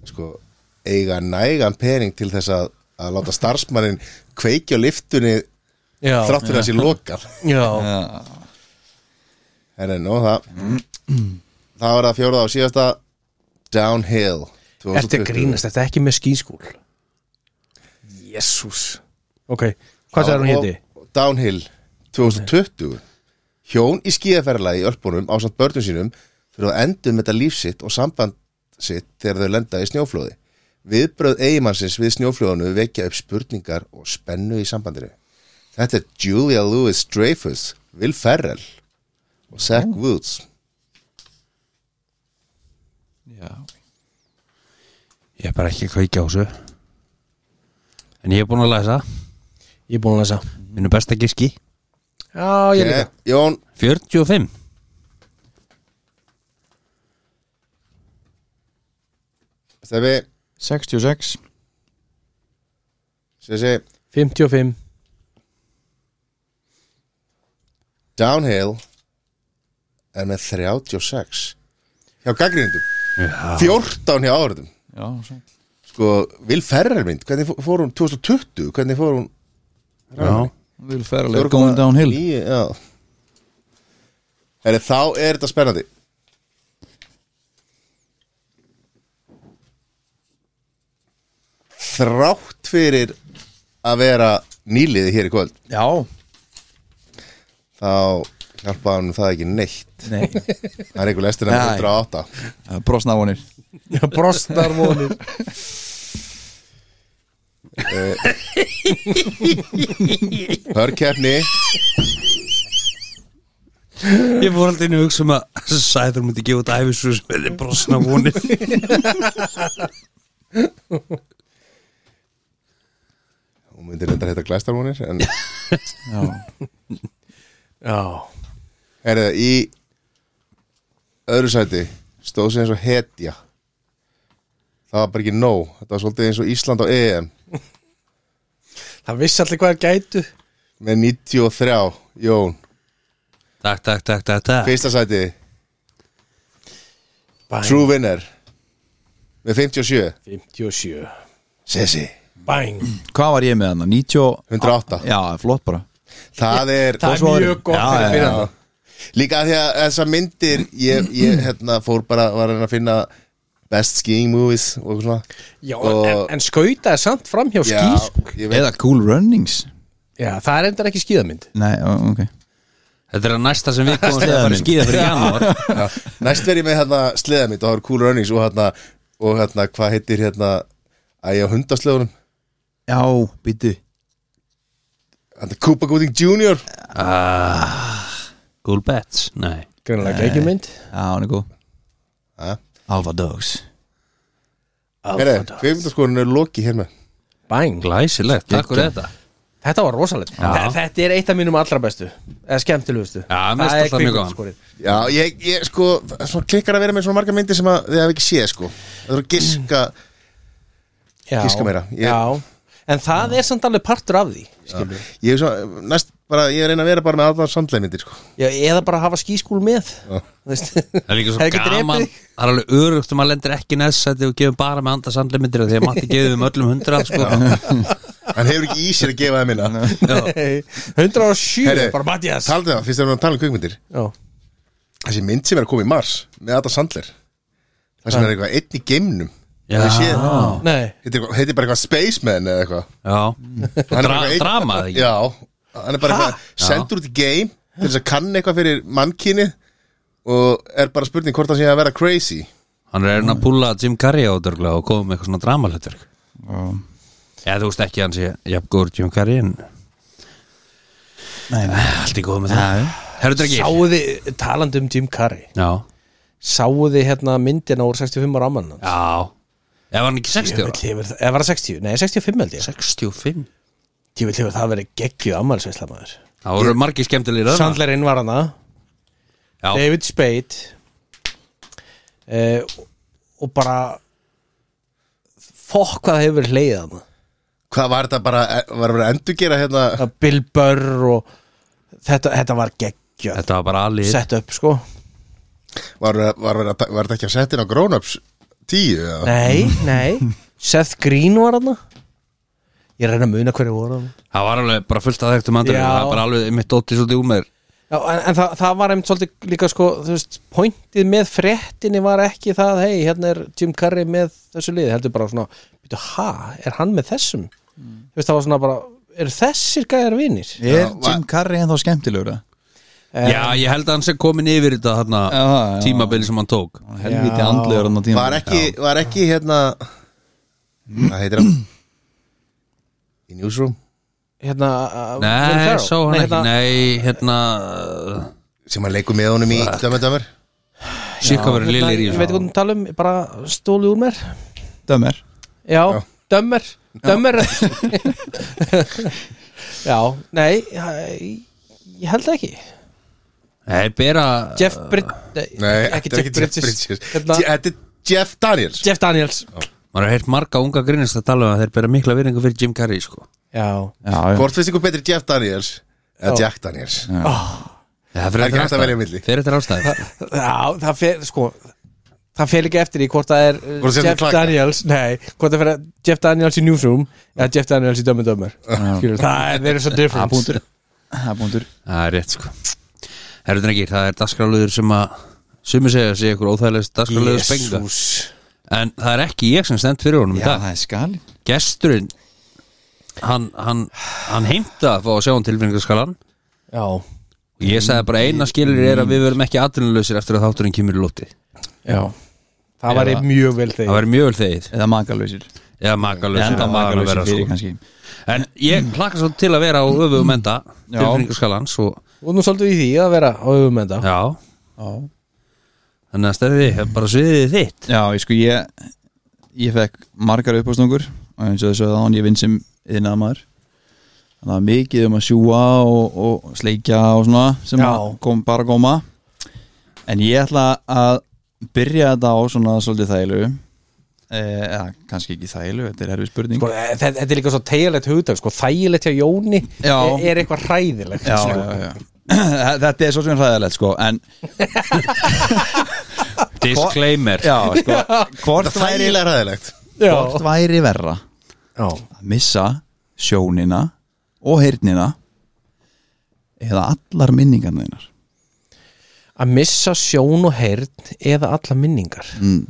Speaker 3: sko, eiga nægan pening til þess að, að láta starfsmannin kveikja á liftunni
Speaker 2: Já,
Speaker 3: þrátt fyrir að það sé lokað
Speaker 2: já,
Speaker 3: En en nú það
Speaker 2: Mm.
Speaker 3: Það var það fjórða og síðasta Downhill
Speaker 2: ertu
Speaker 3: 2020.
Speaker 2: að grínast, þetta er ekki með skýnskúl Jésús Ok, hvað sagði hún
Speaker 3: Og-
Speaker 2: héti?
Speaker 3: og Downhill 2020 Hjón í skíðaferðalagi í Ölpunum ásamt börnum sínum fyrir að endum þetta líf sitt og samband sitt þegar þau lenda í snjóflóði Viðbröð eigimannsins við snjóflóðinu vekja upp spurningar og spennu í sambandinu Þetta er Julia Louis-Dreyfus Will Ferrell og Zach Woods
Speaker 4: já,
Speaker 1: Ég er bara ekki að kveikja á þessu En ég er búin að læsa
Speaker 2: Ég er búin að lesa
Speaker 1: Minu besta giski
Speaker 2: Já, ég líka
Speaker 3: Ok, Eh, Jón,
Speaker 1: 45
Speaker 3: Stefi,
Speaker 4: 66
Speaker 3: Sessi
Speaker 2: 55
Speaker 3: Downhill er með 36 hjá gaggrindum 14 hjá áhörðum
Speaker 4: já, sæll.
Speaker 3: sko, Vil Ferrer mynd, hvernig fó- fór hún 2020, hvernig fór hún
Speaker 1: Já
Speaker 4: Will Ferrell er going downhill
Speaker 3: 9, já Heri, þá er þetta spennandi þrátt fyrir að vera nýliði hér í kvöld
Speaker 4: já,
Speaker 3: þá hjálpaði hann það ekki neitt
Speaker 4: nei,
Speaker 3: það er einhver lestin að
Speaker 4: Nei.
Speaker 3: 108
Speaker 4: brosnávanir
Speaker 2: Brostar vonir
Speaker 3: Hörkeppni
Speaker 1: Ég fór alltaf inn að hugsa um að Sæður myndi gefa út æfisug sem er brosna vonir
Speaker 3: Hún myndir reyndar þetta glæstarvónir En
Speaker 4: Já,
Speaker 2: Já
Speaker 3: er það í öðru sæti stóð sér eins og hetja Það var bara ekki nóg Þetta var svolítið eins og Ísland á EM
Speaker 2: Það vissi allir hvað er gætu
Speaker 3: Með 93, Jón
Speaker 1: Takk, takk, takk, takk, takk
Speaker 3: Fyrsta sæti,
Speaker 2: Bæn
Speaker 3: True Winner Með 57
Speaker 2: 57
Speaker 3: Sessi,
Speaker 2: Bæn
Speaker 4: hvað var ég með hann? 90...
Speaker 3: 108.
Speaker 4: Já, flott bara
Speaker 3: það er
Speaker 2: Það
Speaker 4: Og
Speaker 2: er
Speaker 4: svo aðrir.
Speaker 2: mjög gott
Speaker 4: Já,
Speaker 2: fyrir
Speaker 4: já,
Speaker 2: fyrir
Speaker 4: já.
Speaker 2: hann
Speaker 3: Líka af því að þessar myndir Ég, ég hérna, fór bara var að reyna að finna Best skiing movies og eitthvað svona
Speaker 2: Já,
Speaker 3: Og-
Speaker 2: en, en skauta er samt fram hjá skís
Speaker 3: ég veit
Speaker 4: Eða Cool Runnings
Speaker 2: Já, það er endur ekki skíðamynd
Speaker 4: Nei, ó, ok
Speaker 1: Þetta er að næsta sem við komum að fara að skýða fyrir janúar
Speaker 3: Næst verð ég með hérna sleða mitt og það var Cool Runnings og hérna, og hérna hvað heitir hérna að ég á hundasleðunum
Speaker 4: Já, býtu
Speaker 3: hérna Koopa Gooding Jr.
Speaker 1: Cool bets, nei
Speaker 2: Greinlega gækjumynd
Speaker 4: Já, hann er góð
Speaker 3: Ha?
Speaker 4: Alfa Dogs
Speaker 3: Herre, kveikmyndaskorin er hérna. loki hér með
Speaker 2: Bæn
Speaker 1: Glæsilegt, takk fyrir þetta
Speaker 2: Þetta var rosalegt Þe- Þetta er eitt af mínum allra bestu Eða skemmtilegustu
Speaker 1: Já, mér finnst alltaf mjög gaman.
Speaker 3: Já, ég, ég sko, svona klikkar að vera með svona marga myndir sem að þið hafi ekki séð sko Það eru að giska,
Speaker 2: Já,
Speaker 3: Giska meira. Ég-
Speaker 2: Já En það er samt alveg partur af því skilur.
Speaker 3: ég er svona, næst bara, ég er að reyna að vera bara með aðvar sandleimyndir sko
Speaker 2: Já, eða bara hafa skískúl með Þú veist.
Speaker 1: Það er líka svo
Speaker 2: Hefði ekki drepið
Speaker 1: gaman
Speaker 2: þig.
Speaker 1: Það er alveg örugt um að lendir ekki neðsæti og gefum bara með handa sandleimyndir því að Matti gefið um öllum hundra sko.
Speaker 3: Hann hefur ekki í sér að gefa það minna
Speaker 1: Já.
Speaker 2: 107
Speaker 3: Herri,
Speaker 2: bara Mattias
Speaker 3: Taldu það, fyrst erum við að tala um kveikmyndir
Speaker 2: Já.
Speaker 3: Þessi mynd sem er að koma í mars með Adam Sandler Það sem er eitthvað einn í geimnum
Speaker 1: Já.
Speaker 3: Hefurðu séð það?
Speaker 2: Nei,
Speaker 3: heitir, eitthvað- heitir bara eitthvað Spaceman eða eitthvað
Speaker 1: Já.
Speaker 3: Hann er
Speaker 1: Dra
Speaker 3: bara einn-
Speaker 1: Drama eða ekki
Speaker 3: Já, hann er bara eitthvað sendur út í game til þess að kann eitthvað fyrir mannkyni og er bara spurning hvort hann sé að vera crazy
Speaker 1: Hann er einn að púla Jim Carrey á dörgla og koma með eitthvað svona dramalhutverk
Speaker 4: Já.
Speaker 1: Já, þú veist ekki að hann sé jafn góður Jim Carrey en Ah,
Speaker 4: Nei, nei
Speaker 1: allt í góð með það Herru drengi
Speaker 2: sáuði talandi um Jim Carrey
Speaker 1: Já,
Speaker 2: Sáuði hérna myndina úr 65 ára amman hans
Speaker 1: já Ef hann ekki 60 ára
Speaker 2: Ég vil hefur var það 60? Nei, 65 held ég
Speaker 1: 65
Speaker 2: Ég vil hefur það verið geggju ammalsveisla maður
Speaker 1: Það voru margir skemmtilegir þarna.
Speaker 2: Sandlerinn var hana
Speaker 1: Já,
Speaker 2: David Spade eh, Og bara Fokk hvað það hefur verið hlegið hana
Speaker 3: Hvað var þetta bara, e- var að vera að endurgera hérna
Speaker 2: Það Bill Burr og Þetta, þetta var geggju
Speaker 1: þetta var bara alveg
Speaker 2: Sett upp sko
Speaker 3: var, var, var, var, var þetta ekki að setja inn á Grownups 10 eða?
Speaker 2: Nei, nei Seth Green var hana Ég er að reyna að muna hverju voru hana
Speaker 1: Það var alveg bara fullt að þekktum andri
Speaker 2: Já.
Speaker 1: Það var bara alveg mitt dótti svolítið úr mér
Speaker 2: Já, en, en það, það var einmitt svolítið líka sko, þú veist, pointið með fréttinni var ekki það, hei, hérna er Jim Carrey með þessu liði, heldur bara svona býtu, ha, er hann með þessum? Þú veist, það var svona bara, eru þessir gæjar vinir? Eh,
Speaker 4: Er
Speaker 3: Já, va-
Speaker 4: Jim Carrey ennþá skemmtilegur? eða?
Speaker 1: Já, ég held að hann sé komin yfir þetta þarna
Speaker 4: Já, já.
Speaker 1: tímabili sem hann tók
Speaker 4: Helviti
Speaker 2: Já.
Speaker 4: andlegur hann á tíma
Speaker 3: Var ekki, var ekki hérna Hvað heitir hann? Í Newsroom
Speaker 2: Hérna, uh, Will
Speaker 1: Nei,
Speaker 2: Ferrell?
Speaker 1: sá hann ekki,
Speaker 2: hérna,
Speaker 1: nei, hérna
Speaker 3: sem hann leikur með honum í Dömmar Dömmar
Speaker 1: Sikka verið
Speaker 2: hérna,
Speaker 1: lilir í
Speaker 2: Ég veit
Speaker 1: þessu
Speaker 2: hvað þú tala um, bara stólu úr mér
Speaker 4: Dömer
Speaker 2: Já, dömmer Dömmer Já, nei, hæ- ég held ekki
Speaker 1: Nei, bera
Speaker 2: Jeff Bridges
Speaker 3: Nei,
Speaker 2: ekki
Speaker 3: þetta er
Speaker 2: Jeff Bridges, Hérna,
Speaker 3: Je- Þetta er Jeff Daniels
Speaker 2: Jeff Daniels
Speaker 1: maður hefur heilt marga unga grínist að tala um að þeir bera mikla viringu fyrir Jim Carrey sko.
Speaker 2: Já
Speaker 4: Já, já.
Speaker 3: Hvort finnst ykkur betri Jeff Daniels eða
Speaker 2: Já.
Speaker 3: Jack Daniels
Speaker 1: Það
Speaker 3: Það er ekki hægt að velja á milli.
Speaker 1: Fyrir þetta ástæði
Speaker 2: Já, það fer, sko Það fer ekki eftir í hvort það er uh,
Speaker 3: Hvort það er
Speaker 2: Jeff
Speaker 3: klaka.
Speaker 2: Daniels, nei, hvort það fer að Jeff Daniels í Newsroom eða Jeff Daniels í Dömmu Dömmur Skilur, það er, there is a
Speaker 4: Það er
Speaker 2: difference
Speaker 4: búndur Það er búndur
Speaker 1: Það er rétt sko Herru drengir, það er dagskráluður sem að sumi segja að sé ykkur óþægilegst dagskráluður spenga
Speaker 2: Jesús
Speaker 1: En það er ekki ég sem stend fyrir honum í
Speaker 4: Já,
Speaker 1: dag
Speaker 4: það er skalin
Speaker 1: Gesturinn Hann, hann, hann heimta að fá að sjá hann tilfinningarskalan
Speaker 2: Já,
Speaker 1: og ég sagði bara eina skilur er að við verum ekki atvinnuleysir eftir að þátturinn kemur í lóti
Speaker 2: já Það var
Speaker 1: Eða-
Speaker 2: mjög vel
Speaker 1: Það
Speaker 2: þegar
Speaker 1: væri mjög vel þegið
Speaker 4: Eða makalöysir
Speaker 1: eða makalösi
Speaker 4: enda makalösi fyrir
Speaker 1: sko.
Speaker 4: kannski
Speaker 1: en ég plakka svo til að vera á öfum enda
Speaker 4: Já.
Speaker 1: tilfinningaskalans og
Speaker 2: og nú svolítið í því að vera á öfum enda
Speaker 1: já,
Speaker 4: já,
Speaker 1: þannig að stefði hef bara sviðið þitt
Speaker 4: já ég sko ég ég fekk margar uppástungur og eins og þessu að án ég vinn sem yðnaða maður þannig að mikið um að sjúa og, og sleikja og svona sem
Speaker 2: Já.
Speaker 4: að kom, bara góma en ég ætla að byrja þetta á svona svolítið þælu eh, eða kannski ekki þælu þetta er erfið spurning
Speaker 2: sko, eh, þetta þetta er líka svo tegilegt hugtag sko, þægilegt hjá Jóni e-,
Speaker 4: Já.
Speaker 2: er, er eitthvað hræðilegt
Speaker 4: já,
Speaker 2: sko.
Speaker 4: já, já. þetta er svo sem hræðilegt sko en
Speaker 1: disclaimer
Speaker 4: já, sko, hvort,
Speaker 3: Það er
Speaker 4: væri,
Speaker 3: eiginlega ræðilegt
Speaker 2: Já.
Speaker 4: hvort væri verra
Speaker 2: Já.
Speaker 4: að missa sjónina og heyrnina eða allar minningarna þínar
Speaker 2: að missa sjón og heyrn eða alla minningar
Speaker 4: mm.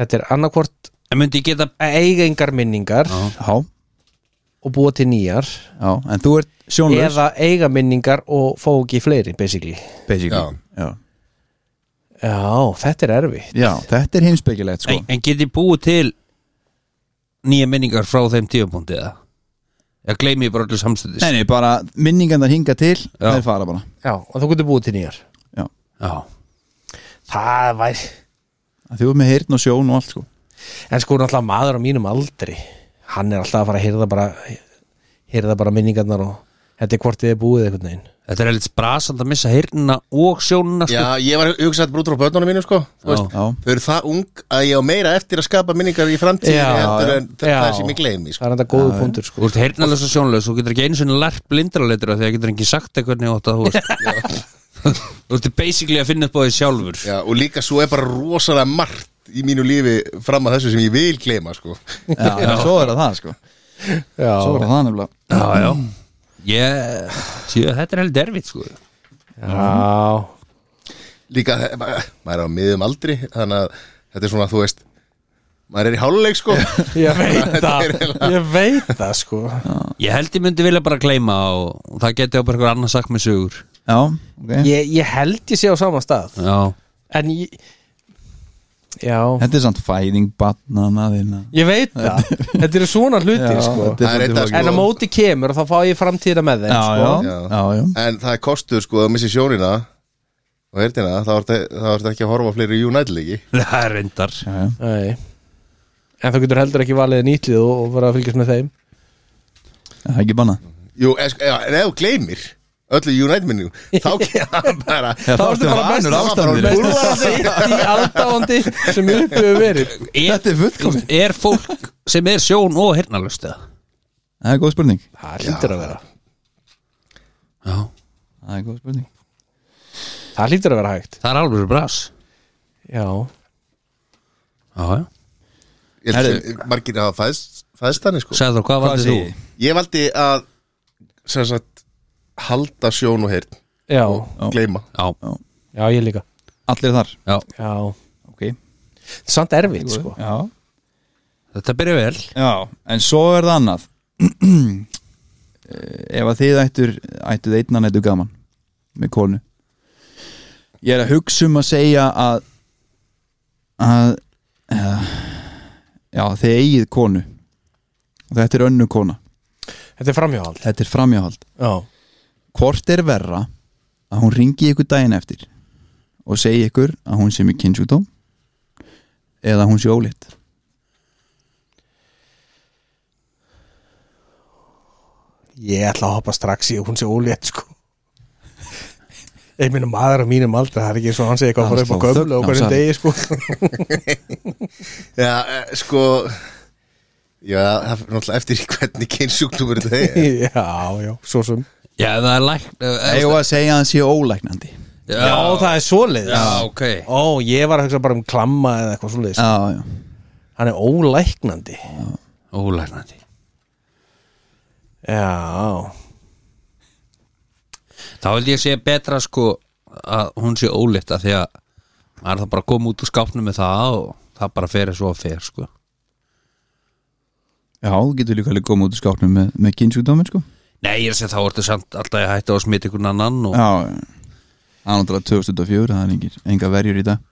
Speaker 2: þetta er annarkvort
Speaker 1: en myndi ég geta
Speaker 2: að eiga engar minningar
Speaker 4: já,
Speaker 2: og búa til nýjar
Speaker 4: já, en þú ert sjónlaus
Speaker 2: eða eiga minningar og fá ekki fleiri basically
Speaker 3: Já.
Speaker 4: basically. Já.
Speaker 2: já, þetta er erfitt
Speaker 4: Já, þetta er heimspekilegt sko.
Speaker 1: en, en get ég búið til nýja minningar frá þeim tífabúndi eða ég gleymi ég bara öllu samstundis
Speaker 4: nei, nei, bara minningarnar hinga til
Speaker 1: Já.
Speaker 4: þeir fara bara
Speaker 2: já, og þú getur búið til nýjar
Speaker 4: já.
Speaker 1: já,
Speaker 2: það var
Speaker 4: Að þú ert með heyrn og sjón og allt sko.
Speaker 2: en sko náttúrulega maður á mínum aldri hann er alltaf að fara að heyrða bara heyrða bara minningarnar og þetta er hvort þið er búið einhvern veginn
Speaker 1: þetta er eitthvað brasand að missa heyrnina og sjónina sko.
Speaker 3: Já, ég var hugsað brútur á börnunum mínu sko Þú veist,
Speaker 4: Já.
Speaker 3: Þau eru það ung að ég á meira eftir að skapa minningar í framtíð
Speaker 2: Já,
Speaker 3: heldur en
Speaker 2: já.
Speaker 3: það sem ég gleymi
Speaker 2: það
Speaker 3: sko.
Speaker 2: er þetta góðu punktur
Speaker 1: Þú
Speaker 2: sko
Speaker 1: ert heyrnalösa sjónlaus, þú getur ekki einu sinni lært blindraleitra þegar getur ekki sagt þér hvernig ótt að þú veist Þú ert basically að finna upp á því sjálfur
Speaker 3: Já, og líka svo er bara rosalega margt í mínu lífi fram að þessu sem ég vil gleyma sko.
Speaker 4: Já, já. svo er það sko. svo
Speaker 2: já,
Speaker 4: er það nefnilega
Speaker 1: Já, já Ég, tjö, þetta er heldur erfitt sko
Speaker 2: já.
Speaker 3: Líka, eh, ma- maður er á miðum aldri þannig að þetta er svona, þú veist maður er í háluleik sko
Speaker 2: Ég veit
Speaker 3: Þetta
Speaker 2: það,
Speaker 3: er eiginlega-
Speaker 2: ég veit það sko
Speaker 1: Ég held ég myndi vilja bara gleyma og, og það geti á bara eitthvað annað sagt með sögur
Speaker 4: já, okay.
Speaker 2: ég, ég held ég sé á sama stað
Speaker 1: Já,
Speaker 2: En ég Já,
Speaker 4: þetta er samt fæðing batnana þína
Speaker 2: ég veit það Þetta eru svona hlutir
Speaker 4: Já,
Speaker 2: sko
Speaker 3: Það
Speaker 4: þetta
Speaker 3: er
Speaker 4: svolítið
Speaker 3: þetta,
Speaker 4: flókið.
Speaker 3: sko.
Speaker 2: En að móti kemur og þá fá ég framtíða með þeim
Speaker 4: já,
Speaker 2: sko.
Speaker 4: já,
Speaker 3: Já.
Speaker 4: já, já.
Speaker 3: en það er kostur sko að missi sjónina og heyrnina, þá ertu þá ertu ekki að horfa á fleiri United-leiki
Speaker 1: það er reyndar
Speaker 4: Já, já.
Speaker 2: Nei. En þú getur heldur ekki valið nýtlið og, og vera að fylgjast með þeim
Speaker 4: það er ekki banna
Speaker 3: Jú, en sko, já, en ef þú gleymir öllu United-minningu, þá kemur bara
Speaker 4: þá ertu bara vanur ástandinu.
Speaker 3: bara
Speaker 4: Búrða
Speaker 3: búrðar.
Speaker 2: Í aldáandi sem ég uppiðu verið
Speaker 1: er,
Speaker 4: Þetta er fullkomið
Speaker 1: er fólk sem er sjón og heyrnalöst eða?
Speaker 4: Það er góð spurning
Speaker 2: Það lítur að vera
Speaker 1: Já,
Speaker 4: Það er góð spurning
Speaker 2: Það lítur að vera hægt
Speaker 1: það er alveg bras
Speaker 2: Já,
Speaker 1: Já, já
Speaker 3: Ég held sem margir hafa fæðst, fæðst þannig sko
Speaker 1: Sæður, hvað
Speaker 4: Hvað
Speaker 1: valdi þú?
Speaker 4: segir þið?
Speaker 3: Ég valdi að sem sagt, halda sjón og heyrn
Speaker 2: já,
Speaker 4: Já.
Speaker 3: gleyma
Speaker 1: Já,
Speaker 2: já ég líka
Speaker 4: Allir þar
Speaker 1: já,
Speaker 2: Já,
Speaker 4: Ok
Speaker 2: samt erfitt sko
Speaker 4: Já
Speaker 1: þetta byrja vel
Speaker 4: Já En svo er það annað Eh, Ef að þið ættur ættuð einnan ættu gaman Með konu Ég er að hugsa um að segja að að uh, já þið eigið konu og þetta er önnu kona
Speaker 2: Þetta er framhjáhald
Speaker 4: þetta er framjáhald
Speaker 2: Já,
Speaker 4: hvort er verra að hún ringi ykkur daginn eftir og segi ykkur að hún sé með kynnsjúkdóm eða að hún sé ólitt
Speaker 2: Ég ætla að hoppa strax í að hún sé ólétt sko Ég minna maður á mínum aldrei Það er ekki svo hann segja eitthvað að
Speaker 4: Hann
Speaker 2: fara upp á
Speaker 4: sló
Speaker 2: gömlu
Speaker 4: þögn á
Speaker 2: og hvernig
Speaker 4: salinn.
Speaker 2: degi sko
Speaker 3: Já, eh, sko Já, það er náttúrulega eftir í hvernig kynsjúkdómur þetta er
Speaker 2: Já, já, svo sem
Speaker 1: Já, ef það er lækt
Speaker 4: eða að segja að hann sé ólæknandi
Speaker 2: Já, það er svoleiðis
Speaker 1: Já, ok
Speaker 2: Ó, ég var að hugsa bara um klamma eða eitthvað svoleiðis
Speaker 4: já, já.
Speaker 2: Hann er ólæknandi
Speaker 1: Ólæknandi
Speaker 2: Já,
Speaker 1: Þá held ég að segja betra sko að hún sé ólitt að því að maður er það bara að koma út úr skápnum með það og það bara fer svo að fer sko
Speaker 4: já, þú getur líka alveg komið út í skápnum með, með kynnsjúkdómin sko
Speaker 1: Nei, ég er að segja þá ertu samt alltaf að hætta á að smita einhvern annan og...
Speaker 4: já, já. það er náttúrulega 2004 það er engir, enga verjur í dag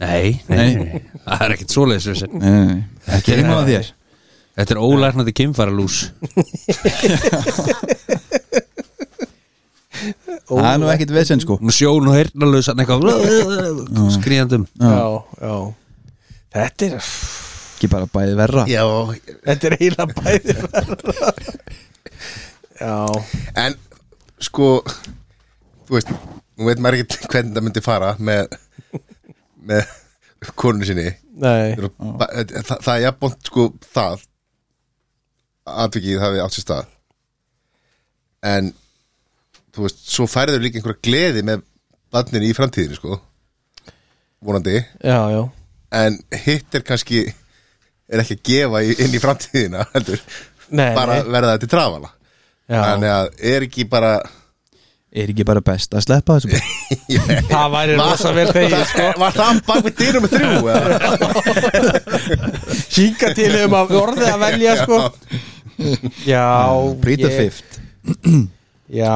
Speaker 1: nei, nei, nei, það er ekkert svoleiðis við sér
Speaker 4: Nei, nei, nei. ekki heima á þér
Speaker 1: Þetta er ólærnandi kynfæralús
Speaker 4: það er nú ekkit vesinn sko
Speaker 1: Nú sjón og heyrnalus hann eitthvað skrýjandum
Speaker 2: já, já Þetta er,
Speaker 4: ekki bara bæði verra
Speaker 3: Já,
Speaker 2: þetta er eiginlega bæði verra. Já,
Speaker 3: en sko Þú veist, nú veit maður ekkert hvernig það myndi fara með með konu sinni
Speaker 2: nei
Speaker 3: Þeir eru- ba- það, það er jafnbónt sko það atvikið hafi átt sér stað en þú veist, svo færður líka einhverja gleði með barninu í framtíðinu sko vonandi
Speaker 2: Já, já,
Speaker 3: en hitt er kannski er ekki að gefa í, inn í framtíðina heldur,
Speaker 2: Nei,
Speaker 3: bara
Speaker 2: nei.
Speaker 3: verða þetta til trafala
Speaker 2: já.
Speaker 3: þannig að er ekki bara
Speaker 4: er ekki bara best að sleppa þessu bara?
Speaker 2: Það væri rosa vel þegið sko.
Speaker 3: var það bak við dyrum með þrjú eða?
Speaker 2: Hínga til um að orðið að velja sko. Já
Speaker 4: Breed the
Speaker 2: ég-
Speaker 4: fifth
Speaker 2: Já,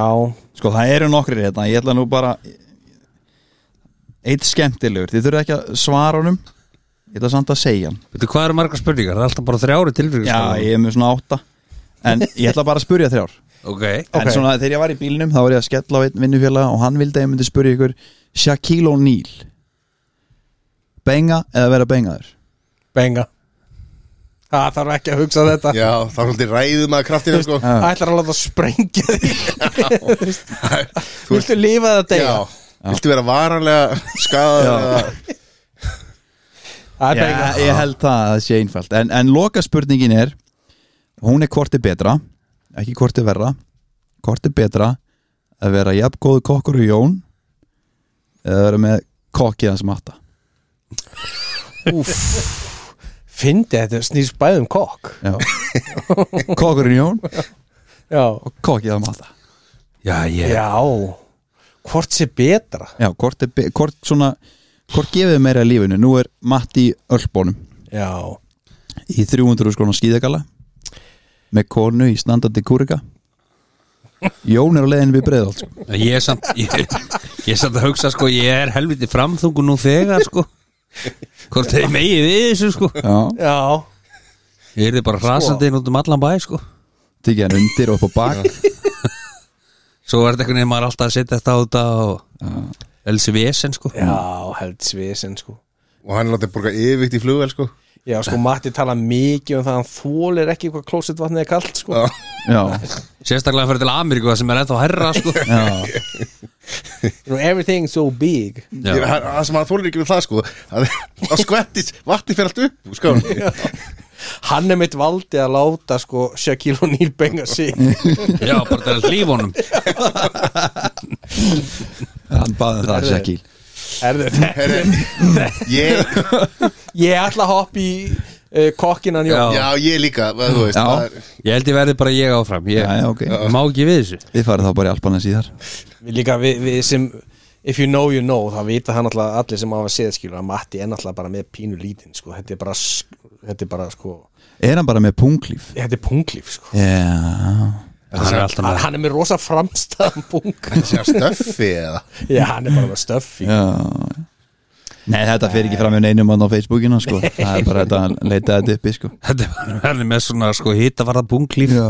Speaker 4: sko það eru nokkrir hérna ég ætla nú bara eitt skemmtilegur þið þurfið ekki að svara honum ég ætla samt að segja hann
Speaker 1: Veitu hvað eru margar spurningar? Það er alltaf bara þrjári tilfyrir
Speaker 4: já ég er með svona átta en ég ætla bara að spurja þrjár
Speaker 1: Ok
Speaker 4: en
Speaker 2: Ok.
Speaker 4: svona þegar ég var í bílnum þá var ég að skella á einn vinnufélag og hann vildi að ég myndi spurja ykkur Shaquille O'Neal benga eða vera bengaður
Speaker 2: benga Það þarf ekki að hugsa þetta
Speaker 3: já, þá er svolítið ræðum að kraftinu sko
Speaker 4: Já.
Speaker 2: Ætlar að láta sprengja því
Speaker 3: Þú veist-
Speaker 2: Viltu lifa það að deyja?
Speaker 3: Já, viltu vera varanlega skadað
Speaker 2: Það er benga
Speaker 4: Já, ég held það að það sé einfalt en, en loka spurningin er hún er hvort er betra ekki hvort er verra hvort er betra að vera jafn góðu kokkur og Jón eða vera með kokkið hans matta
Speaker 2: Fyndi þetta snýst bæðum kokk
Speaker 4: Já. kokkurinn Jón
Speaker 2: Já,
Speaker 4: og kokkið hans matta
Speaker 1: Já ég
Speaker 2: já Hvort sé betra
Speaker 4: Já, hvort, er, be- hvort svona hvort gefið meira í lífinu nú er Matti í Ölbónum
Speaker 2: Já,
Speaker 4: í 300 skrona skíðagala með konu í standandi kúrika Jón er á leiðin við sko. breiðalt
Speaker 1: Ég er samt Ég, ég er samt að hugsa sko Ég er helviti framþungu nú þegar sko Hvort þeir megið við þessu sko
Speaker 4: Já
Speaker 2: já
Speaker 1: Ég er þið
Speaker 4: Sko.
Speaker 1: bara rasandi inn út um allan bæ sko
Speaker 4: tekið hann undir og upp á bak
Speaker 1: Svo er þetta einhvern veginn maður alltaf að setja þetta á þetta og elsi vesen sko
Speaker 2: Já, held svisin sko
Speaker 3: og hann látið borga yfirvikt í flugvel sko
Speaker 2: Já, sko, Matti tala mikið um það að hann þólir ekki hvað klósettvatnið er kalt sko
Speaker 3: Já.
Speaker 4: já,
Speaker 1: Sérstaklega að fyrir til Ameríku það sem er ennþá herra sko
Speaker 4: já,
Speaker 2: You know, everything's so big
Speaker 1: Já.
Speaker 3: Ég- hann- það sem hann þólir ekki við það sko að að skvettis, vatni fyrir allt upp sko,
Speaker 2: Hann er mitt valdi að láta sko Shaquille O'Neal benga sig
Speaker 1: Já, bara til að hlýfa honum
Speaker 4: hann baði það
Speaker 2: Herðu.
Speaker 4: Shakil
Speaker 2: Herðu, þetta-
Speaker 3: ég,
Speaker 2: Ég ætla að hoppa í uh, kokkinan Jón
Speaker 3: já ég líka hvað þú veist,
Speaker 4: Já.
Speaker 3: það er-
Speaker 1: Ég held ég verði bara ég áfram Ég
Speaker 4: Já, já, ok.
Speaker 1: má ekki við þessu
Speaker 4: Þið farið þá bara í Albana síðar
Speaker 2: Við líka við, við sem If you know you know, það vita hann alltaf allir sem hafa séð skilur að Matti er náttúrulega bara með pínu lítinn sko, þetta er bara sk- þetta er bara sko,
Speaker 4: Er hann bara með punglíf?
Speaker 2: þetta er punglíf sko
Speaker 4: Já,
Speaker 1: Hann er alltaf
Speaker 2: hann,
Speaker 1: með
Speaker 2: hann er með rosa framstæðan pung
Speaker 3: sé að stöffi eða
Speaker 2: Já, hann er bara með stöffi
Speaker 4: já Nei, þetta fer ekki fram með neinum hann á Facebookina sko. það er bara þetta að leita þetta uppi sko.
Speaker 1: Þetta er bara verði með svona sko hitavarða bunglíf
Speaker 4: já.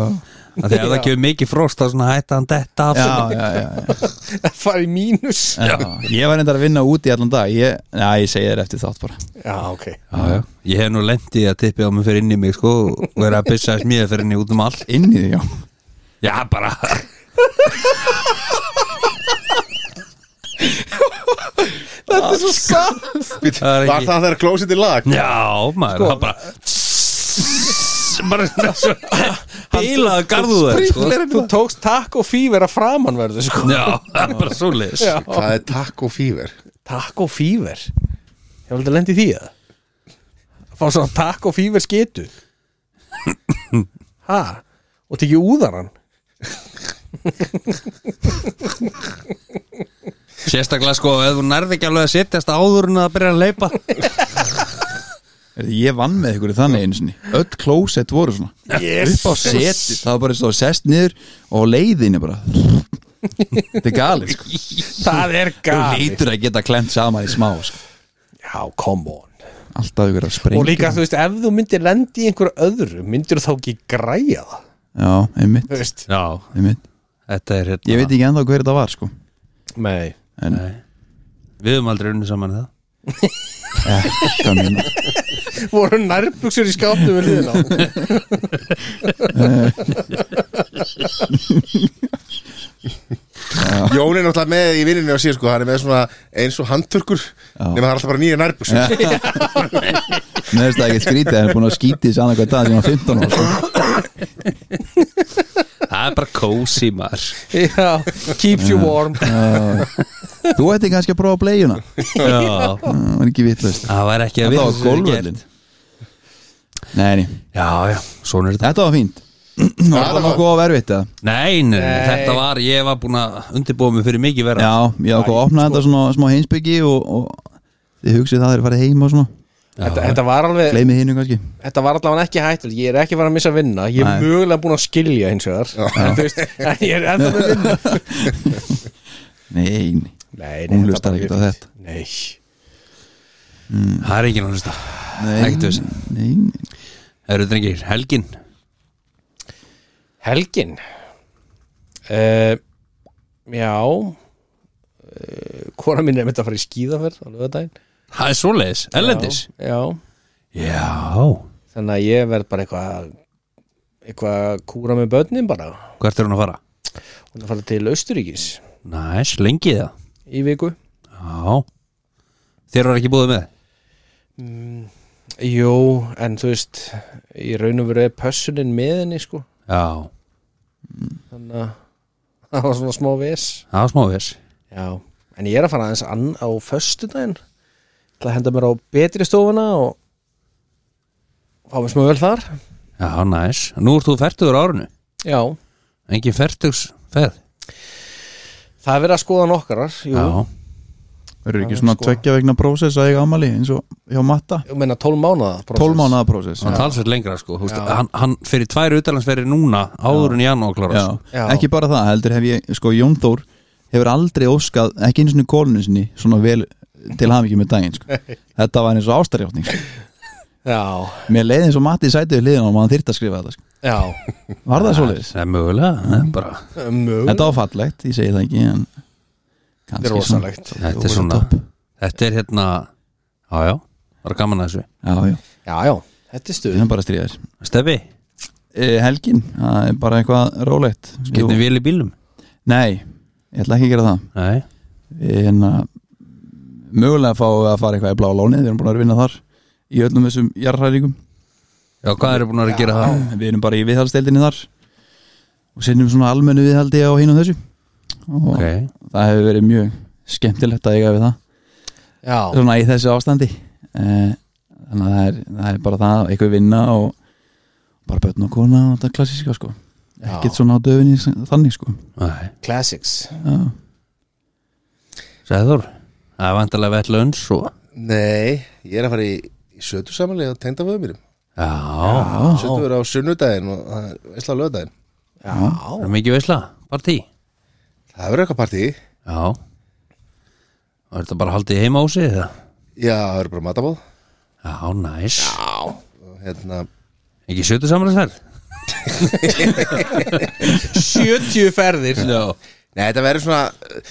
Speaker 1: Þegar það gefur mikið frost þá svona hætta hann detta af sko.
Speaker 4: Já,
Speaker 1: svona.
Speaker 4: já, já,
Speaker 2: Það fari í mínus
Speaker 4: já, Ég var reyndar að vinna út í allan dag ég, Já, ég segi þér eftir þátt bara
Speaker 2: Já, ok
Speaker 1: já, já. Ég hef nú lendið að tippi á mig fyrir inn í mig sko og vera að byssa þess mjög fyrir inn í út um all
Speaker 4: Inn í því, já
Speaker 1: Já, bara
Speaker 2: Þetta er svo satt
Speaker 3: Bíddu,
Speaker 1: Það er
Speaker 3: var
Speaker 1: ekki-
Speaker 3: það þegar klósitið lag
Speaker 1: Já, maður Það bara bara svona svo bílaðu garðu þær sko.
Speaker 2: Þú tókst takk og fýver að framanverðu sko.
Speaker 1: Já, það er bara svo leis
Speaker 3: hvað er taco fever
Speaker 2: Takk og fýver Ég var aldrei lendið því að Fá svona takk og fýver sketu Ha Og tekið úðaran
Speaker 1: Sérstaklega sko, ef þú nærði ekki alveg að setjast áður en að byrja að leipa
Speaker 4: Heyrðu, Ég vann með ykkur í þannig einu sinni Öll klósett voru svona
Speaker 2: Yes.
Speaker 4: Upp á seti, það var bara svo sest niður Og á leiðinu bara Þetta er galið sko.
Speaker 2: Það er
Speaker 4: Þú
Speaker 2: gali
Speaker 4: lítur að geta klent saman í smá sko.
Speaker 2: Já, come on
Speaker 4: Já, alltaf ykkur að sprengja
Speaker 2: og líka þú veist, ef þú myndir lendi í einhver öðru myndir þá ekki græja það
Speaker 4: Já, einmitt,
Speaker 2: þú veist
Speaker 1: Já,
Speaker 4: einmitt
Speaker 1: þetta er hérna
Speaker 4: Ég veit ekki ennþá hver þetta var sko
Speaker 2: nei,
Speaker 4: En
Speaker 1: Nei. Við höfum aldrei unni saman í það
Speaker 4: þetta minna
Speaker 2: voru nærbuksur í skápnum við liðin á
Speaker 3: Jón er náttúrulega með í vinninu á síðan sko, hann er með svona eins og handturkur nema það er alltaf bara nýja nærbus
Speaker 4: Já. Mér finnst það ekki skrítið Það er búin að skítið sér annað hvað dag sem var 15 ára sko.
Speaker 1: Það er bara kósi maður
Speaker 2: já, keeps you warm
Speaker 4: Þú ætti kannski að prófa bleiuna
Speaker 1: Já,
Speaker 4: Það var ekki vitlaust
Speaker 1: það var ekki að vita
Speaker 4: Þetta var
Speaker 1: sem við gerum.
Speaker 4: golföllin Nei, nei,
Speaker 1: Já, já, svona er þetta
Speaker 4: þetta var fínt Var það nokkuð of erfitt eða?
Speaker 1: Nei, nei,
Speaker 2: Nei.
Speaker 1: þetta var, ég var búin að undirbúa mig fyrir mikið vera
Speaker 4: Já, ég ákvað að opna þetta svona smá heimsbyggi og, og þið hugsið það er farið heim og svona
Speaker 2: þetta, þetta var alveg,
Speaker 4: Gleimið hinu kannski
Speaker 2: þetta var allavega ekki hættul ég er ekki farið að missa vinna, ég er
Speaker 4: Nei.
Speaker 2: mögulega búin að skilja hins vegar, en þú veist en ég er ennþá með vinna
Speaker 4: Nei, nei
Speaker 2: nei, þetta
Speaker 4: Hún hlustar
Speaker 2: bara mjög
Speaker 4: ekkert á
Speaker 2: fínt.
Speaker 4: þetta.
Speaker 2: nei,
Speaker 1: Það er ekki náttúrulega Ekkert
Speaker 4: Nei,
Speaker 1: vesen.
Speaker 4: nei, nei.
Speaker 1: Það eru drengir, helgin
Speaker 2: helgin uh, já uh, kona mín er myndi að fara í skíðaferð á lögadaginn
Speaker 1: Það er svoleiðis, ellendis
Speaker 2: já, já
Speaker 1: Já,
Speaker 2: þannig að ég verð bara eitthvað eitthvað að kúra með börnin bara
Speaker 1: hvert er hún að fara?
Speaker 2: hún er að fara til Östuríkis
Speaker 1: Næs, lengi í það
Speaker 2: í viku
Speaker 1: Já Þér var ekki búið með?
Speaker 2: mm, jú, en þú veist í raun og veru er pössunin með henni sko
Speaker 1: Já,
Speaker 2: þannig að það var svona smá ves
Speaker 1: það var smá viss
Speaker 2: já, en ég er að fara aðeins ann á föstudaginn til að henda mér á betri stofuna og fá mér smá vel þar
Speaker 1: Já, næs, nú ert þú færtugur á árinu
Speaker 2: já,
Speaker 1: Engin færtugs ferð
Speaker 2: það er verið að skoða nokkrar jú,
Speaker 1: Já,
Speaker 4: Verður
Speaker 2: Já,
Speaker 4: ekki svona
Speaker 2: sko.
Speaker 4: tveggja vegna prósess að ég ámali eins og hjá matta
Speaker 2: ég meina 12 mánaða
Speaker 4: 12 mánuða prósess
Speaker 1: hann talsveit lengra sko Húst, hann, hann fyrir tvær utalansferði núna áður en janúar klárast
Speaker 4: Já.
Speaker 2: Já.
Speaker 4: Ekki bara það, heldur hef ég, sko Jón Þór hefur aldrei óskað, ekki eins og kólunni sinni svona vel til hafa með daginn sko. Þetta var eins og ástarjátning sko.
Speaker 2: já,
Speaker 4: Mér leiði eins og Matti í sætið við liðin og maður þyrft að skrifa þetta sko.
Speaker 2: já,
Speaker 4: Var það svoleiðis?
Speaker 1: Það er mögulega, það er bara
Speaker 2: mögulega
Speaker 4: Þetta var fallegt, ég segi það ekki en kannski
Speaker 2: Þetta er
Speaker 4: svona-
Speaker 2: rosalegt
Speaker 1: Þetta er svona, þetta er hérna Já, já, bara gaman að þessu
Speaker 4: Já, já,
Speaker 2: Já, já, þetta er
Speaker 4: við
Speaker 2: stuð
Speaker 4: erum bara að stríða þér
Speaker 1: Steffi,
Speaker 4: Eh, Helgin, það er bara eitthvað rólegt
Speaker 1: getnum
Speaker 4: Jú.
Speaker 1: vel í bílum
Speaker 4: Nei, ég ætla ekki að gera það
Speaker 1: Nei,
Speaker 4: en að mögulega fáum við að fara eitthvað í blá lónið við erum búin að vera að vinna þar í öllum þessum jarðræðingum
Speaker 1: já, hvað eru búin að vera að gera það?
Speaker 4: við erum bara í viðhaldsteldinni þar og sinnum svona almennu viðhaldi á hinn og þessu og
Speaker 1: Ok,
Speaker 4: það hefur verið mjög skemmtilegt að eiga við það
Speaker 2: Já,
Speaker 4: svona í þessu ástandi Eh, þannig að það er, það er bara það eitthvað vinna og bara börn og kona og þetta klassíska sko
Speaker 2: Já.
Speaker 4: ekkert svona á döfinni sem- þannig sko
Speaker 1: nei,
Speaker 2: classics
Speaker 4: já,
Speaker 1: segður Það er vantarlega vell önns og
Speaker 3: Nei, ég er að fara í, í sötu samanlega og tengda vöðum mínum
Speaker 1: Já,
Speaker 3: Sötu verið á sunnudaginn og það er veisla á lögadaginn
Speaker 1: það er mikið veisla, partí
Speaker 3: Það verður eitthvað partí
Speaker 1: Já Var þetta bara haldið heima á sig eða?
Speaker 3: Já, það verður bara matabóð
Speaker 1: Já, næs
Speaker 3: og hérna,
Speaker 1: Ekki sjötu samanlæsferð?
Speaker 2: 70 ferðir
Speaker 1: Já
Speaker 3: nei þetta verður svona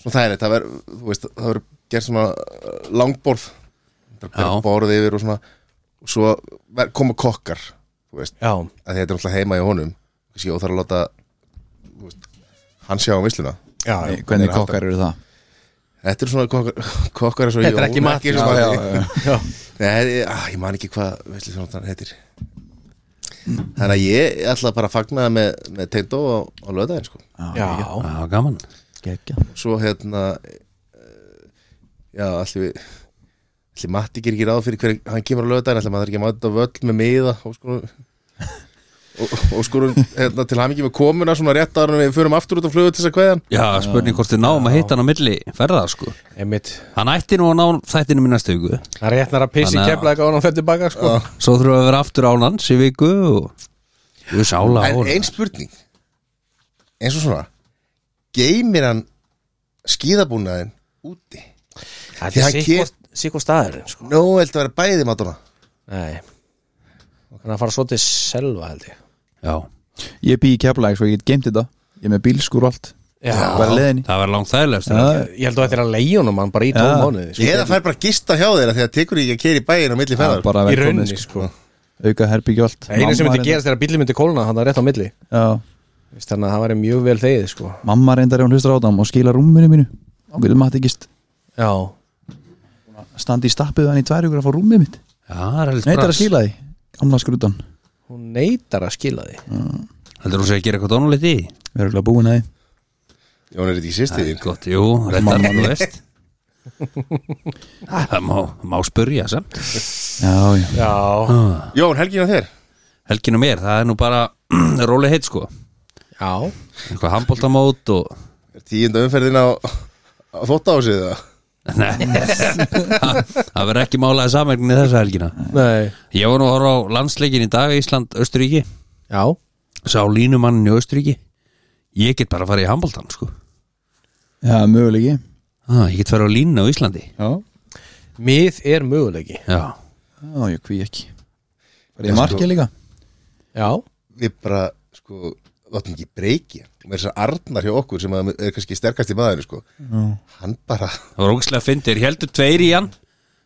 Speaker 3: svona þægilegt, það verður, þú veist það verður gert svona uh, langborð
Speaker 1: Já.
Speaker 3: það verður borð yfir og svona og svo ver- koma kokkar þú veist,
Speaker 2: Já,
Speaker 3: að því þetta er alltaf heima í honum kannski óþar að láta þú veist, hann sjá um visluna
Speaker 2: já, já.
Speaker 4: hvernig kokkar eru það
Speaker 3: þetta er svona kokkar, kokkar svo
Speaker 2: Þetta er ekki mat, já,
Speaker 3: já,
Speaker 4: já.
Speaker 2: já.
Speaker 3: Nei, ég, á, ég man ekki hvað veislu svona hann heitir þannig að ég ætla bara að fagna með, með Tengdó á, á löðaðin sko.
Speaker 2: já.
Speaker 1: Já, gaman
Speaker 4: Gekka.
Speaker 3: svo hérna eh, já, allir við allir Matti gerir ekki ráð fyrir hver hann kemur á löðaðin, allir maður er ekki að mæta á völl með miða og sko og, og sko hérna, til hamingi með komuna svona rétt ára við förum aftur út á flugu til þess að kveðan
Speaker 1: Já, spurning hvort við náum að hitta hann á milli ferða sko
Speaker 2: Einmitt,
Speaker 1: Hann ætti nú að ná þættinu mín næstu viku
Speaker 2: það er réttnar að pissi
Speaker 1: Þannig að-
Speaker 2: kefla eitthvað á hann fyrir tilbaka sko
Speaker 1: Svo þurfum við að vera aftur án hans í viku og Jú, sála á
Speaker 3: en
Speaker 1: honum.
Speaker 3: ein spurning eins og svona geymir hann skíðabúnaðin úti
Speaker 2: Þetta
Speaker 3: Því
Speaker 2: er
Speaker 3: hann
Speaker 2: sitt
Speaker 3: kem-
Speaker 2: hvort- sikko staðurinn sko.
Speaker 3: Nú, held að vera bæði matuna
Speaker 2: Nei Þannig að fara svo til selva held ég
Speaker 1: já,
Speaker 4: Ég bý í Keflæk svo ég get geimt þetta Ég er með bílskúr og allt Bara leðinni
Speaker 1: það var langt þærlegast
Speaker 2: Ég held að þetta er að leiðunum hann bara í
Speaker 4: Já.
Speaker 2: tólf mánuði sko.
Speaker 3: Ég er að fær bara að gista hjá þeirra þegar tekur ég ekki að keri bæin á milli ferðar
Speaker 4: Bara
Speaker 2: Í
Speaker 4: velkomni
Speaker 2: rauninni
Speaker 4: sko.
Speaker 2: sko
Speaker 4: Auka herbyggju allt
Speaker 2: Einu sem myndi
Speaker 4: Mamma reyndar-
Speaker 2: gerast er að bíllinn myndi kólna hann er rétt á milli
Speaker 4: Já.
Speaker 2: Vist, Þannig að það væri mjög vel þegið sko
Speaker 4: Mamma reyndar ef hún hlustar á það Má skila rúminu mínu Þá getur maður ekki gist
Speaker 2: Já
Speaker 4: Standi í stappið hann í tvær ykkur að fá rúmið mitt
Speaker 1: já, það er
Speaker 4: Neitar að
Speaker 1: heldur
Speaker 4: skila því Gamla skrutan
Speaker 2: Hún neitar að skila því
Speaker 1: heldur hún sé að gera eitthvað dónulegt í
Speaker 4: Við erum ekki búin að því
Speaker 3: Jón er þetta ekki sýsti
Speaker 1: það
Speaker 3: þín
Speaker 1: er gott, jú, réttar þú veist það má, má spurja samt
Speaker 4: Já, já
Speaker 2: Já
Speaker 3: Jón, helgin á þér
Speaker 1: helgin og mér, það er nú bara róli heitt sko,
Speaker 2: Já
Speaker 1: eitthvað handbóltamót og
Speaker 3: Er tíunda umferðin á, á þóttásið það?
Speaker 1: Nei, það verður ekki málaði samverkni þessa helgina
Speaker 2: Nei
Speaker 1: Ég var nú að horfa á landsleikin í dag Ísland, Östuríki,
Speaker 2: Já
Speaker 1: sá línumannin í Östuríki Ég get bara að fara í handbóltan sko.
Speaker 4: Já, möguleiki
Speaker 1: ah, Ég get fara á línu á Íslandi
Speaker 4: Já
Speaker 2: Mið er möguleiki
Speaker 1: Já,
Speaker 4: Já, ég hví ekki Bara í markið líka
Speaker 2: Já
Speaker 3: Við bara, sko, láttum ekki breyki Mér er þess að Arnar hjá okkur sem að er kannski sterkast í maðurinn, sko Hann bara,
Speaker 1: það var ógæslega fyndir, heldur tveir í hann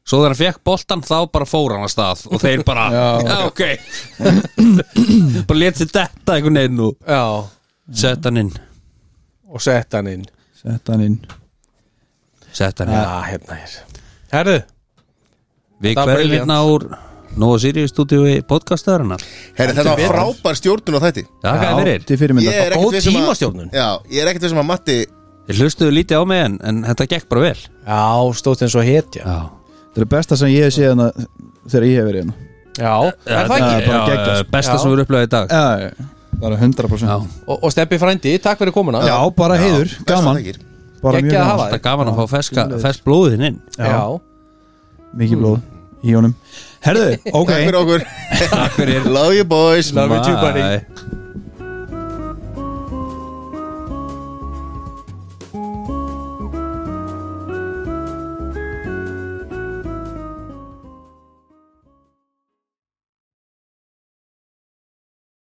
Speaker 1: Svo þegar hann fekk boltan þá bara fór hann að stað Og þeir bara, já, ok Bara létt sér detta einhvern veginn og
Speaker 2: Já
Speaker 1: Sett hann inn,
Speaker 2: Og sett hann inn
Speaker 4: Sett hann inn
Speaker 1: sett hann inn
Speaker 2: Já, hérna hér Herðu
Speaker 1: Við
Speaker 2: Það er
Speaker 1: hverjum
Speaker 2: brilliant.
Speaker 1: hérna úr Nóa Sirius stúdíu podcastaðarinnar
Speaker 3: herri, þetta var frábær stjórnun á þætti
Speaker 1: Takk að fyrir
Speaker 4: Til fyrirmynda
Speaker 3: Ég er ekkert
Speaker 2: Góð
Speaker 3: viss um að-
Speaker 2: tímastjórnun.
Speaker 3: Já, ég er ekkert þessum að Matti
Speaker 1: Ég hlustuðu lítið á mig en, en þetta gekk bara vel
Speaker 2: Já, stótt eins og hetja
Speaker 1: Já,
Speaker 4: Þetta er besta sem ég hef séð hana Þegar ég hef verið hérna. hana
Speaker 2: Já, Hérna er það
Speaker 4: það
Speaker 2: ekki?
Speaker 4: er bara
Speaker 1: já,
Speaker 4: geggjað, sko.
Speaker 1: besta
Speaker 2: Já.
Speaker 1: sem við erum upplöðið í dag
Speaker 4: Já, já Bara 100%
Speaker 1: Já,
Speaker 4: Já,
Speaker 2: Og, og Steppi frændi, takk fyrir komuna
Speaker 4: bara heiður
Speaker 3: Besta
Speaker 4: Gaman
Speaker 3: þakkir.
Speaker 4: Bara
Speaker 2: Geggjað að hafa
Speaker 4: mjög gaman
Speaker 1: þetta er gaman að fá ferska, fersk blóðið þinn inn
Speaker 2: Já, já.
Speaker 4: Mikið blóð í honum Herðu, ok
Speaker 3: Takk fyrir okkur
Speaker 1: Takk fyrir
Speaker 3: Love you boys
Speaker 2: Love you too, buddy.
Speaker 1: Bye.